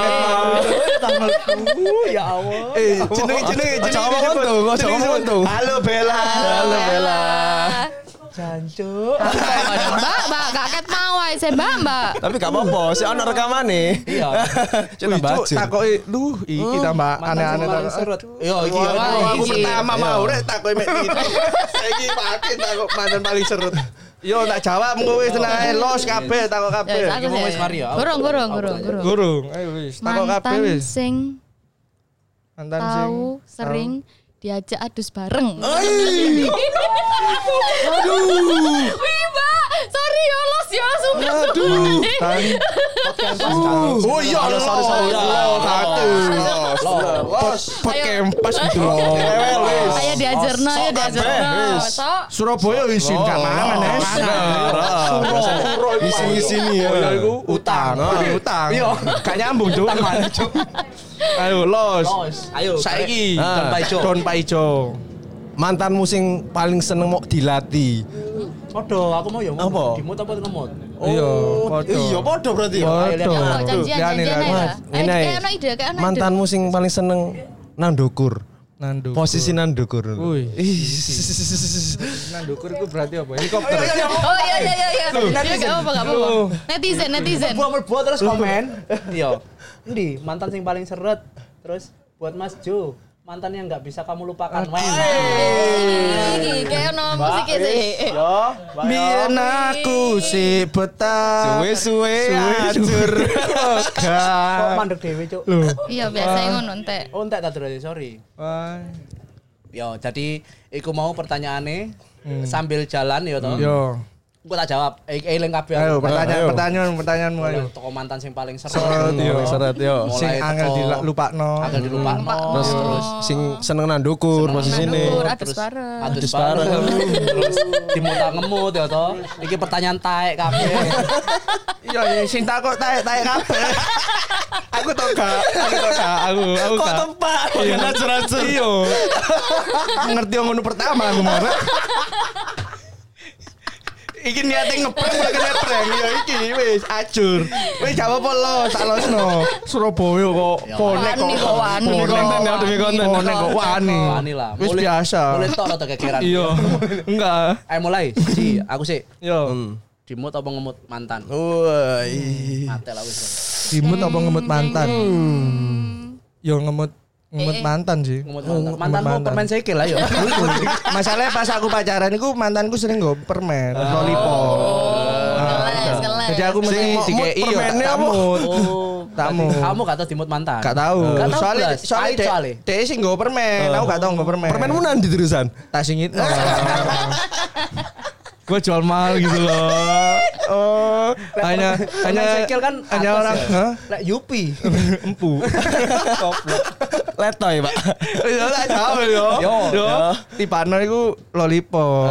S1: Tanggalku. Ya Allah.
S4: Eh,
S5: Oh,
S4: jenenge jenenge
S2: Ojo ngomong untung, ojo
S4: jenenge
S2: ngomong
S4: sebut.
S2: untung.
S4: Halo Bella.
S3: Halo Bella.
S1: Jancuk.
S3: Mbak Mbak kaget mau ae saya Mbak Mbak.
S2: Tapi gak apa-apa, si ono rekamane.
S1: Iya.
S2: Cuma bajin.
S4: Takoki lu iki tambah aneh-aneh
S1: Mantan
S4: tak. Iya,
S1: surut. Yo iki
S4: Wah,
S1: yo.
S4: aku
S3: Iki.
S4: pertama mau rek takoki mek iki. Saiki pake takok mantan paling serut. Yo tak jawab engko wis tenang ae los kabeh takok kabeh.
S3: Ya, aku
S1: Iki mau
S3: sih.
S1: wis mari ya.
S3: Gurung gurung gurung gurung.
S4: Gurung, ayo wis takok kabeh
S3: Mantan
S4: wis.
S3: sing
S4: Mantan sing
S3: tahu sering diajak adus bareng. [LAUGHS]
S2: Ai.
S3: Aduh. Wih, Mbak, sorry ya los ya langsung
S4: Aduh, tan
S1: Podcast Mas Kang.
S5: Oh iya, lo sorry sorry lo satu. Pot pot kempas gitu loh.
S3: Ayo diajarno, ayo diajarno. Sok.
S5: Surabaya isin gak mana nes. oh, Isin isin ya. Utang, oh, utang.
S1: Iya.
S5: Gak nyambung cuk. Ayo los.
S1: Los, ayo.
S6: Saiki Don
S5: Ah,
S6: Paijo.
S5: Don Paijo. Mantanmu sing paling seneng mau dilatih.
S1: Podo, aku mau ya
S5: Apa?
S1: dimut apa ngemut.
S5: Iya,
S3: Oh.
S5: podo.
S7: Iya, podo berarti ya.
S5: Podo.
S1: Ayo,
S3: Janjian, janjian, janjian,
S5: Liane,
S3: ayo.
S5: Liane.
S3: Ayo,
S5: Ini,
S3: Eh, kayak ono ide, kayak ono ide.
S5: Mantanmu sing paling seneng nandukur.
S4: Nandu.
S5: Posisi nandukur.
S4: Wih.
S5: Ih.
S4: nandukur itu berarti apa? Helikopter.
S3: Oh iya iya iya iya. Iya enggak apa-apa, enggak apa-apa. Netizen, netizen.
S1: Buat buat terus komen. Iya. Endi mantan sing paling seret. Terus buat Mas Jo, mantan yang nggak bisa kamu lupakan. Wah.
S3: Iki kayak ono musik ya sih.
S6: Biyen aku si betah.
S5: Suwe-suwe [LAUGHS] hancur.
S1: Kok mandek dewe, Cuk.
S3: Iya biasa
S5: Ah.
S3: ngono entek.
S1: Oh, entek tak terus, sorry.
S4: Iya.
S1: Yo, jadi iku mau pertanyaane sambil jalan yo toh.
S4: Yo.
S1: Gua tak jawab. Eh, eling kabeh.
S4: Ayo pertanyaan
S5: ayo.
S4: pertanyaan pertanyaanmu ayo.
S1: Toko mantan sing paling seret.
S4: Seret yo.
S5: Seret yo.
S4: Sing
S1: Mulai
S4: angel
S1: teko-
S4: dilupakno.
S1: Angel dilupakno.
S5: Terus terus sing seneng nandukur posisi ini.
S3: nandukur. Adus bareng.
S1: Adus bareng. Terus dimutang ngemut ya toh. Iki pertanyaan taek kabeh.
S6: Iya, iya, sing takut taek-taek kabeh.
S5: Aku tau gak, aku tau gak, aku aku
S6: Kok
S5: gak.
S6: tempat?
S5: Iya, racun-racun. Iya. Ngerti yang ngono pertama aku mau.
S6: Iki niate ngeprank malah kena prank ya iki wis ajur.
S5: Wih, gak apa-apa lo, tak losno. Surabaya kok
S1: Ya.
S5: konek
S3: Wani kok,
S5: kok.
S3: wani
S5: Konek,
S3: kok,
S5: konten ya, demi konten.
S3: wani
S5: Konek
S3: kok.
S5: kok wani.
S1: Wani lah.
S5: Wis
S1: Mulai-
S5: biasa.
S1: Mulai tok atau kekiran.
S5: Iya. Enggak.
S1: Eh mulai. Ji, aku sih
S4: iya.
S5: Yo.
S1: Hmm. dimut apa ngemut mantan.
S5: Woi.
S1: Mate lah wis.
S4: Dimut apa ngemut mantan? Yo ngemut ngemut mantan sih.
S1: Ngemut mantan. Mantanmu permen sekil lah yo.
S4: Masalahnya pas aku pacaran itu mantanku sering nggo permen, lollipop.
S5: Ah.
S3: Kelas, kelas.
S4: Jadi aku mesti
S5: Sing mau mut
S4: dikei yo
S5: permennya
S4: tak
S5: apa?
S4: ya, mut.
S1: Oh,
S4: Tamu.
S1: berarti Kamu gak tau dimut mantan.
S4: Gak tahu.
S1: Gak tahu
S4: Soalnya
S1: belas.
S4: soalnya
S1: Pahit
S4: dek-
S1: soalnya.
S4: dek sing nggo permen, aku gak tau nggo permen.
S5: Permenmu nanti terusan.
S4: tak singit. Gue jual mahal gitu loh. Oh, hanya
S1: Permen
S4: hanya
S1: sekil kan
S4: hanya
S1: atas
S4: orang
S1: ya.
S4: Hah?
S1: Lek Yupi.
S4: [LAUGHS] empu.
S5: Letoy, Pak.
S4: Yo Ya, tak tahu yo.
S5: Yo,
S4: Yo, Eh.
S5: yo.
S4: tipane iku lollipop.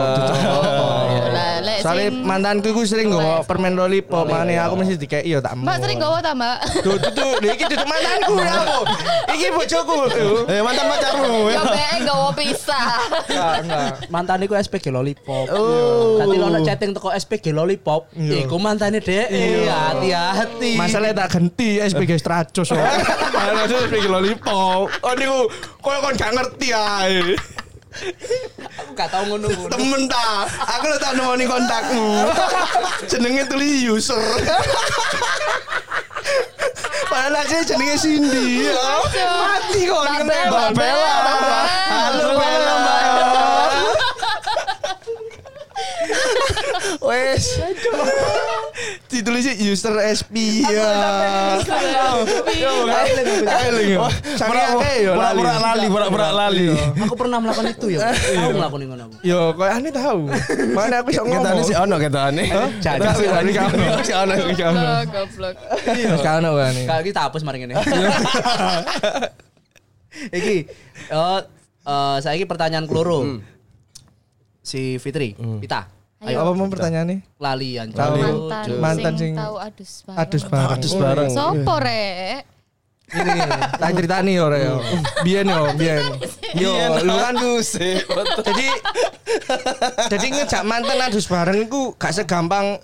S3: Lah, lek
S4: Soalnya
S3: sing-
S4: mantanku iku sering nggo permen lollipop, mane aku mesti dikeki yo tak mau.
S3: Mbak sering gowo ta, Mbak?
S4: Duh, duh, duh, lha iki duduk mantanku ya apa? Iki bojoku. Duh.
S5: Eh, mantan pacarmu.
S3: Yo bae gowo
S5: Ah.
S3: pisah.
S1: Mantan iku SPG lollipop. Oh. Dadi lo nek chatting teko SPG lollipop, iku mantane dhek. Iya, hati-hati.
S4: Masalahnya tak ganti SPG Stracos. yo.
S5: Anak saya pikir lollipop. Oh niku koyo kon gak ngerti ae.
S1: aku gak tau ngono-ngono.
S5: Temen ta. Aku lo tak nemoni kontakmu. Jenenge tulis user. Padahal aja jenenge Cindy. ya. Mati kok
S3: Mbak
S5: ini
S3: Bel, Mbak Bel, Mbak Bel.
S5: Halo Bella, Mbak. Wes. Ditulis user SP ya. Eling.
S4: Saking akeh ya, lali.
S5: Pura-pura lali, pura-pura lali.
S1: Aku pernah melakukan itu ya.
S4: Iya.
S1: Aku ngelakuin ngono aku.
S4: Yo, kok ane tahu. Mana aku iso
S5: Ketane
S4: ngomong.
S5: sih ono ketane.
S1: Jadi
S5: Ketane sih ono. Sih ono sih ono.
S3: Goblok, Oh, goblok.
S4: Iya. Sekarang apa nih?
S1: Kali kita hapus mari ngene.
S4: Iya.
S1: [LAUGHS] Iki eh eh saiki pertanyaan
S4: Hmm.
S1: keloro. Si Fitri, kita.
S3: Ayo.
S4: Apa mau pertanyaan nih?
S1: Lali anjir.
S4: Hmm. Lali.
S3: Mantan,
S4: Mantan
S3: sing
S4: sing-
S3: tahu adus bareng.
S4: Adus bareng.
S5: Terus bareng.
S3: Sopo
S5: Eh.
S3: rek?
S4: Ini tak ceritani yo rek. yo. Hmm. Biyen yo, biyen. Yo,
S5: iya,
S4: lu kan
S5: tuh [LAUGHS] sih.
S4: jadi jadi ngejak mantan adus bareng iku gak segampang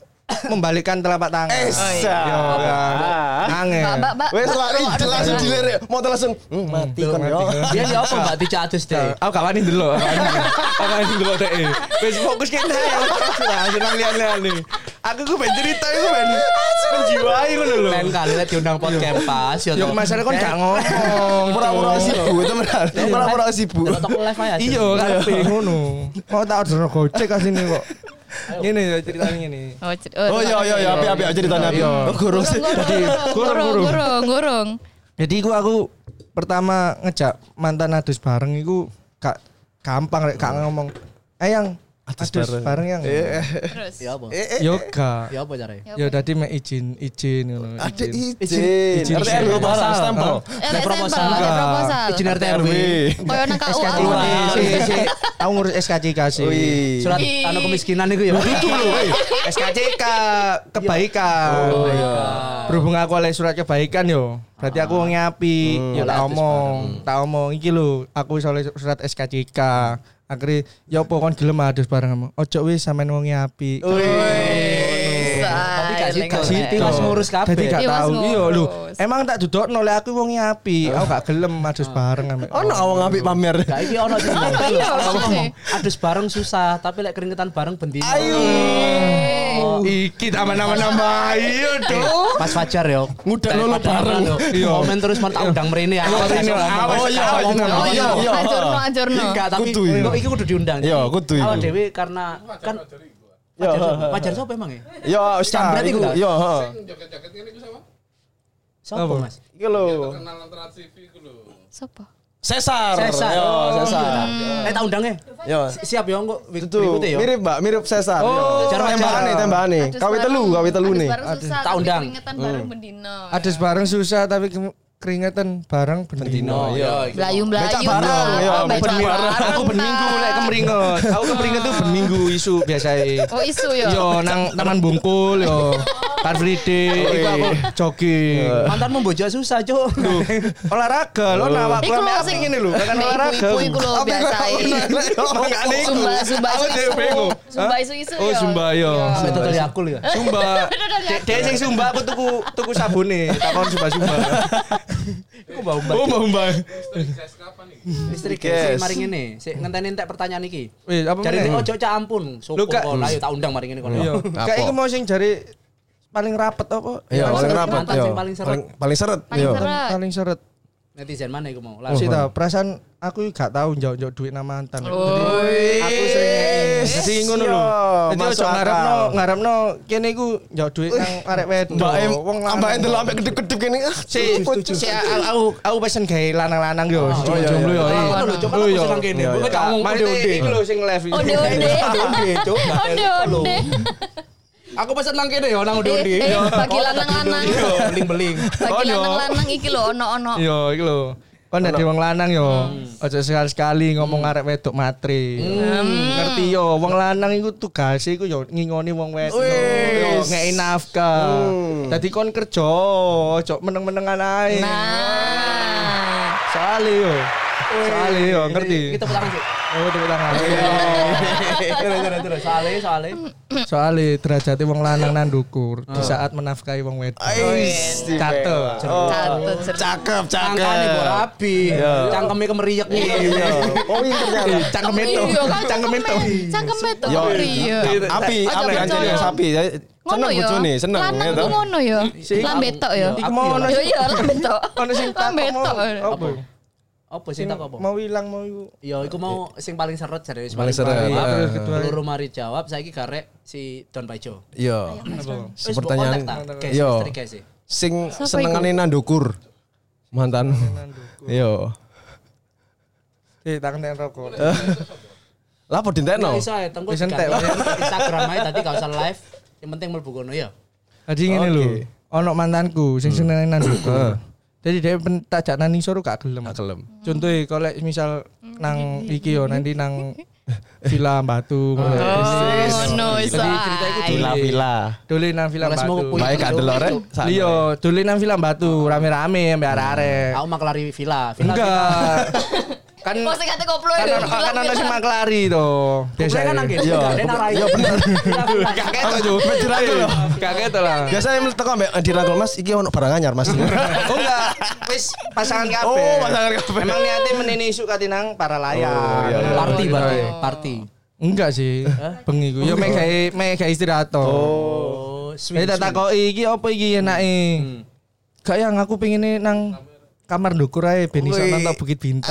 S4: membalikkan telapak tangan.
S5: Oh, iya.
S4: Yo, kan. Angel.
S3: Mbak, mbak, mbak.
S5: Wes
S3: Mbak,
S5: lari
S3: Mbak, Mbak,
S5: langsung
S3: Mbak.
S5: dilir ya. Mau langsung hmm, mati kon yo.
S1: Dia ya apa Mbak Tica adus deh.
S4: Aku gak wani dulu. Aku wani dulu deh. Wis fokus kene ae. Langsung nang liyane. Aku ku ben cerita iku ben menjiwai ngono lho.
S1: Lain kali lek diundang podcast pas ya.
S4: Yo masalah kon gak ngomong.
S5: Pura-pura sibuk temen. Pura-pura sibuk.
S1: Tok live aja.
S4: Iya, karepe ngono. Kok tak order gojek kasine kok. Ngene ya ceritanya ngene.
S3: Oh, cer-
S5: Oh iya iya iya api api aja ditanya api.
S4: Iya.
S5: Oh, Gurung sih.
S4: kurung,
S3: Gurung,
S4: kurung.
S3: gurung, gurung.
S4: Jadi iku aku pertama ngejak mantan "Eh, adus bareng Eh, iku gak gampang rek gak ngomong. Eyang,
S8: atas
S5: Terus
S8: bareng.
S5: bareng yang.
S3: Terus.
S2: Ya apa?
S4: Eh.
S8: Yoga.
S1: Ya apa caranya?
S3: Ya,
S8: Ya
S3: apa?
S8: tadi mek izin izin ngono.
S2: Ada
S8: izin.
S2: izin.
S8: izin.
S2: RT RW
S8: Proposal.
S2: barang stempel.
S8: Ah.
S3: Eh, ada proposal, ada
S8: Enggak.
S3: proposal.
S1: Izin RT RW.
S3: Kayak nang KUA.
S4: SKCK
S3: Bang.
S4: sih, sih, sih. Aku ngurus SKCK sih.
S2: Wih.
S1: Surat
S3: Ih.
S1: anu kemiskinan itu ya.
S4: SKCK kebaikan. Berhubung aku oleh surat kebaikan yo, berarti aku wong api. yo tak omong, tak omong iki lho, aku wis oleh surat SKCK. Akhirnya, ya apa kon gelem adus bareng kamu. Ojo wis sampean wong api.
S1: Oh, iya. Tapi gak sido.
S3: Say, lengkap.
S1: Tapi mas ngurus kabeh.
S4: Jadi gak
S3: Iya, Mas,
S4: tahu. Iya lho,
S3: ngurus.
S4: emang tak dudok oleh aku wong api. Aku gak gelem adus bareng ambek.
S5: Oh, no, awang ngapik pamer.
S1: Gak iki ono sing
S3: Apa iya maksudnya?
S1: adus bareng susah, tapi lek keringetan bareng bendino. Ayo.
S8: Iki tambah-tambah-tambah. Iya dong.
S1: Pas Fajar yo.
S5: Ngudak lolo bareng.
S1: Iya. Komen terus men tak undang mrene ya.
S8: mrene, awas,
S1: Oh iya,
S8: awas,
S1: ngomong.
S3: Oh iya,
S1: Iya.
S3: ajurno, ajurno.
S1: Enggak, tapi
S5: Kudu iya.
S1: kok iki kudu diundang.
S5: Iya, kudu
S1: Awak
S5: itu.
S1: dhewe karena kan Fajar sapa? Fajar sapa emang ya?
S5: Yo,
S1: Jambret
S5: standar
S1: iku
S5: iku.
S1: gak?
S5: Yo, oh. heeh.
S1: Sapa Mas?
S5: Iki lho.
S3: Sopo?
S5: Cesar.
S1: Cesar.
S5: Yo, Cesar.
S1: Oh, iya. Eh tak undang ya.
S5: Yo.
S1: Siap yo engko
S5: Tuh,
S1: berikutnya ya? yo.
S5: mirip Mbak, mirip Cesar. Oh,
S1: Jarang-jarang.
S5: tembakane, tembakane.
S3: Adus
S5: Kawi telu,
S3: bareng-
S5: kawi telu
S3: adus
S5: nih.
S3: bareng susah,
S1: Tak
S3: tapi
S1: undang.
S3: Keringetan bareng bendino.
S4: Adus bareng susah tapi ke- keringetan bareng
S5: Oh,
S4: bendino.
S5: Yo.
S3: Melayu-melayu.
S5: Becak bareng,
S3: Bang.
S5: iya,
S3: Oh, becak
S5: becak bareng.
S3: bareng,
S4: Aku ben minggu
S3: Bang.
S4: lek kemringet. Aku
S5: [LAUGHS]
S4: kemringet tuh ben minggu isu biasae.
S3: Oh isu yo.
S4: Yo nang Taman
S3: [LAUGHS]
S4: Bungkul yo. Car Free Day
S3: Iya.
S4: iku aku jogging.
S1: Mantanmu bojok susah, Cuk.
S4: Olahraga lo nawak
S3: Iku
S4: kuwi
S3: lho
S4: apa
S3: sing-
S4: ngene lho, kan
S3: Nah,
S4: olahraga.
S3: iku-
S4: [LAUGHS]
S3: iku lho biasa. iya.
S4: Makane iku.
S3: Sumba sumba
S4: Aku
S3: isu.
S4: dhewe Iya, bingung.
S3: Sumba iya.
S4: Hah?
S3: isu isu.
S4: Oh, Sumba, yo.
S1: Sampai total aku ya.
S3: [LAUGHS]
S4: Sumba. Dek- Dek sing Sumba aku tuku tuku sabune, takon
S3: [LAUGHS]
S4: Sumba-sumba.
S1: Iku bau
S4: Oh, Mbak Umba.
S1: listrik ya,
S5: Yes.
S1: sik mari ngene, sik ngenteni entek pertanyaan iki.
S4: Wis, apa
S1: Jare
S4: meneh? Iya.
S1: nek ojo cak ampun, sopo
S4: Lu gak-
S1: kok ayo tak undang mari ngene kono.
S3: oh,
S4: Yo, kayak iku mau sing jari paling rapet apa?
S5: Yo, paling
S1: seret,
S5: rapat
S1: mantan
S5: yo.
S1: sing paling seret.
S5: Paling paling seret
S3: Paling
S5: yo.
S3: seret.
S4: Paling seret.
S1: Netizen mana iku mau? Lah,
S4: Sih tau, perasaan aku gak tahu njok-njok duit nama mantan.
S3: Oh,
S1: aku sering
S4: Jadi ngono lho. Jadi
S5: masuk
S4: ojo
S5: akal.
S4: ngarepno, ngarepno kene iku njok duit nang arek wedo.
S5: Mbak Em,
S4: Wong lanang.
S5: ambake delok ambek kedip-kedip kene. Ah,
S4: Si, si aku aku aku pesen gawe lanang-lanang yo.
S5: Oh, iya,
S4: Jomblo
S5: iya.
S4: yo.
S1: Lah, ngono lho, cuma aku senang kene.
S5: Iya,
S1: Kowe gak ngomong
S4: Maksudnya
S1: onde-onde.
S4: iku lho sing live.
S3: Oh,
S4: iki.
S3: Onde-onde. [LAUGHS]
S1: Onde, Cuk.
S3: Onde-onde.
S1: Aku pesen nang kene yo nang onde-onde.
S3: Eh, eh,
S1: Yo.
S3: bagi
S1: Oh,
S3: lanang-lanang.
S1: onde-onde, yo, Beling-beling.
S3: Bagi
S4: Oh, yo.
S3: lanang-lanang iki lho ono-ono.
S4: Yo Iya, iku lho. Kon dadi wong lanang yo.
S5: Hmm.
S4: Ojo sekali-sekali ngomong arek wedok matre.
S5: Hmm.
S4: Ngerti yo, wong lanang iku tugase iku yo ngingoni wong wedok. Yo ngeki nafkah.
S5: Hmm.
S4: Dadi kon kerja, ojo meneng-menengan ae.
S3: Nah.
S4: Soale yo. Soale yo ngerti.
S1: Kita pulang sih.
S4: Oh, iya, tepuk tangan.
S1: [LAUGHS]
S4: Iya.
S1: Terus terus terus. Soale soale.
S4: Soale derajate wong lanang nan ndukur di saat menafkahi wong wedok. Catet.
S3: Catut
S5: Oh, Cakep,
S1: Angkane
S5: cakep.
S1: bola api. Cangkeme kemeriek nih.
S5: Iya. Oh, iya ternyata.
S4: Cangkem itu.
S1: iya, kan?
S4: Cangkem itu.
S3: Iya, Cangkem itu.
S5: Yo,
S3: Iya.
S5: api,
S3: Ojo
S5: api
S3: percaya.
S5: anjing sapi.
S3: Ngono
S5: Seneng
S3: yo.
S5: bojone, seneng
S3: Lanang
S5: ya
S3: ku
S5: toh.
S3: ngono yo.
S1: Iya.
S4: Si-
S3: Lambe tok ya. yo.
S4: Iku mau ono
S3: Yo yo lambe tok.
S4: Iya, [LAUGHS] ono sing
S3: Lambe
S4: takok
S3: tok.
S4: mau- apa?
S1: Apa sih tak apa?
S4: Mau ilang mau iku.
S1: Yo, Iya, iku mau sing paling seret jare wis
S5: Paling seret.
S1: parah.
S5: Iya.
S4: Terus kedua.
S1: Loro mari jawab saiki garek si Don Paijo.
S5: Yo.
S1: Wis
S5: Si pertanyaan Iya. Yo.
S1: Yo.
S5: sing senengane nandukur. Mantan. Yo.
S4: Eh, tak kena rokok.
S5: Lah apa dintekno?
S1: Iso ae tengku
S4: Wis entek,
S1: ya, diganti. Instagram ae tadi gak usah live. Yang penting mlebu kono ya.
S4: Jadi ngene lho. Ono mantanku sing seneng nang ndukur. Jadi dia pen- tak jak nang isor Eh. gak gelem.
S5: Gak gelem.
S4: Contohe kalau misal nang iki yo nanti [LAUGHS] nang Villa Batu.
S3: Ngono iso.
S5: iya. Vila-vila.
S4: Dole nang Villa
S1: Mulai
S4: Batu.
S1: semua
S5: Baik gak deloren.
S4: Iya, dole nang Villa Batu rame-rame ambek
S5: Eh.
S4: arek-arek.
S1: Aku maklari villa. Villa.
S4: Enggak. kan
S3: Kok sing kate koplo
S4: kan
S3: yo.
S4: ono- kan ono sing maklari to.
S1: Biasa
S5: ya.
S1: kan nang kene. Iya, bener.
S4: Gak ketok yo.
S5: Dirangkul lho.
S4: Gak ketok lah.
S5: Biasanya mlebu teko mbek dirangkul Mas, iki ono barang anyar
S4: [LAUGHS]
S5: Mas.
S4: Oh enggak, wis pasangan kabeh.
S5: Oh, pasangan kabeh.
S4: Emang niate menene isu kate nang para
S5: iya,
S4: layar.
S5: iya.
S1: Party berarti. Party.
S4: Enggak sih, bengi ku. Yo mek gawe mek gawe istirahat to.
S1: Oh,
S4: Eh tak takoki iki apa iki enake?
S5: Hmm.
S4: Gak yang aku pengine nang kamar ndukur ae ben iso
S5: Wih.
S4: nonton Bukit Bintang.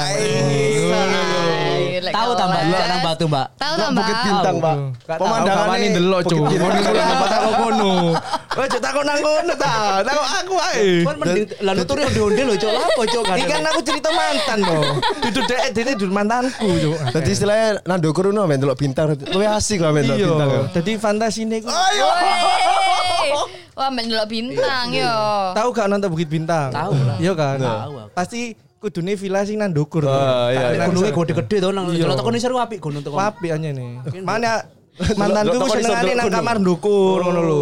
S1: Tahu tambah nang batu, Mbak.
S3: Tahu tambah.
S4: gitu.
S5: Bukit Bintang, Pak.
S4: Gak tahu,
S5: Pemandangane
S4: gak wani ndelok, Cuk. Ngono aku kono.
S8: Ojo takut nang kono ta. Takut aku ae.
S1: Kon mending lah nuturi onde-onde lho cok apa cok gak ada.
S8: Ikan aku cerita mantan to. Duduk dek dene duduk mantanku yo.
S5: Tadi istilahnya Nando Kuruno men delok bintang. Luwe asik lah men delok
S4: Iya.
S5: bintang. ya.
S4: Jadi fantasine ku.
S3: Wey.
S4: [LAUGHS]
S3: Wah, ambil dulu bintang yo.
S4: Tahu gak nonton Bukit Bintang?
S1: Tahu lah.
S4: Iya kan?
S1: Tahu aku.
S4: Pasti kudune villa sing nang ndukur. to.
S5: Ah, iya,
S4: Tak
S5: iya.
S4: kenang
S1: Gunungnya
S4: serem.
S1: gede-gede tau nang
S4: Iya.
S1: celok tekan isor apik gunung tekan.
S4: Wapi aja nih. Mana mantanku
S5: Delok- delok
S4: senengane
S5: iso
S4: nang
S5: delok
S4: kamar ndukur ngono lho.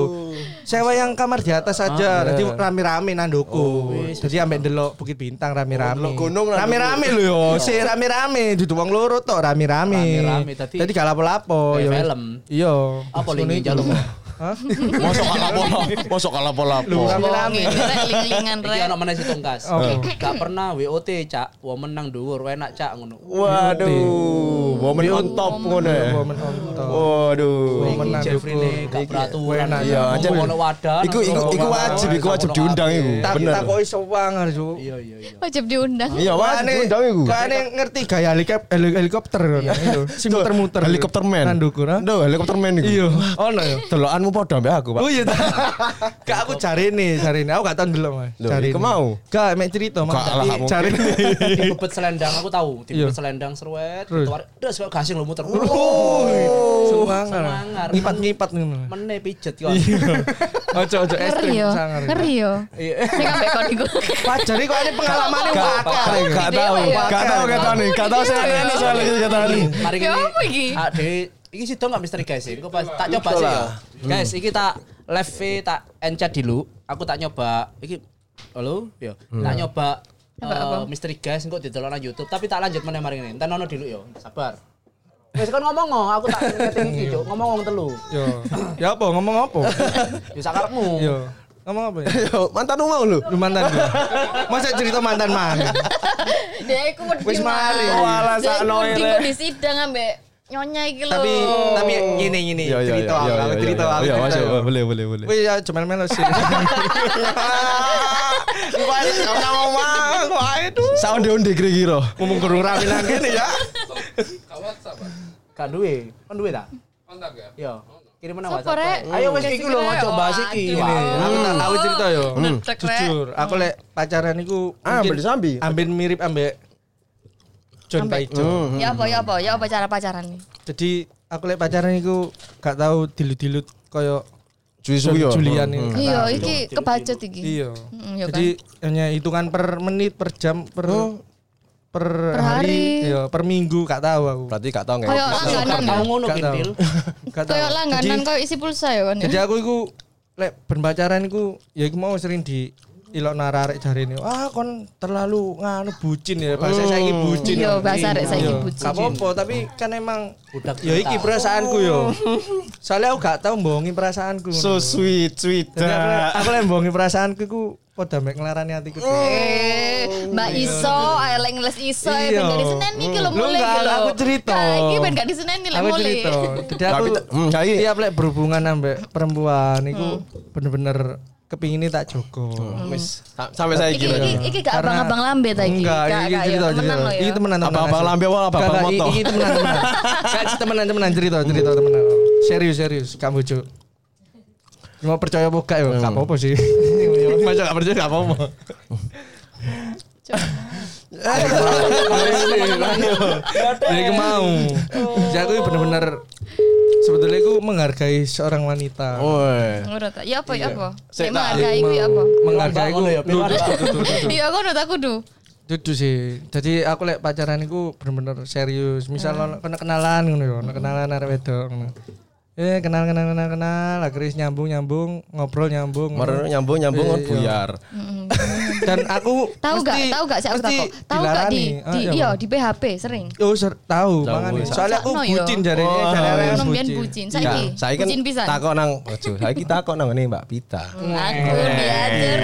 S4: Sewa yang kamar di atas aja, jadi rame-rame nang ndukur. Jadi ambek delok Bukit Bintang
S5: Oh,
S4: rame-rame.
S5: delok gunung nang
S4: Rame-rame lho yo, si rame-rame duduk wong loro tok rame-rame.
S1: Rame-rame, tadi-
S4: Jadi gak lapo-lapo
S1: Kayak
S4: yo.
S1: film.
S4: Iya.
S1: Apa
S4: Ngono
S1: lagi
S4: iku.
S1: jaluk?
S4: [LAUGHS] Hah?
S8: Mosok
S5: Iya.
S8: kalapo-lapo. Mosok
S4: Lho,
S8: kalapo-lapo.
S4: Rame-rame.
S3: Ling-lingan
S1: Iki
S3: rek.
S1: ana meneh si tungkas.
S4: Oh.
S1: Gak pernah WOT cak, woman nang dhuwur enak cak ngono.
S5: Waduh, momen on top ngono ya.
S4: Momen on top.
S5: Waduh.
S4: Woman nang
S1: Iki Jeffrey
S4: dhuwur.
S1: ne gak
S4: Iki
S1: peraturan.
S4: enak.
S5: Iya,
S1: Ngomong
S5: anjen.
S1: ono wadah.
S5: Iku
S1: nang
S5: iku
S1: ngono
S5: iku
S1: wadah,
S5: wajib, iku
S1: nang
S5: wajib
S1: ngono
S5: diundang
S1: kabeh.
S5: iku.
S4: Tak
S5: Bener.
S4: tak kok iso wangar, Cuk.
S1: Iya iya iya.
S3: Wajib diundang.
S5: Iya, wajib
S4: Kane-
S5: diundang iku.
S4: Kane ngerti gaya helikop- heli- helikopter ngono, Iya. itu. Si
S5: Tuh,
S4: muter-muter.
S5: Helikopter man.
S4: Nandukur, ha?
S5: Duh, helikopter man iku.
S4: nah. Iya. Ono ya.
S5: Delokanmu padha mbek aku, Pak.
S4: Oh iya. [LAUGHS] tak. Gak aku cari nih, cari nih. Aku gak tahu dulu mas.
S5: Loh,
S4: Cari
S5: iku
S4: nih.
S5: mau?
S4: Gak, mek cerita mas.
S5: Gak lah,
S4: Tapi
S5: gak mungkin.
S4: Cari
S5: [LAUGHS]
S4: nih.
S1: Di bebet selendang aku tahu, di
S4: Iya.
S1: bebet selendang seruet,
S4: Terus?
S1: tuar. Terus kok gasing lu muter.
S3: Oh,
S4: Semangar.
S1: Semangar.
S4: Ngipat-ngipat nih.
S1: Meneh pijet kok.
S4: [LAUGHS] Ojo ojo
S3: Ngeri
S4: ekstrim
S3: yo.
S4: sangar.
S5: gitu.
S3: Ngeri yo. Nek ambek kon
S4: [LAUGHS]
S3: iku.
S4: Pak jadi kok ini pengalaman yang bakar.
S5: Gak- Gak tahu, gak tahu ketane, gak tahu saya aneh soalnya gitu ketane.
S1: Mari
S3: Ya
S1: ini.
S3: apa iki?
S1: Ah, Dewi, iki sido enggak misteri guys. Engko pas tak coba
S5: Iso
S1: sih ya.
S5: lah.
S1: Guys, iki tak live tak encat dulu. Aku tak nyoba iki halo yo. Tak nyoba
S3: Apa,
S1: eh,
S3: apa?
S1: misteri guys engko didelok nang YouTube, tapi tak lanjut meneh mari ngene. Entar ono dulu yo. Sabar. Wes kon ngomong oh, aku tak ngeting iki, Cuk. Ngomong wong telu.
S4: Yo. Ya apa ngomong apa?
S1: Yo sakarepmu.
S4: Yo. Ngomong apa ya?
S5: Yo, mantanmu mau lu.
S4: Lu mantan gue. Masa cerita mantan mana?
S3: Dek iku wedi.
S4: Wis mari.
S5: Walah,
S3: Dek
S5: sakno
S3: iku wedi
S5: rek.
S3: kok disidang ambek nyonya iki lho.
S4: Tapi tapi gini gini
S5: Iya, iya, iya,
S4: cerita aku,
S5: iya,
S4: aku
S5: iya, iya.
S4: cerita aku.
S5: Iya,
S4: cerita
S5: masuk,
S4: aku.
S5: boleh, boleh, boleh.
S4: Wih ya cuma melo sih. [LAUGHS] Wah, kamu mau mang, aduh.
S5: Sound onde kira-kira.
S4: Ngomong guru rame nang kene ya.
S1: Gak duwe. Kon duwe ta? Kontak ya? Yo. Kirim nang
S3: Sopo, Rek?
S1: WhatsApp. Ayo wis iki lho coba bahas iki.
S3: Waduh.
S1: Wah.
S4: Aku tak aku cerita yo. Hmm.
S3: Nedek, Rek.
S4: Jujur, aku
S3: Hmm.
S4: lek pacaran iku
S5: Ah,
S4: mungkin
S5: ambil sambi.
S4: Ambil mirip ambek John Paijo.
S3: Ya apa ya apa ya apa cara pacaran nih?
S4: Jadi aku lek pacaran iku gak tahu dilut-dilut koyo
S5: Cuy
S4: John
S5: suyo.
S4: Julian ini.
S3: Iya, iki kebacut iki.
S4: Iya.
S3: Mm, iya
S4: Jadi hanya hitungan per menit, per jam, per per,
S3: hari.
S4: hari, iya, per minggu gak tahu aku.
S5: Berarti gak tau nggak?
S3: Kayak
S1: Gak
S3: langganan. ya?
S1: tau ngono
S4: Gak tahu.
S1: Gintil.
S4: Gak tahu.
S3: Kayak langganan
S4: Jadi,
S3: kayak isi pulsa ya kan. ya?
S4: jadi aku iku lek ben pacaran iku ya iku mau sering di ilok nararek jarine. Ah kon terlalu nganu bucin ya bahasa saiki bucin.
S3: Iya, bahasa rek saiki
S4: Iya,
S3: bucin.
S4: Gak apa-apa tapi kan emang
S1: Budak
S4: ya
S1: cinta.
S4: iki perasaanku
S3: [LAUGHS]
S4: yo. Soalnya aku gak tahu bohongin perasaanku.
S5: So sweet, sweet.
S4: Jadi aku lek- aku lek bohongin perasaanku iku padha mek nglarani atiku.
S3: Eh, Mbak Iso, ayo lek ngeles Iso ya
S4: Iya.
S3: ben gak diseneni iki lho
S4: Lu
S3: mulai
S4: enggak,
S3: iki lho.
S4: aku cerita.
S3: Nah, iki ben gak diseneni lek
S4: aku
S3: mulai.
S4: cerita jadi aku
S5: Tapi hmm, saiki
S4: tiap lek berhubungan ambek perempuan itu
S3: Hmm.
S4: bener-bener kepingin tak jogo
S5: wis sa- sampai saya
S3: Iki
S5: kira.
S3: iki iki gak
S4: Karena-
S3: abang-abang lambe ta iki.
S4: enggak
S3: Gak,
S4: iki
S3: gak,
S4: cerita
S3: ya. Temenan
S4: cerita
S3: lo ya.
S4: ini temenan temenan
S5: Abang-abang
S4: asli.
S5: lambe apa abang-abang
S4: Enggak, enggak,
S5: motor?
S4: iki iki temenan temenan saya temenan temenan cerita cerita temenan serius serius kamu cuk mau percaya apa enggak ya enggak apa-apa sih masa enggak percaya enggak apa-apa Jadi aku mau
S3: Oh.
S4: Jadi aku bener-bener Sebetulnya aku menghargai seorang wanita
S5: Oh. Woi.
S3: Ngono ta. Ya apa ya
S4: Iya.
S3: apa?
S5: Sik, tak.
S3: Nek menghargai ku ya
S4: [LAUGHS]
S3: apa?
S4: menghargai
S1: Ngono ya,
S4: ku
S1: Pil.
S3: Iya, aku udah aku kudu.
S4: Dudu sih. Jadi aku lek pacaran iku bener-bener serius. Misal
S3: Hmm.
S4: ono kena kenalan ngono ya, ono kenalan arek wedok ngono. Eh kenal kenal kenal kenal, akhirnya nyambung nyambung, ngobrol nyambung.
S5: Mer nyambung nyambung kan
S4: Iya.
S5: buyar.
S3: Hmm,
S4: Dan aku
S3: Tahu gak?
S4: mesti-
S3: Tahu gak sih aku
S4: mesti
S3: takut? Tahu gak di
S4: dilarani.
S3: di
S4: Ah,
S3: iya di PHP sering.
S4: Oh, ser- tahu, makanya.
S5: wis.
S4: Soalnya aku
S3: Sakno ya.
S4: bucin jare
S5: iya. Oh,
S4: jare arek
S3: Ono mbiyen
S4: bucin.
S3: bucin
S5: Enggak,
S3: saiki.
S5: Saya kan
S3: Bucin pisan.
S5: takok nang ojo. Saiki takok nang ngene Mbak Pita.
S3: Aku diatur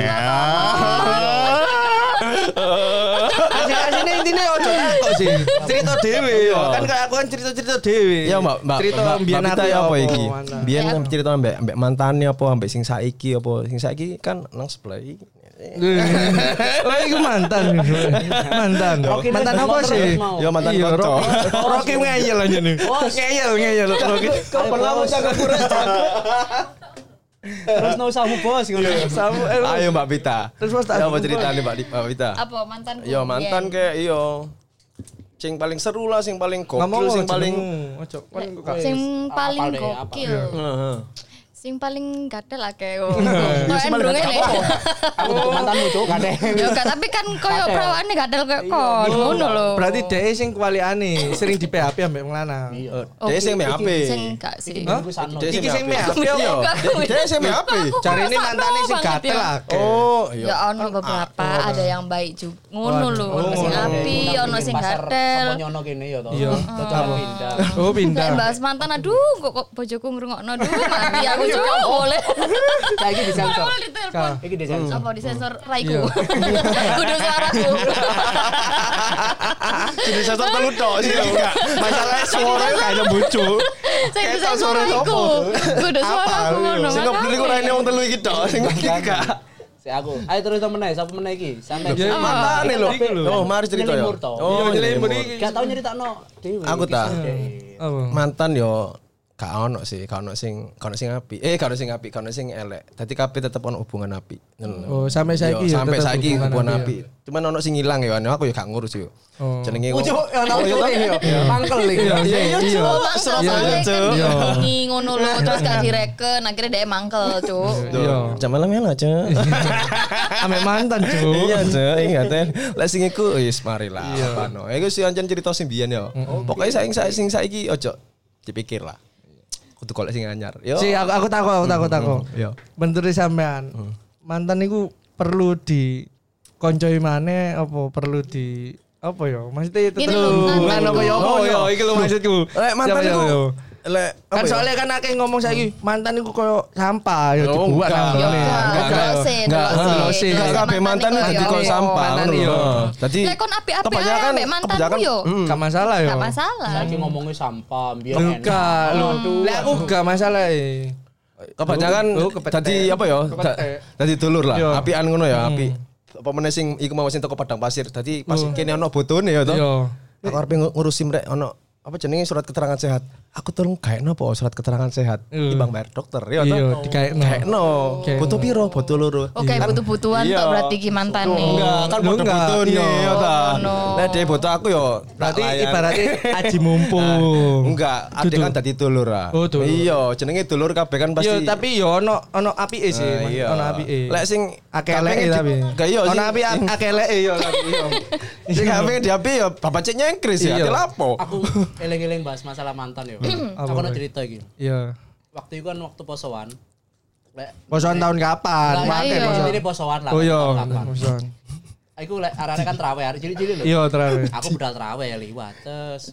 S4: Asine intine ojo takok sih. Cerita dhewe yo. Kan kayak aku kan cerita-cerita
S5: [LAUGHS]
S4: dhewe.
S5: Ya Mbak Mbak
S4: cerita
S5: Mbak-
S4: mbiyen
S5: Mbak Pita
S4: aku
S5: ya apa iki?
S4: mana.
S5: Biyen kan cerita mbak mbak mantannya apa mbak sing saiki apa sing saiki kan nang sebelah iki.
S4: Oh, iku mantan. Mantan.
S1: Rocky
S4: Mantan
S1: Nurman
S4: apa
S1: terus
S4: sih?
S1: mau.
S5: Ya mantan
S4: Iya,
S5: kocok. [LAUGHS]
S4: Rocky- Rocky ngeyel aja nih. Ngeyel, ngeyel Rocky.
S1: Kapan lama Terus no samu bos ngono.
S5: Samu- eh,
S8: Ayo Mbak Pita.
S5: Terus Mas tak
S8: Ya apa ceritanya Mbak Di- Mbak Pita?
S3: Apa mantan? Iya.
S5: Yo Iya, mantan kayak iyo. Sing paling seru lah, sing paling
S4: Ngomong
S5: gokil, sing paling
S4: ojo
S3: Lek, sing paling
S1: Apal deh, apal.
S3: gokil.
S5: Heeh.
S3: Sing paling gatel lah kayak. Kok endrunge lek.
S1: Aku tuh mantanmu cuk kan deh.
S3: Yo gak tapi kan koyo perawane gatel kayak kon ngono lho.
S4: Berarti DE sing kualiane sering di PHP ambek wong lanang.
S3: Oh,
S5: Dia sing
S3: iki-
S5: MHP.
S3: Sing gak sih.
S1: Hah? Sano.
S5: Dia
S4: Iki sing
S5: MHP.
S4: PHP yo.
S5: Dia Iya. sing MHP.
S4: Cari ini mantane sing
S3: banget
S4: gatel
S3: ya.
S4: lah.
S5: Oh,
S3: Ya
S5: iya.
S3: ono beberapa, ada yang baik juga. Ngono lho, ono sing api, ono sing gatel.
S1: Sopo nyono kene yo to.
S4: Iya.
S1: Cocok pindah.
S4: Oh
S3: Lek
S4: pindah.
S3: bahas mantan aduh kok, kok bojoku ngrungokno dulu mati aku juga oleh.
S1: Saiki disensor.
S3: Oleh ditelepon.
S1: Iki disensor.
S3: Apa disensor raiku? [LAUGHS] Kudu suaraku.
S5: Jadi sensor telu tok sih ya, enggak.
S8: Masalahnya suara gak ada muncul.
S3: Sing disensor raiku. Kudu suaraku ngono.
S5: Sing ngeblur iku raine wong telu iki tok, sing iki gak.
S1: Si aku. Ayo terus to meneh, sapa meneh iki? Sampai.
S4: Iya, iya.
S5: Matane lho.
S4: Iki lho.
S5: Oh, mari cerita yo.
S1: Nyelimur toh. Iya,
S5: Oh, nyelimur iki.
S1: Gak tau nyeritakno dhewe.
S5: Aku tak.
S4: Oh.
S5: mantan yo gak ono sih, gak ono sing, gak ono sing apik. Eh, gak ono sing apik, gak ono sing elek. Dadi kabeh tetep ono hubungan apik. Ngono.
S4: Oh, sampai saiki
S5: Yo,
S4: ya
S5: sampai
S4: tetep
S5: saiki
S4: hubungan
S5: hubungan
S4: apik ya?
S5: apik. Cuman ono sing ilang ya, aku yo gak ngurus yo.
S4: Oh.
S5: Jenenge
S1: Oh, cuk, ono iki. Mangkel iki.
S4: Iya, iya, iya.
S3: Surabaya kan
S4: Iya.
S3: ini ngono lho terus gak direken akhirnya dia mangkel cuk.
S4: Iya.
S5: Jam malam ya lah, Cuk.
S4: Ambek mantan, Cuk.
S5: Iya, Cuk. Ingaten. Lah sing iku wis mari lah. Pano. Iku si ancen cerita sing biyen yo. Pokoke saing saing sing saiki ojo dipikir lah. Kudu golek sing anyar. Yo.
S4: Si aku aku takut, aku takut, takut.
S5: Iya. Hmm.
S4: Benture sampean. Mantan niku perlu di koncoi maneh apa perlu di apa ya? Maksudnya itu
S3: Gini
S4: terus.
S3: lho,
S4: Kan apa ya apa
S8: Oh,
S4: ya?
S8: iya, iki lho maksudku.
S5: Lek mantan
S4: Iya, iya,
S5: iku.
S4: iya.
S5: Lek
S4: Kan
S5: apa ya? Hmm.
S4: soalnya kan akeh ngomong saiki mantan niku koyo sampah ya
S5: Oh,
S4: dibuat
S5: enggak.
S4: nang ngene.
S5: Enggak,
S3: Enggak,
S5: enggak,
S3: telosin,
S5: enggak,
S3: telosin.
S4: telosin.
S5: Enggak
S3: Telosin
S5: kabeh mantan
S3: iku
S5: dadi
S3: ya.
S5: koyo sampah.
S4: Mantan
S5: ngono.
S4: iya.
S5: Dadi
S3: Lek kon apik-apik ae
S5: kebanyakan-
S3: ambek mantanmu
S5: kebanyakan-
S3: yo.
S5: Mm.
S4: Gak masalah ya.
S3: Gak masalah. Oh.
S1: Saiki ngomongnya sampah, biar enak.
S4: Enggak lho. Lah aku gak masalah. eh.
S5: kebanyakan
S4: Oh, kepetek.
S5: dadi apa ya? da-
S4: Kepetek. Hmm.
S5: Dadi dulur lah.
S4: Iya.
S5: Apian ngono ya, api. Apa meneh sing iku mau sing teko padang pasir. Dadi pas
S4: Oh.
S5: kene ono botone ya to.
S4: Yo.
S5: Aku arep ngu- ngurusi mrek ono apa jenenge surat keterangan sehat. Aku tolong gaekno apa surat keterangan sehat.
S4: Iya.
S5: Ibang bayar dokter ya
S4: Iya,
S5: to.
S4: dikaekno.
S5: Gaekno.
S4: Gaekno.
S5: Butuh piro? Butuh loro.
S3: Oke,
S5: Kan-
S3: Oh, butuh-butuhan
S5: Iya.
S3: tok berarti ki mantan nih.
S5: Enggak, kan
S4: Lu
S5: butuh
S4: enggak,
S5: butuh
S4: iya.
S5: ya ta.
S3: Ngono.
S5: Lah dia butuh aku yo. tak
S4: Berarti
S5: layan.
S4: ibaratnya aji mumpung.
S5: [LAUGHS] Enggak, adek kan dadi dulur ah.
S4: Oh, dulur.
S5: Iya, jenenge dulur kabeh kan pasti.
S4: Yo Iya, tapi yo ono ono apike sih,
S5: Ah, iya.
S4: ono apike.
S5: Lek sing
S4: akeh eleke
S5: kabeh
S4: tapi.
S5: di- Gak iya
S4: Ono
S5: sing-
S4: apike akeh iya, eleke yo tapi yo.
S5: [LAUGHS] Sing kabeh diapi ya bapak cek nyengkris ya, ati
S4: Iya.
S5: lapo.
S1: Aku eling-eling bahas masalah mantan ya. Aku ada cerita iki.
S4: Iya.
S1: Waktu itu kan waktu posoan. Lek
S4: Posoan tahun
S1: Lah,
S4: kapan? Pakai
S1: iya,
S4: Nah, posoan.
S1: Ini posoan lah.
S4: Oh iya,
S1: tahun kapan.
S4: posoan.
S1: Aku lek arane kan traweh, hari cilik-cilik lho.
S4: Iya, terakhir.
S1: Aku budal traweh ya liwat. Terus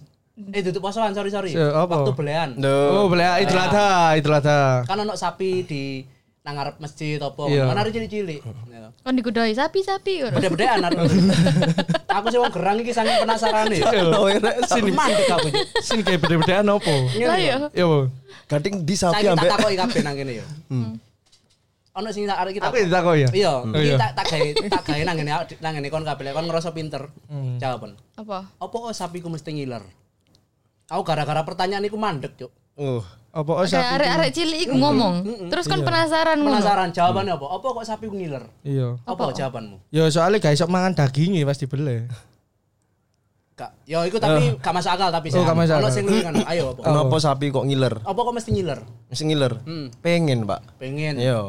S1: eh duduk posoan, sorry sorry.
S4: Se- Iya, apa?
S1: Waktu belean.
S4: Oh,
S5: Duh.
S4: boleh Idul Adha, Idul Adha.
S1: Kan ono sapi di nang ngarep masjid apa.
S4: Iya.
S1: Kan hari cilik-cilik. Ya.
S3: Kon digudoi sapi-sapi ngono.
S1: Beda-bedaan aku. Aku sih wong gerang iki saking penasaran ya.
S4: Yo,
S1: Sini mandek aku. Cuk.
S4: sini kayak beda-bedaan opo?
S1: Iya,
S3: Lah ya.
S4: Yo. Bu.
S5: Gading di sapi
S1: Saya tak
S5: ambek.
S1: takoki kabeh nang kene ya. Ono sing tak arek kita.
S4: Hmm. Aku ditakoki ya.
S1: Iya,
S4: Oh,
S1: iki
S4: iya.
S1: tak tak gawe tak gawe nang ngene nang ngene kon kabeh kon ngerasa pinter.
S4: Hmm.
S1: Jawaban.
S3: Apa?
S1: Apa kok sapiku mesti ngiler? Aku gara-gara pertanyaan iku mandek, Cuk.
S5: Uh.
S4: Apa oh,
S3: Ada
S4: sapi?
S3: arek-arek cilik iku ngomong. Terus kon penasaran ngono.
S1: Penasaran jawabannya apa? Apa kok sapiku ngiler?
S4: Iya.
S1: Apa jawabanmu?
S4: Yo soalnya gak iso mangan dagingnya pas dibeli.
S1: Kak, ya iku tapi gak masuk akal tapi saya.
S4: Oh, gak masuk
S1: Ono
S4: akal.
S1: sing ngiler kan,
S4: [COUGHS]
S1: ayo apa?
S5: Kenapa sapi kok ngiler?
S1: Apa kok mesti ngiler?
S5: Mesti ngiler.
S1: Hmm.
S5: Pengen, Pak.
S1: Pengen.
S5: [LAUGHS] Iya.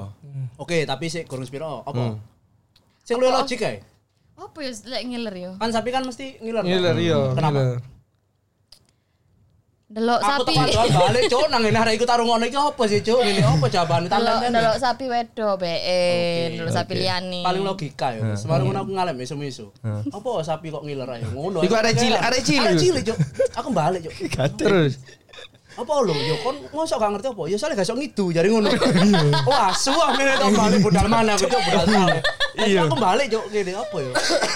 S1: Oke, tapi sik gurung spiro
S4: Hmm.
S1: apa? Sing luwih logik ae.
S3: Apa ya lek ngiler yo?
S1: Kan sapi kan mesti ngiler.
S4: Ngiler
S1: Pak.
S4: iya.
S1: Kenapa?
S4: ngiler.
S3: Delok
S1: Aku
S3: sapi.
S1: tak paduan balik, Cuk, nang ngene arek iku tarung ngono iki apa sih, Cuk? Ngene apa jawabane?
S3: Delok
S1: Tantan-tantan.
S3: delok sapi wedo bae, delok sapi liyane.
S1: paling logika ya. Semalam ngono aku ngalem isu-isu. Apa kok sapi kok ngiler ae ngono.
S4: Iku arek cilik, arek cilik.
S1: Arek cilik, Cuk. Aku balik, Cuk.
S4: Terus.
S1: Apa lho yo kon ngosok gak ngerti apa? Ya soalnya gak iso ngidu jare ngono. Wah, suah ngene tok balik budal mana aku Cuk, budal tau. Iya. Aku balik, Cuk, ngene apa ya?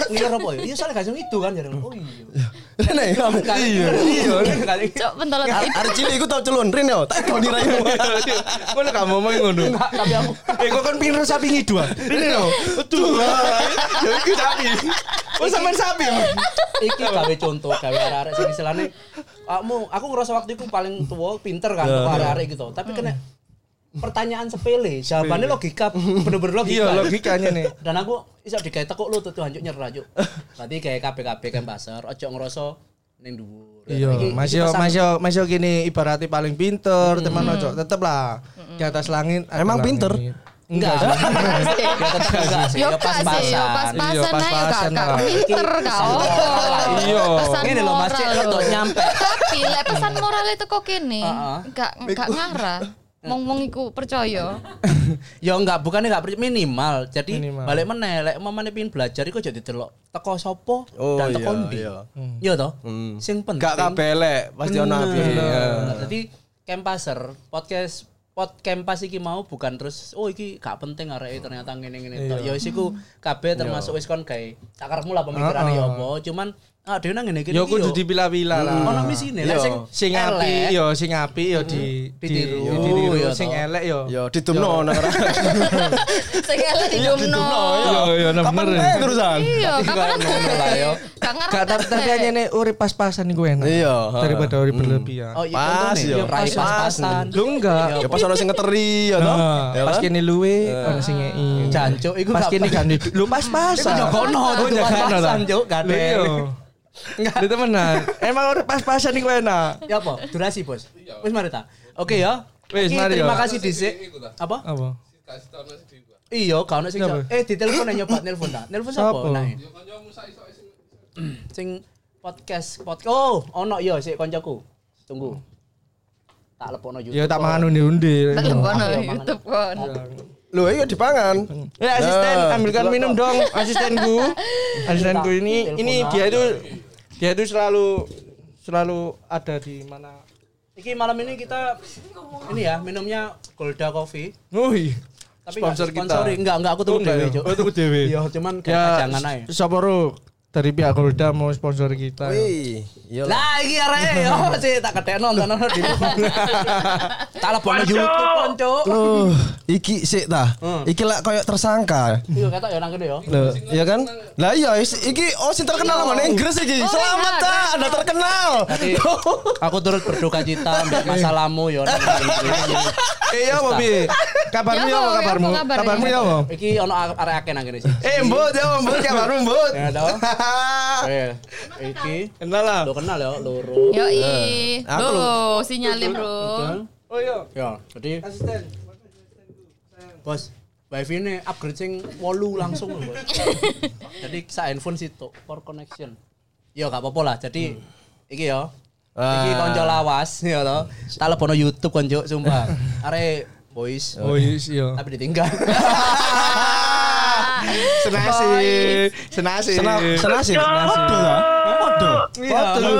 S1: Ngiler apa ya? Ya soalnya gak iso ngidu kan jare. Oh iya.
S5: Nek,
S1: Iya. Iya.
S3: Cok pentolot sapi.
S5: Arek cilik iku tau celundrin yo, [LAUGHS] tak kau diraimu.
S4: Ngono gak ngomong ngono.
S1: Tapi aku
S4: Eh kok kan pinter sapi ngidua. Ini
S5: [LAUGHS]
S4: loh. Aduh. Ya iki sapi. Oh sampean sapi. emang?
S1: iki gawe contoh gawe arek-arek sing istilahne kamu aku ngerasa waktu itu paling tua pinter kan kok arek-arek gitu tapi kena pertanyaan sepele, jawabannya logika, bener-bener logika.
S4: Iya, logikanya nih.
S1: Dan aku iso diketek kok lu tuh lanjut nyerah yuk. Berarti kayak KBKB kan pasar, ojo ngerasa ning dhuwur. Iki-
S4: Iya,
S1: iki
S4: masih
S1: pesan-
S4: masih masih gini ibaratnya paling pinter, teman ojo tetep lah di atas langit. ada
S5: Emang
S4: langit.
S5: pinter?
S1: Enggak. Ya tetep enggak sih,
S3: Yo
S1: ya
S3: pas sih, yo
S1: pas-pasan.
S3: pas-pasan ae
S4: Iya,
S3: gak
S4: pas-pasan
S3: gak
S4: lah.
S3: pinter gak apa.
S4: Iya.
S3: Pesan
S1: Ngene lho, Mas, cek
S3: moral.
S1: rodok nyampe.
S3: Tapi lek pesan moral itu kok kene,
S1: Heeh.
S3: gak gak ngarah. Mong-mong iku percaya.
S1: Ya enggak, bukannya enggak percaya, minimal. Jadi
S4: Minimal.
S1: balik meneh lek mamane pengin belajar iku jadi delok teko sapa
S5: Oh,
S1: dan teko
S5: iya,
S1: ndi.
S5: iya.
S1: Iya toh?
S5: Hmm.
S1: Sing penting. Nah,
S5: Gak kabeh lek, pasti ono api. Iya.
S1: Jadi Kempaser podcast pod Kempas iki mau bukan terus oh iki gak penting arek ternyata ngene-ngene
S4: Iya.
S1: tok. Ya wis iku kabeh
S5: Iya.
S1: termasuk wis kon gawe sakarmu lah pemikirane ya apa. Cuman ah dhewe nang ngene iki.
S5: Ya
S1: Hmm.
S4: Yo kudu dipilah-pilah lah.
S1: Ono misine
S5: Iya.
S1: lek sing
S4: Sing
S1: elek, Hmm.
S4: api yo sing api yo di
S1: Ditiru.
S4: di- ditiru.
S1: Iya,
S4: sing
S1: toh.
S4: elek yo.
S5: Yo didumno ono ora.
S3: Sing elek digumno.
S4: yo nah
S5: Kapan
S4: bener.
S5: eh, terusan?
S3: Iya, kapan aku
S1: lah, yo.
S3: gak ngarah.
S4: Gak tapi tapi hanya nih urip pas-pasan gue enak.
S5: Iya, ha.
S4: Daripada urip berlebihan.
S1: Oh, iya, pas
S5: Pas, yo.
S1: ya, pas
S5: Pas,
S1: pasan.
S4: Lu enggak.
S5: Ya pas ono sing ngeteri ya toh.
S4: Nah,
S5: Ya
S4: pas
S5: kan?
S4: kini luwe, kan sing ngei.
S1: Jancuk, iku
S4: pas
S1: gak-
S4: kini kan di- lu pas
S1: Iku
S4: pasan.
S1: nyokono,
S4: Oh,
S1: itu
S4: nyokono,
S1: pas-pasan,
S4: ta?
S1: Cuk, gak
S4: Lu
S1: ada.
S4: iya. Lu temenan. Emang urip pas-pasan iku enak.
S1: Ya apa? Durasi, Bos. Wis mari ta. Oke ya.
S4: Wis,
S1: Iki,
S4: mari, yo.
S1: Terima kasih dhisik. Apa?
S4: Apa?
S1: Iya, gak ono sing
S4: Siapa?
S1: eh ditelepon aja Pak nelpon ta. Nelpon sapa?
S4: Siapa?
S1: Nah. sing podcast podcast. Oh, ono ya sik koncoku. Tunggu. Tak lepokno YouTube.
S4: Ya tak
S1: kok.
S4: mangan undi-undi.
S3: Telepono YouTube kon.
S5: Lho iya dipangan.
S4: Eh asisten
S5: Nah,
S4: ambilkan
S5: betul,
S4: minum dong [LAUGHS] asistenku. Asistenku ini
S1: Teleponan.
S4: ini dia itu dia itu selalu selalu ada di mana.
S1: Iki malam ini kita ini ya minumnya Golda Coffee.
S4: Wih.
S1: Tapi
S4: Sponsor kita.
S1: Sponsori. Enggak, enggak aku tuku
S4: Oh,
S1: dhewe,
S4: enggak ya?
S1: Cuk.
S4: Oh, tuku dhewe.
S1: Iya, cuman kayak
S4: Ya
S1: jangan ae.
S4: siapa Ru? dari pihak Golda mau sponsor kita.
S5: Wih, iya. lah.
S1: Lah iki areke yo sih tak ketekno nonton di. Tak lepokno YouTube kon, Cuk.
S5: Loh, Oh, iki sik ta.
S4: Hmm.
S5: Iki lah koyo tersangka.
S1: Iya, ketok yo nang kene yo.
S5: Loh, iya kan? Lah iya is- iki oh sing
S4: Iya.
S5: terkenal sama Inggris
S4: Oh,
S5: iki. Selamat
S3: iya,
S5: ta, Anda terkenal. [LAUGHS]
S1: Aku turut berduka cita ambek masalahmu yo. nang kene.
S4: Eh
S5: [LAUGHS]
S4: ya apa Bi?
S3: Ya
S4: Kabarmu ya apa
S3: apa,
S4: kabarmu?
S3: apa kabarnya?
S4: Kabarmu ya apa?
S1: Iki ono a- arek akeh nang kene sih.
S4: Eh mbok ya apa, mbok kabarmu mbok.
S1: Ya tau.
S5: [LAUGHS]
S1: Eh, iki
S4: Kenal lah.
S1: lo kenal ya loro.
S3: Yo i.
S1: Iya.
S3: Loh, sinyalnya, Bro.
S4: Oh iya.
S1: Ya, jadi
S4: Asisten.
S1: bos Wifi ini upgrade sing 8 langsung loh, bos. [LAUGHS] Jadi sak handphone situ for connection. Hmm. Yo Iya, gak apa-apa lah. Jadi iki yo.
S4: Ah.
S1: Iki konco lawas ya to.
S4: Hmm.
S1: Tak lebono YouTube konco
S4: [LAUGHS]
S1: sumpah. Arek boys
S4: Oh iya. iya.
S1: tapi
S4: [LAUGHS]
S1: ditinggal.
S4: Senasi. Senasi. Iya,
S5: Senasi. Waduh ta. Waduh.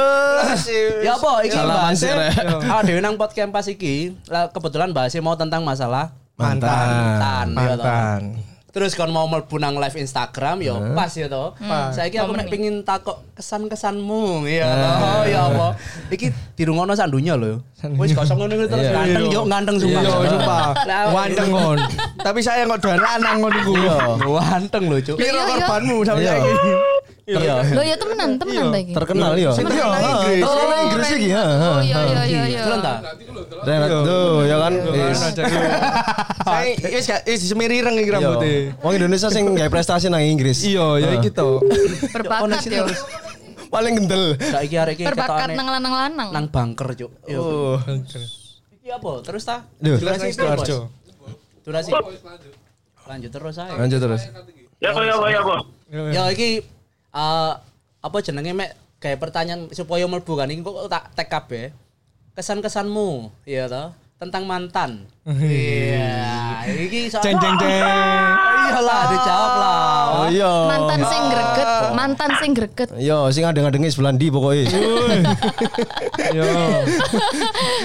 S1: ya apa iki
S5: Salah
S1: bahasnya
S5: mansir, ya.
S1: [LAUGHS] ah dewe nang podcast pas iki lah kebetulan bahasnya mau tentang masalah
S5: Mantan.
S1: mantan
S4: Ah,
S1: ya toh. terus kon mau mlebu nang live Instagram yo
S4: Nah.
S1: pas ya toh saiki aku mek pengin takok kesan-kesanmu ya
S4: Nah.
S1: toh ya apa iki dirungono sak dunya lho wis gak usah ngono terus ganteng yo ganteng sumpah
S4: Iya, sumpah.
S1: [LAUGHS] Lah,
S4: Wanteng kon. Tapi saya nggak ada anak ngon iku.
S1: ganteng lho cuk
S4: Piro
S3: Iya, iya.
S4: korbanmu sampai
S5: Iya.
S4: saiki?
S1: iya
S3: Loh ya temenan, temenan lagi.
S5: Terkenal ya. Iya, Inggris. Terkenal Inggris ya. iki. ha, ha,
S3: Oh iya
S5: ha.
S3: iya iya iya.
S1: Terus ta?
S5: Ronaldo ya kan. Is.
S4: Iya. [LAUGHS] Saya wis gak wis semerireng iki rambutnya.
S5: Iya. Wong Indonesia sing gawe prestasi nang Inggris.
S4: Iya, ya iki to.
S1: Oh,
S3: Berbakat yo.
S5: Paling gendel.
S1: saiki arek iki
S3: Berbakat
S1: ketokane
S3: nang lanang-lanang.
S1: nang bangker cuk Yo, iki apa terus ta
S5: Duh.
S1: durasi
S4: Oh. Durasi
S1: piro, Bos?
S4: Sidoarjo.
S1: durasi lanjut terus aja
S5: Lanjut terus.
S9: Ya kok ya kok ya kok.
S4: Iya,
S1: ya iki eh, apa jenenge mek kayak pertanyaan supaya mlebu kan iki kok tak tag kabeh kesan-kesanmu ya toh tentang mantan iya iki soal
S4: Jeng jeng jeng.
S1: [LAUGHS] iyalah dijawab lah
S5: Oh iya.
S3: Mantan sing greget, mantan sing greget.
S5: Yo, sing ngadeng-ngadenge sebelah ndi pokoke.
S4: Yo.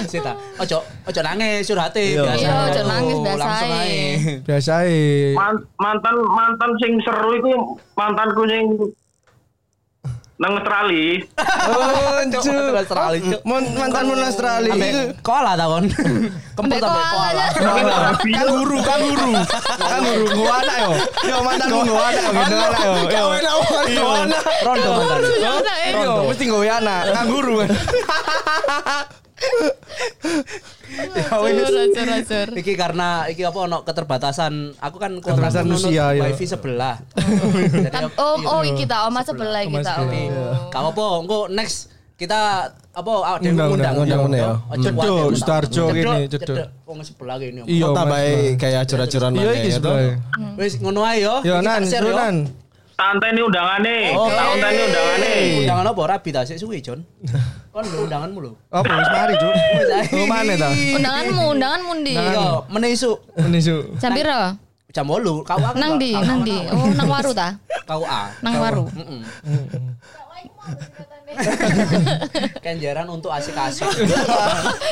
S1: sita Oh, ojo ojo nangis curhate
S5: Iya.
S1: biasa
S3: Iya, ojo nangis,
S1: Oh,
S3: biasa
S1: langsung
S3: ae.
S1: ae
S4: Biasae.
S9: Man- mantan mantan sing seru iku mantanku sing nang Australia.
S1: Cuk, Australia, Cuk.
S4: Mantanmu Australia.
S1: Ambek
S4: Iku
S1: koala ta kon kempul
S3: Ambek
S1: ta ambek
S3: koala.
S1: koala
S3: [LAUGHS]
S4: kanguru kanguru kanguru gua anak yo yo mantan gua anak yo bener anak yo yo Yo.
S3: Iya,
S1: rondo mantan
S3: eh, [LAUGHS]
S4: Yo, mesti gua anak kanguru kan
S3: Acur, acur, acur.
S1: Iki karena iki apa ono keterbatasan. Aku kan kuota
S4: Keterbatasan
S1: nunut
S4: usia, ya.
S1: wifi sebelah. Jadi
S3: Tam-
S1: aku-
S3: Oh, oh, kita, oh, mas sebelah kita. Oh.
S1: Tapi gak apa engko next kita apa ada yang
S4: Undang,
S1: ngundang
S5: undang, undang,
S1: Oh, cedok,
S4: Cedok,
S1: ada yang
S4: Starjo
S1: ngundang.
S4: gini,
S1: Cedok,
S4: cedok.
S1: cedok. Wong sebelah gini. Om.
S4: Iya,
S5: Kok tambah
S4: Mas.
S5: kayak acur-acuran
S4: Iya
S5: mana
S4: iki
S5: ya toh?
S4: sebelah.
S1: Wis ngono ae yo.
S4: Yo
S1: Iki tak
S4: nan,
S1: share, yo. eh,
S4: yo nan.
S9: Tante ini undangane. Oh, tante ini undangane.
S1: Undangan apa rapi ta sik suwi, Jon. Kon lho undanganmu lho.
S4: Apa wis mari, Cuk? Oh, mana ta?
S3: Undanganmu, undanganmu di.
S1: Yo, menisu
S4: Menisu.
S3: Jam piro?
S1: jam 8 kau aku.
S3: Nang di, nang di. Oh, nang waru ta?
S1: Kau A.
S3: [LAUGHS] Nang waru.
S1: Heeh. Kenjaran untuk
S3: [LAUGHS]
S1: asik-asik.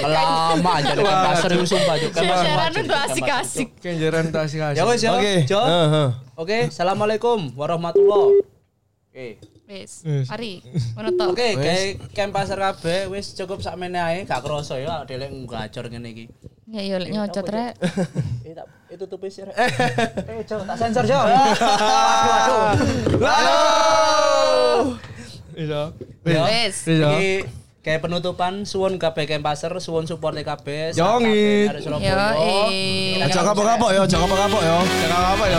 S1: Lama aja dengan kasar itu sumpah juga.
S3: Kenjaran untuk asik-asik.
S4: Kenjeran tak
S1: Ya wes ya.
S5: Oke.
S1: Jo.
S5: Heeh, heeh.
S1: Oke, assalamualaikum warahmatullahi. Oke.
S3: Wis.
S4: Wis.
S3: Mari, menutup.
S1: Oke, kayak kem pasar kabeh wis cukup sak ae, gak kroso ya dhelek ngacor ngene iki.
S3: Ya yo lek nyocot rek.
S1: Eh, tak eh, tutupi sih. Rek. Eh, Jo, tak sensor, Jo. [LAUGHS] Aduh, aduh.
S4: Iya.
S1: Ya,
S3: Wis.
S1: Iki kayak penutupan suwun kabeh kem pasar, suwun support kabeh.
S4: Jongit.
S1: Yo.
S3: Yo eh.
S5: Ojo kapok-kapok ya, ojo kapok-kapok ya.
S4: apa ya?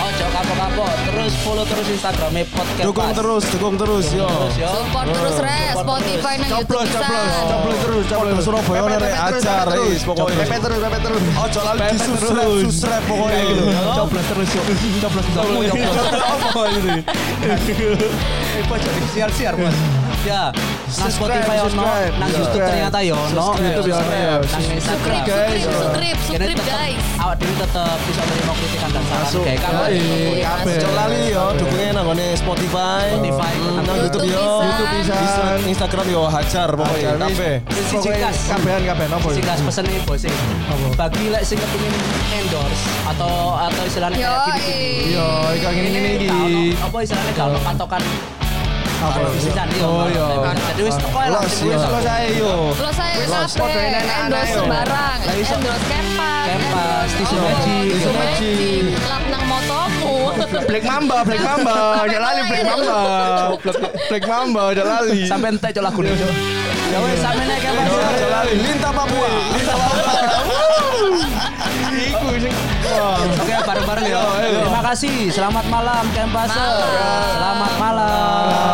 S1: Ojo kapok-kapok, terus follow terus Instagramnya podcast.
S5: Dukung
S1: Pas.
S5: terus, dukung terus yo.
S1: Terus, yo.
S3: Support terus rek Spotify nang YouTube
S5: Coplos, coplos,
S3: bisa.
S5: coplos terus, coplos Surabaya
S8: Pepet,
S5: rek
S8: pepet terus,
S5: ajar
S8: pepet
S5: wis pokoknya.
S8: Pepe terus, pepe terus.
S5: Ojo lali disusrep, susrep pokoknya gitu.
S1: Coblos terus yo. Coblos coblos siar-siar, Mas. Ya, nang Spotify ono,
S8: subscribe,
S1: nang YouTube ternyata yo ono. ya.
S8: YouTube yo ono, yo.
S1: Nang Instagram.
S3: Subscribe, guys. Subscribe, subscribe,
S1: Kene tetep-
S3: guys.
S1: Awak dhewe tetep bisa terima kritikan dan saran kayak kamu.
S3: Kabeh.
S5: Ojo lali yo, dukungnya nang ngone Spotify,
S1: Spotify,
S5: Hmm, nang YouTube yo.
S3: bisa.
S8: Iya. YouTube bisa.
S5: Insta- Instagram yo hajar
S8: Hajar,
S5: pokoknya
S8: wis.
S5: kabeh.
S1: Sisi
S8: Pokoknya
S1: gas.
S8: kabehan kabehan apa
S1: Sing
S8: ya?
S1: gas pesene bos e. Bagi lek sing kepengin endorse atau atau istilahnya
S3: Yo. eh.
S1: kayak gini.
S8: Yo, kayak gini gini
S1: Ini
S8: iki.
S1: gak ono- apa istilahnya kalau patokan
S8: Apa?
S1: bisa nih
S8: Oh, yo.
S1: jadi wis teko lah
S5: Los, iya.
S1: sing wis eh.
S8: Kalau ya, saya yo.
S1: teko.
S5: yo.
S3: Lo saya
S8: Sport dari
S3: kabeh
S8: anak-anak,
S3: endorse
S8: yo.
S3: sembarang,
S1: Lah, iso.
S3: endorse kempas,
S1: Kempas,
S3: endorse
S1: tisu
S3: obat,
S1: magic,
S3: tisu
S8: tisu magic.
S3: magic, lap nang motomu.
S8: Black Mamba, Black Mamba, udah lali Black Mamba. Black- Black Mamba udah lali.
S1: sampai entek cok lagu nih ya wes sampe nek kayak
S5: Yo, Ojo lali lintah Papua.
S8: Iku sing. Wah.
S1: Oke bareng-bareng ya. Terima kasih. Selamat malam Kempaser. Selamat malam.